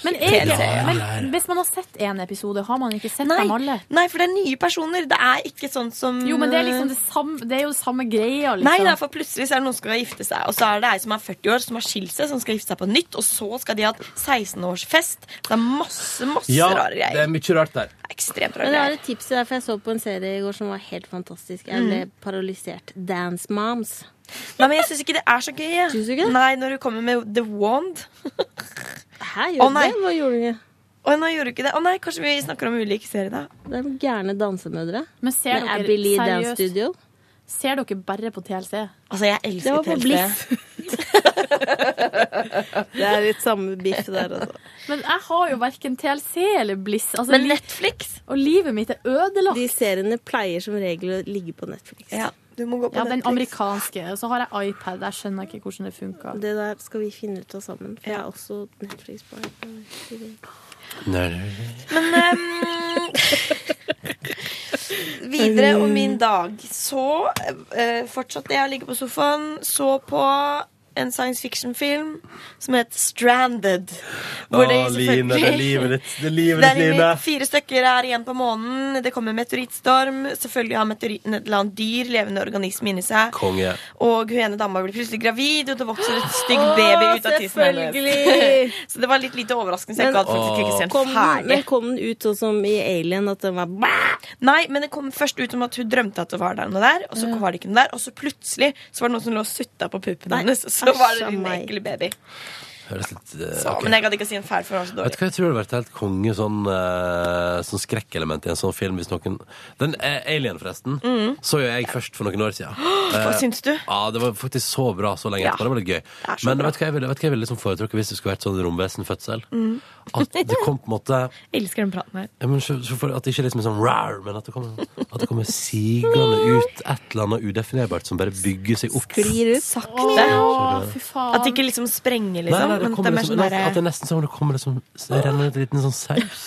S: Men, er
B: Ja,
S: ikke,
B: ja, ja.
S: men hvis man har sett én episode, har man ikke sett dem alle?
I: Nei, for det er nye personer. Det er ikke sånn som
S: Jo, men det er, liksom det samme, det er jo samme greia, liksom.
I: Nei, det er for plutselig så er det noen som skal gifte seg, og så er det ei som er 40 år, som har skilt seg, som skal gifte seg på nytt, og så skal de ha et 16-årsfest. Det er masse, masse
B: Ja,
I: rare
B: det
I: greier.
B: er mye rart der.
I: Ekstremt rare
O: Men jeg har
I: greier.
O: et tips til deg, for jeg så på en serie i går som var helt fantastisk. Jeg ble
I: Mm.
O: paralysert. Dance Moms.
I: Nei, men jeg syns ikke det er så gøy. jeg. Nei, når du kommer med The Wand.
O: Hæ,
I: Å,
O: gjorde
I: nei.
O: det? Hva gjorde du?
I: Å, nei, gjorde du ikke det? Å nei, kanskje vi snakker om ulike serier, da.
O: Det er gærne dansemødre.
S: Men ser
O: Med
S: dere
O: Abbey Lee Dance
S: seriøst-
O: Studio.
S: Ser dere bare på TLC?
I: Altså, jeg
O: Det
I: elsker
O: var på
I: TLC.
O: Bliss. [LAUGHS] det er litt samme [LAUGHS] biff der, altså.
S: Men jeg har jo verken TLC eller Bliss. Altså,
O: Men
S: li-
I: Netflix?
S: Og livet mitt er ødelagt.
O: De seriene pleier som regel å ligge på Netflix.
I: Ja, du må gå
S: Ja, den amerikanske. Og så har jeg iPad. Jeg skjønner ikke hvordan det funker.
O: Det der skal vi finne ut av sammen. For jeg har også Netflix på iPad.
B: Nei, nei,
I: Men ehm, Videre om min dag. Så eh, fortsatte jeg å ligge på sofaen, så på en science fiction-film som het Stranded.
B: Å, Line, det er livet ditt. Det er livet
I: Det er
B: ditt, Line.
I: livet. Fire stykker er igjen på månen. Det kommer meteorittstorm. Selvfølgelig har meteoritten et eller annet dyr, levende organisme, inni seg.
B: Konge.
I: Og hun ene dama blir plutselig gravid, og det vokser et stygg
O: Åh,
I: baby ut av tissen
O: selvfølgelig.
I: hennes. [LAUGHS] så det var litt lite overraskende. Så
O: Men-
I: jeg gadd faktisk ikke se
O: Kom
I: den
O: den,
I: ferdig.
O: men kom den ut sånn som i Alien, at den var bæ!
I: Nei, men det kom først ut om at hun drømte at det var der noe der, og så var det ikke noe der, og så plutselig så var det noen som lå og sutta på puppen
O: Nei,
I: hennes, og så var
O: æsj,
I: det en
O: meg.
I: ekkel baby.
B: Høres litt eh,
I: Så,
B: ok.
I: Men jeg gadd ikke å si en fæl, for den var så
B: Vet du hva,
I: dårlig.
B: jeg tror det hadde vært helt konge sånn, eh, sånn skrekkelement i en sånn film hvis noen Den eh, Alien, forresten,
I: Mhm.
B: så jo jeg først for noen år
I: [GASPS]
B: siden.
I: Hva
B: Eh,
I: syns du?
B: Ja, det var faktisk så bra så lenge
I: Ja.
B: etterpå. Det var litt gøy.
I: så
B: Men
I: bra.
B: vet du hva jeg ville, vet du hva jeg ville liksom foretrukket hvis det skulle vært sånn romvesenfødsel?
I: Mm.
B: At det kom på en måte
I: Elsker den praten her.
B: ja, men, så, så for, At det ikke liksom er sånn rar, men at det kommer, at det kommer sigende ut et eller annet udefinerbart som bare bygger seg opp.
O: Sklir ut.
I: Sakte.
B: Åh, fy
I: At det ikke liksom sprenger,
B: Nei,
I: liksom.
B: nei, det
I: men
B: kommer
I: at det er mer
B: liksom,
I: sånn
B: at- at det
I: derre
B: er nesten som om det kommer liksom, så renner ut en liten sånn
I: [LAUGHS]
B: saus.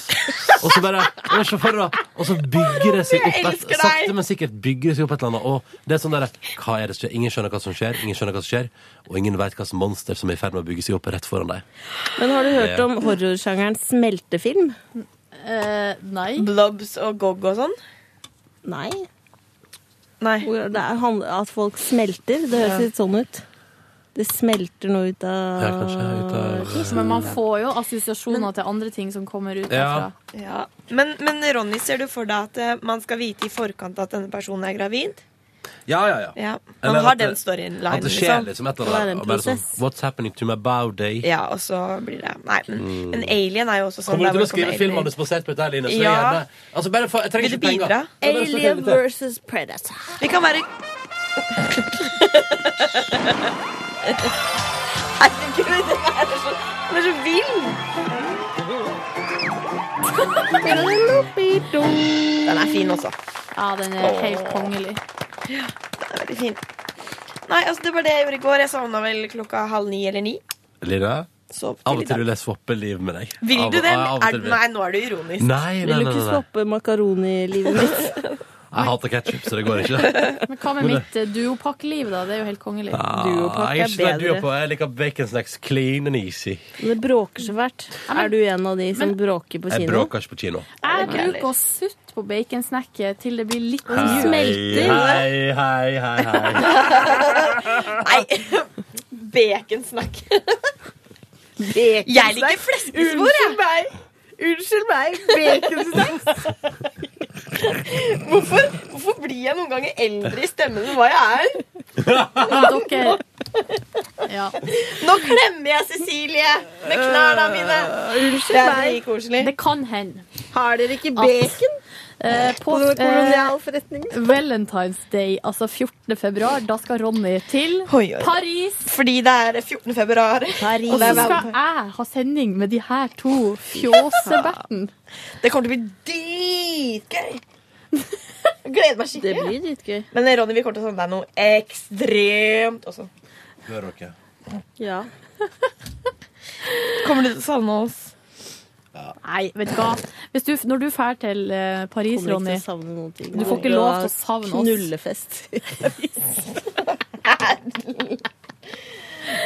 B: Og så bare og så, for, da, og så bygger det seg opp
I: Jeg
B: et,
I: elsker deg!
B: Sakte, men sikkert bygger det seg opp et eller annet. Og det er sånn der, hva er det som skjer? Ingen skjønner hva som skjer, ingen skjønner hva som skjer og ingen vet hva slags monster som er i ferd med å bygge seg opp rett foran deg.
O: Men har du hørt
B: Ja.
O: om horrorsjangeren smeltefilm?
S: nei.
I: Blobs og gogg og sånn?
O: Nei.
I: Nei.
O: Hvor det er, han- at folk smelter. Det høres
S: Ja.
O: litt sånn ut. Det smelter noe ut av
B: Ja, kanskje, ut av-
O: Tissen.
S: liksom, Men man får jo assosiasjoner til andre ting som kommer ut derfra.
I: Ja. Men, men Ronny, ser du for deg at eh, man skal vite i forkant at denne personen er gravid?
B: Ja, ja, ja.
I: Ja, man
B: Eller
I: har
B: at det-
I: den storylinen,
B: At det skjer
I: liksom.
B: liksom et
I: Det
B: eller
I: var en
B: annet. og Bare sånn,
I: prosess.
B: What's happening to my bow day?
I: Ja, og så blir det Nei, men
B: Mm.
I: en alien er jo også sånn.
B: Kommer du til
I: der hvor
B: å
I: det
B: skrive
I: kommer
B: filmmanus basert på dette, Line? Så
I: Ja.
B: gjerne. Altså, bare for, jeg trenger
I: Vil
B: ikke
I: du
B: penger.
I: bidra?
B: Så bare så
O: Alien
B: fint, ja.
O: versus Predator.
I: Vi kan være
J: Herregud, den er så, den er så vill!
I: Den er fin også.
D: Ja, den er helt kongelig.
I: Ja, den er veldig fin. Nei, altså, det var det jeg gjorde i går. Jeg sovna vel klokka halv ni eller ni.
B: Line,
I: Så,
B: av og til vil jeg swappe liv med deg.
I: Vil
B: Av-
I: du det?
B: ja, av og
I: Er,
B: til vil jeg.
I: nei, nå er du ironisk.
B: Nei, nei,
O: Vil du
B: nei,
O: ikke
B: nei.
O: swappe makaroni-livet mitt?
B: [LAUGHS] Jeg hater ketchup, så det går ikke.
O: [LAUGHS]
D: Men hva med mitt eh, duopakkeliv, da? Det er jo helt kongelig.
B: Ah, jeg ikke så glad i duopakke. Jeg liker bacon snacks clean and easy.
O: Det bråker så fælt. Er du en av de som bråker på
B: Jeg
O: kino?
B: bråker ikke på kino.
D: Jeg bruker å sutte på baconsnacket til det blir litt
B: Hei, [LAUGHS] Hei, hei, hei,
O: [LAUGHS]
B: hei.
I: Baconsnakk.
J: Jeg
I: liker
J: fleskespor, jeg. Unnskyld meg. Unnskyld meg, baconsnacks.
I: Hvorfor, hvorfor blir jeg noen ganger eldre i stemmen enn hva jeg er?
D: Dere
I: Nå klemmer jeg Cecilie med knærne mine.
D: Unnskyld
I: Det er
D: meg.
I: dritkoselig.
D: Det kan hende.
J: Har dere ikke
D: At-
J: bacon?
D: Eh, på
J: Noen
D: eh, Valentine's Day, altså 14. februar, da skal Ronny til
I: Oi, oi.
D: Paris.
I: Fordi det er 14. februar.
D: Og så skal jeg ha sending med de her to fjåseberten.
I: Det kommer til å bli dritgøy. Jeg Gleder meg
O: Det
I: skikkelig.
O: blir dritgøy.
I: Men eh, Ronny, vi kommer til å sende deg noe ekstremt også.
B: Hører dere?
O: Ja.
I: [LAUGHS] Kommer du til å savne oss?
D: [LAUGHS] Nei, vet du hva. Hvis du, når du drar til eh, Paris,
O: Kommer ikke
D: Ronny
O: til å savne noen ting.
D: Du får ikke lov til å savne oss.
O: Knullefest.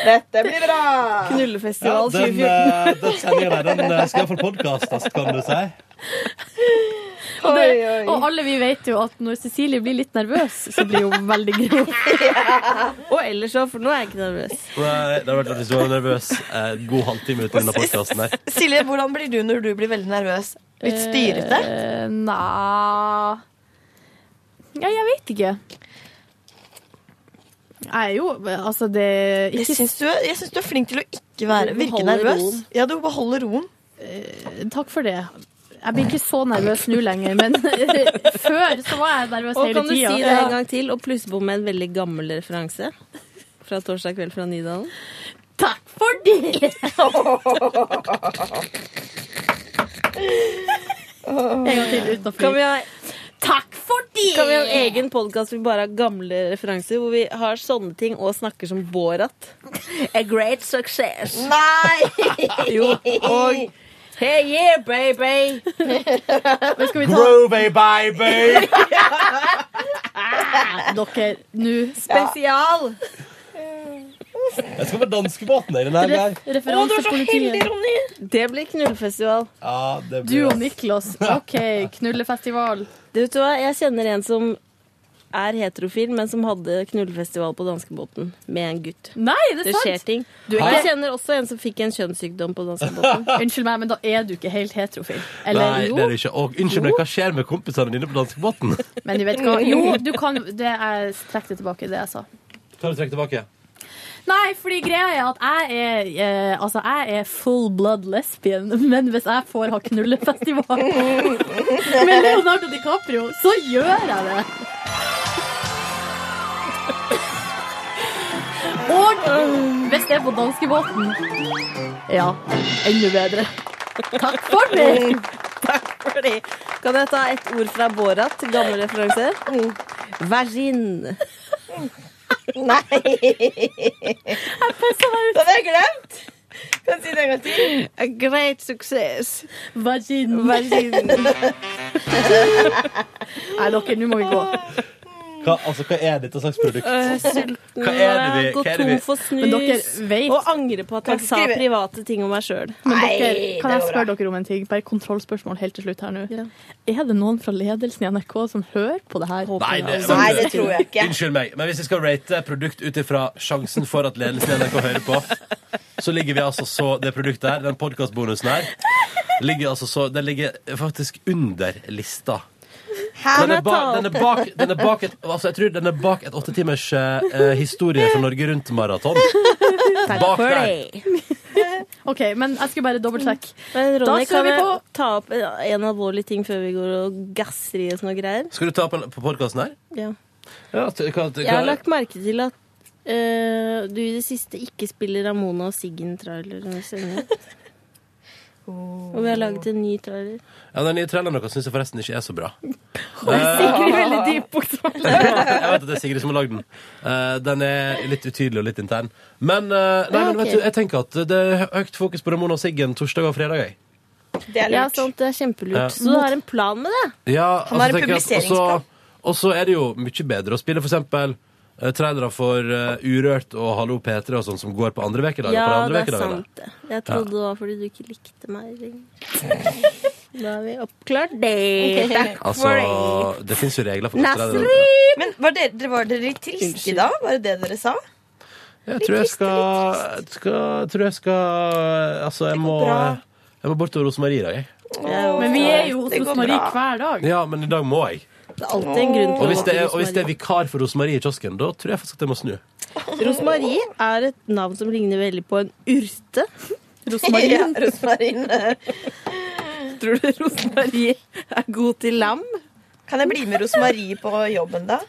I: Dette blir bra. [LAUGHS]
O: Knullefestival
B: den,
O: 2014.
B: eh, den sendingen der, den eh, skal iallfall podkastes, kan du si.
D: Og, det,
J: Oi, oi.
D: og alle vi vet jo at når Cecilie blir litt nervøs, så blir hun veldig [LAUGHS] grov.
O: Og ellers òg, for nå er jeg ikke nervøs.
B: Nei, det har vært litt nervøs. Eh, god halvtime uten denne podkasten her.
I: Silje, hvordan blir du når du blir veldig nervøs? Litt styrete?
D: Eh, Nja Ja, jeg vet ikke. Jeg er jo Altså, det er
I: Jeg
D: ikke
I: syns du, jeg syns du er flink til å ikke være,
D: Du
I: virke
D: beholder
I: nervøs.
D: roen.
I: Ja, du beholder roen.
D: Eh, Takk for det. Jeg blir ikke så nervøs nå lenger, men [LAUGHS] før så var jeg nervøs
O: Og
D: hele
O: kan du
D: tida.
O: si det en gang til, og plusse på med en veldig gammel referanse? Fra torsdag kveld fra Nydalen.
D: Takk for
O: [LAUGHS]
D: det!
O: En
D: gang til uten å fly.
O: Kan vi ha
D: Takk for det!
O: Kan vi ha en egen podkast hvor vi bare har gamle referanser, hvor vi har sånne ting og snakker som Borat? A great success.
J: Nei!
O: [LAUGHS] jo, og Hey yeah, baby!
D: Men skal vi ta
B: Groovy baby!
D: Dere, nå
O: Spesial!
B: Jeg skal på danskebåten i denne her.
D: Ref- Referanse politiet.
O: Ronny! Det blir knullefestival.
B: Ja, det
D: Du
B: blir
D: og Niklas. OK, knullefestival.
O: Du vet hva, jeg kjenner en som er heterofil, men som hadde knullefestival på danskebåten med en gutt.
D: Nei, det er
O: Det
D: sant!
O: skjer ting.
D: Du er
O: Og
D: ikke-
O: jeg kjenner også en som fikk en kjønnssykdom på
J: [LAUGHS]
O: danskebåten.
D: Unnskyld meg, men da er du ikke helt heterofil. Eller
B: Nei,
D: jo?
B: det er det ikke. Og unnskyld meg, hva skjer med kompisene dine på danskebåten?
D: Men du vet hva, jo, du kan det er, Trekk det tilbake, det jeg sa.
B: Kan du trekke tilbake?
D: Nei, fordi greia er at jeg er, eh, altså, jeg er full blood lesbian, men hvis jeg får ha knullefestival med Leonardo DiCaprio, så gjør jeg det! Og hvis det er på danskebåten Ja, enda bedre. Takk for
O: [LAUGHS]
D: det!
O: Takk for det. Kan jeg ta et ord fra Borat? Gammel referanse.
J: Mm.
O: Vagin.
J: Nei! [LAUGHS] Den har jeg glemt. Kan jeg si det en gang til?
O: A great success.
D: Vagin. Nei, dere, nå må vi gå.
B: Hva, altså, hva er dette slags produkt?
O: Øh, sulten
B: Hva er det vi,
O: og
B: hva
O: gått
B: er det vi?
O: tom for snus.
D: Men dere vet-
O: Og angre på at
D: Kan
O: jeg
D: ikke
O: sa
D: skrive-
O: private ting om meg sjøl.
D: Men dere, kan jeg spørre dere om en ting? Bare kontrollspørsmål helt til slutt her nå. Er det noen fra ledelsen i NRK som hører på det her?
B: Nei det, Unnskyld meg. Men hvis jeg skal rate produkt ut ifra sjansen for at ledelsen i NRK hører på, så ligger vi altså så Det produktet her, den podkastbonusen her, ligger altså så Den ligger faktisk under lista. Den er, ba, den, er bak, den, er bak et, altså jeg tror den er bak et åtte timers eh, historie fra Norge Rundt-maraton. Bak der.
D: OK, men jeg skulle bare dobbeltsjekke.
O: Men
D: Da
O: Ronny,
D: kjører
O: kan
D: vi
O: jeg
D: på.
O: ta opp en alvorlig ting før vi går og gasser i oss noe greier?
B: Skal du ta på, på podkasten her?
O: Ja.
B: Ja, t- hva- t-
O: Jeg har
B: hva-
O: lagt merke til at øh, du i det siste ikke spiller Ramona og Siggen trailer når vi sender. Og vi har laget en ny trailer.
B: ja, Den nye traileren deres syns jeg forresten ikke er så bra. Eh,
O: Sigrid veldig dyp
B: [LAUGHS] jeg vet at det er Sigrid som har lagd den. Eh, den er litt utydelig og litt intern. Men, eh, nei,
O: Ja,
B: men
O: ok.
B: vet du, jeg tenker at det er høyt fokus på Ramona og Siggen torsdag og fredag. Jeg.
O: Det er sånn, lurt. Ja, sant, det er kjempelurt.
B: Ja.
O: Så du har en plan med det?
B: Ja, altså,
O: Han har en
B: tenker jeg at-
O: publiseringsplan.
B: også- Og så er det jo mye bedre å spille for eksempel eh, trailere for eh, Urørt og Hallo P3 og sånn som går på andre ukedager.
O: ja,
B: på de andre
O: det er
B: ukedagene.
O: sant det. Jeg trodde det var fordi du ikke likte meg. Da har vi oppklart det.
T: Takk
B: Altså, det fins jo regler for trailere.
T: Men var dere, dere- var dere litt triste da? Var det det dere sa?
B: Jeg tror jeg skal, skal, jeg tror jeg skal Altså, jeg må,
T: bra.
B: jeg må bortover hos Marie i dag, jeg.
D: Men vi er jo hos
T: Det går
D: Marie
T: bra.
D: hver dag.
B: Ja, men i dag må jeg.
O: Det er alltid en grunn
B: Og
O: til
B: hvis
O: å
B: det
O: gå
B: er,
O: til
B: og hvis det er vikar for Rosemarie i kiosken, da tror jeg faktisk at jeg må snu.
O: Rosmarie er et navn som ligner veldig på en urte.
T: [LAUGHS] Ja, rosmarin.
O: Tror du rosmarie er god til lam?
T: Kan jeg bli med Rosmarie på jobben, da?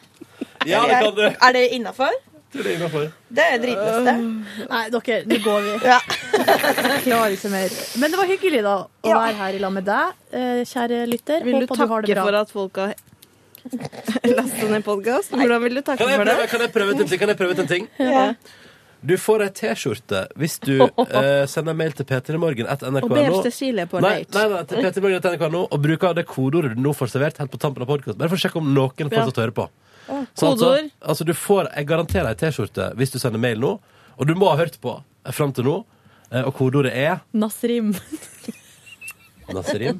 B: Ja, det kan du.
T: Er det innafor? Det er det dritleste.
O: [LAUGHS]
D: Nei, dere, nå går vi. Jeg klarer ikke mer. Men det var hyggelig da å
T: Ja.
D: være her i lag med deg, eh, kjære lytter.
O: Vil du
D: Håper du har det
O: takke
D: bra.
O: for at folk har lasta ned podkast? Hvordan vil du takke
B: Kan jeg
O: for det?
B: prøve, kan jeg prøve ut en ting? Kan jeg prøve ut en ting? Du får ei T-skjorte hvis
O: [LAUGHS]
B: du eh, sender mail til p3morgen at
O: Og
B: nrk.no.
O: delte chili på
B: Nei,
O: date.
B: nei, nei, til p3morgen at nrk.no og bruker det kodeordet du nå får servert helt på tampen av podkasten. Bare for å sjekke om noen
O: Ja.
B: fortsatt hører på. Så altså,
O: Kodeord.
B: altså, du får, jeg garanterer ei T-skjorte hvis du sender mail nå, og du må ha hørt på eh, fram til nå, eh, og kodeordet er
D: Nasrim.
B: Nasrim.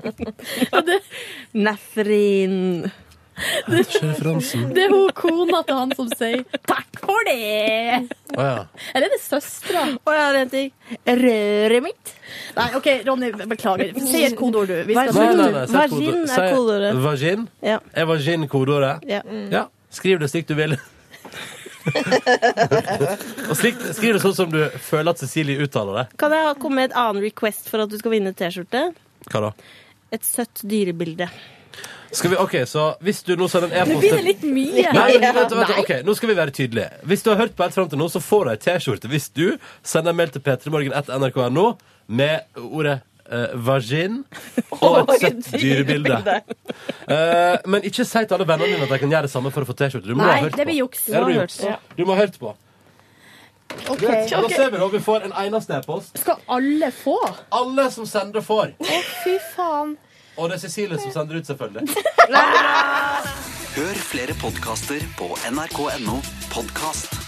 O: Nefrin.
B: Referansen.
D: [LAUGHS] Det er hun kona til han som sier 'takk for det'.
B: Å ja.
D: Eller er det søstera?
O: Å ja, det heter røret mitt.
D: Nei, OK, Ronny, beklager. Si et kodeord, du. Vi
B: Nei,
D: skal
B: nei, nei, si et
O: Vagin
B: kodeord.
O: er
B: Si
O: kodeordet.
B: Vagin?
O: Ja.
B: Er vagin kodeordet?
O: Ja.
T: Mm.
B: Ja, skriv det slik du [LAUGHS] vil. og slik, skriv det sånn som du føler at Cecilie uttaler det.
O: Kan jeg komme med et annet request for at du skal vinne T-skjorte?
B: Hva da?
O: Et søtt dyrebilde.
B: Skal vi, ok, så Hvis du nå sender en
O: Nå
B: e-post
O: blir det litt mye.
B: Nei, men vent, vent,
O: Nei.
B: ok, Nå skal vi være tydelige. Hvis du har hørt på helt fram til nå, så får du ei T-skjorte hvis du sender en mail til p3morgen.nrk.no med ordet eh, vagin og et søtt dyrebilde. Eh, men ikke si til alle vennene dine at de kan gjøre det samme for å få T-skjorte. Du må
D: Nei,
B: ha hørt
D: det
B: på.
D: blir juks.
B: Ja, det blir
D: Du må ha
B: juks.
D: hørt
B: Du må ha hørt på.
D: Ok.
B: Greit, Da ser vi da om vi får en eneste e-post.
D: Skal alle få?
B: Alle som sender, får.
D: Å, fy faen.
B: Og det er Cecilie som sender ut, selvfølgelig.
A: Hør flere podkaster på nrk.no podkast.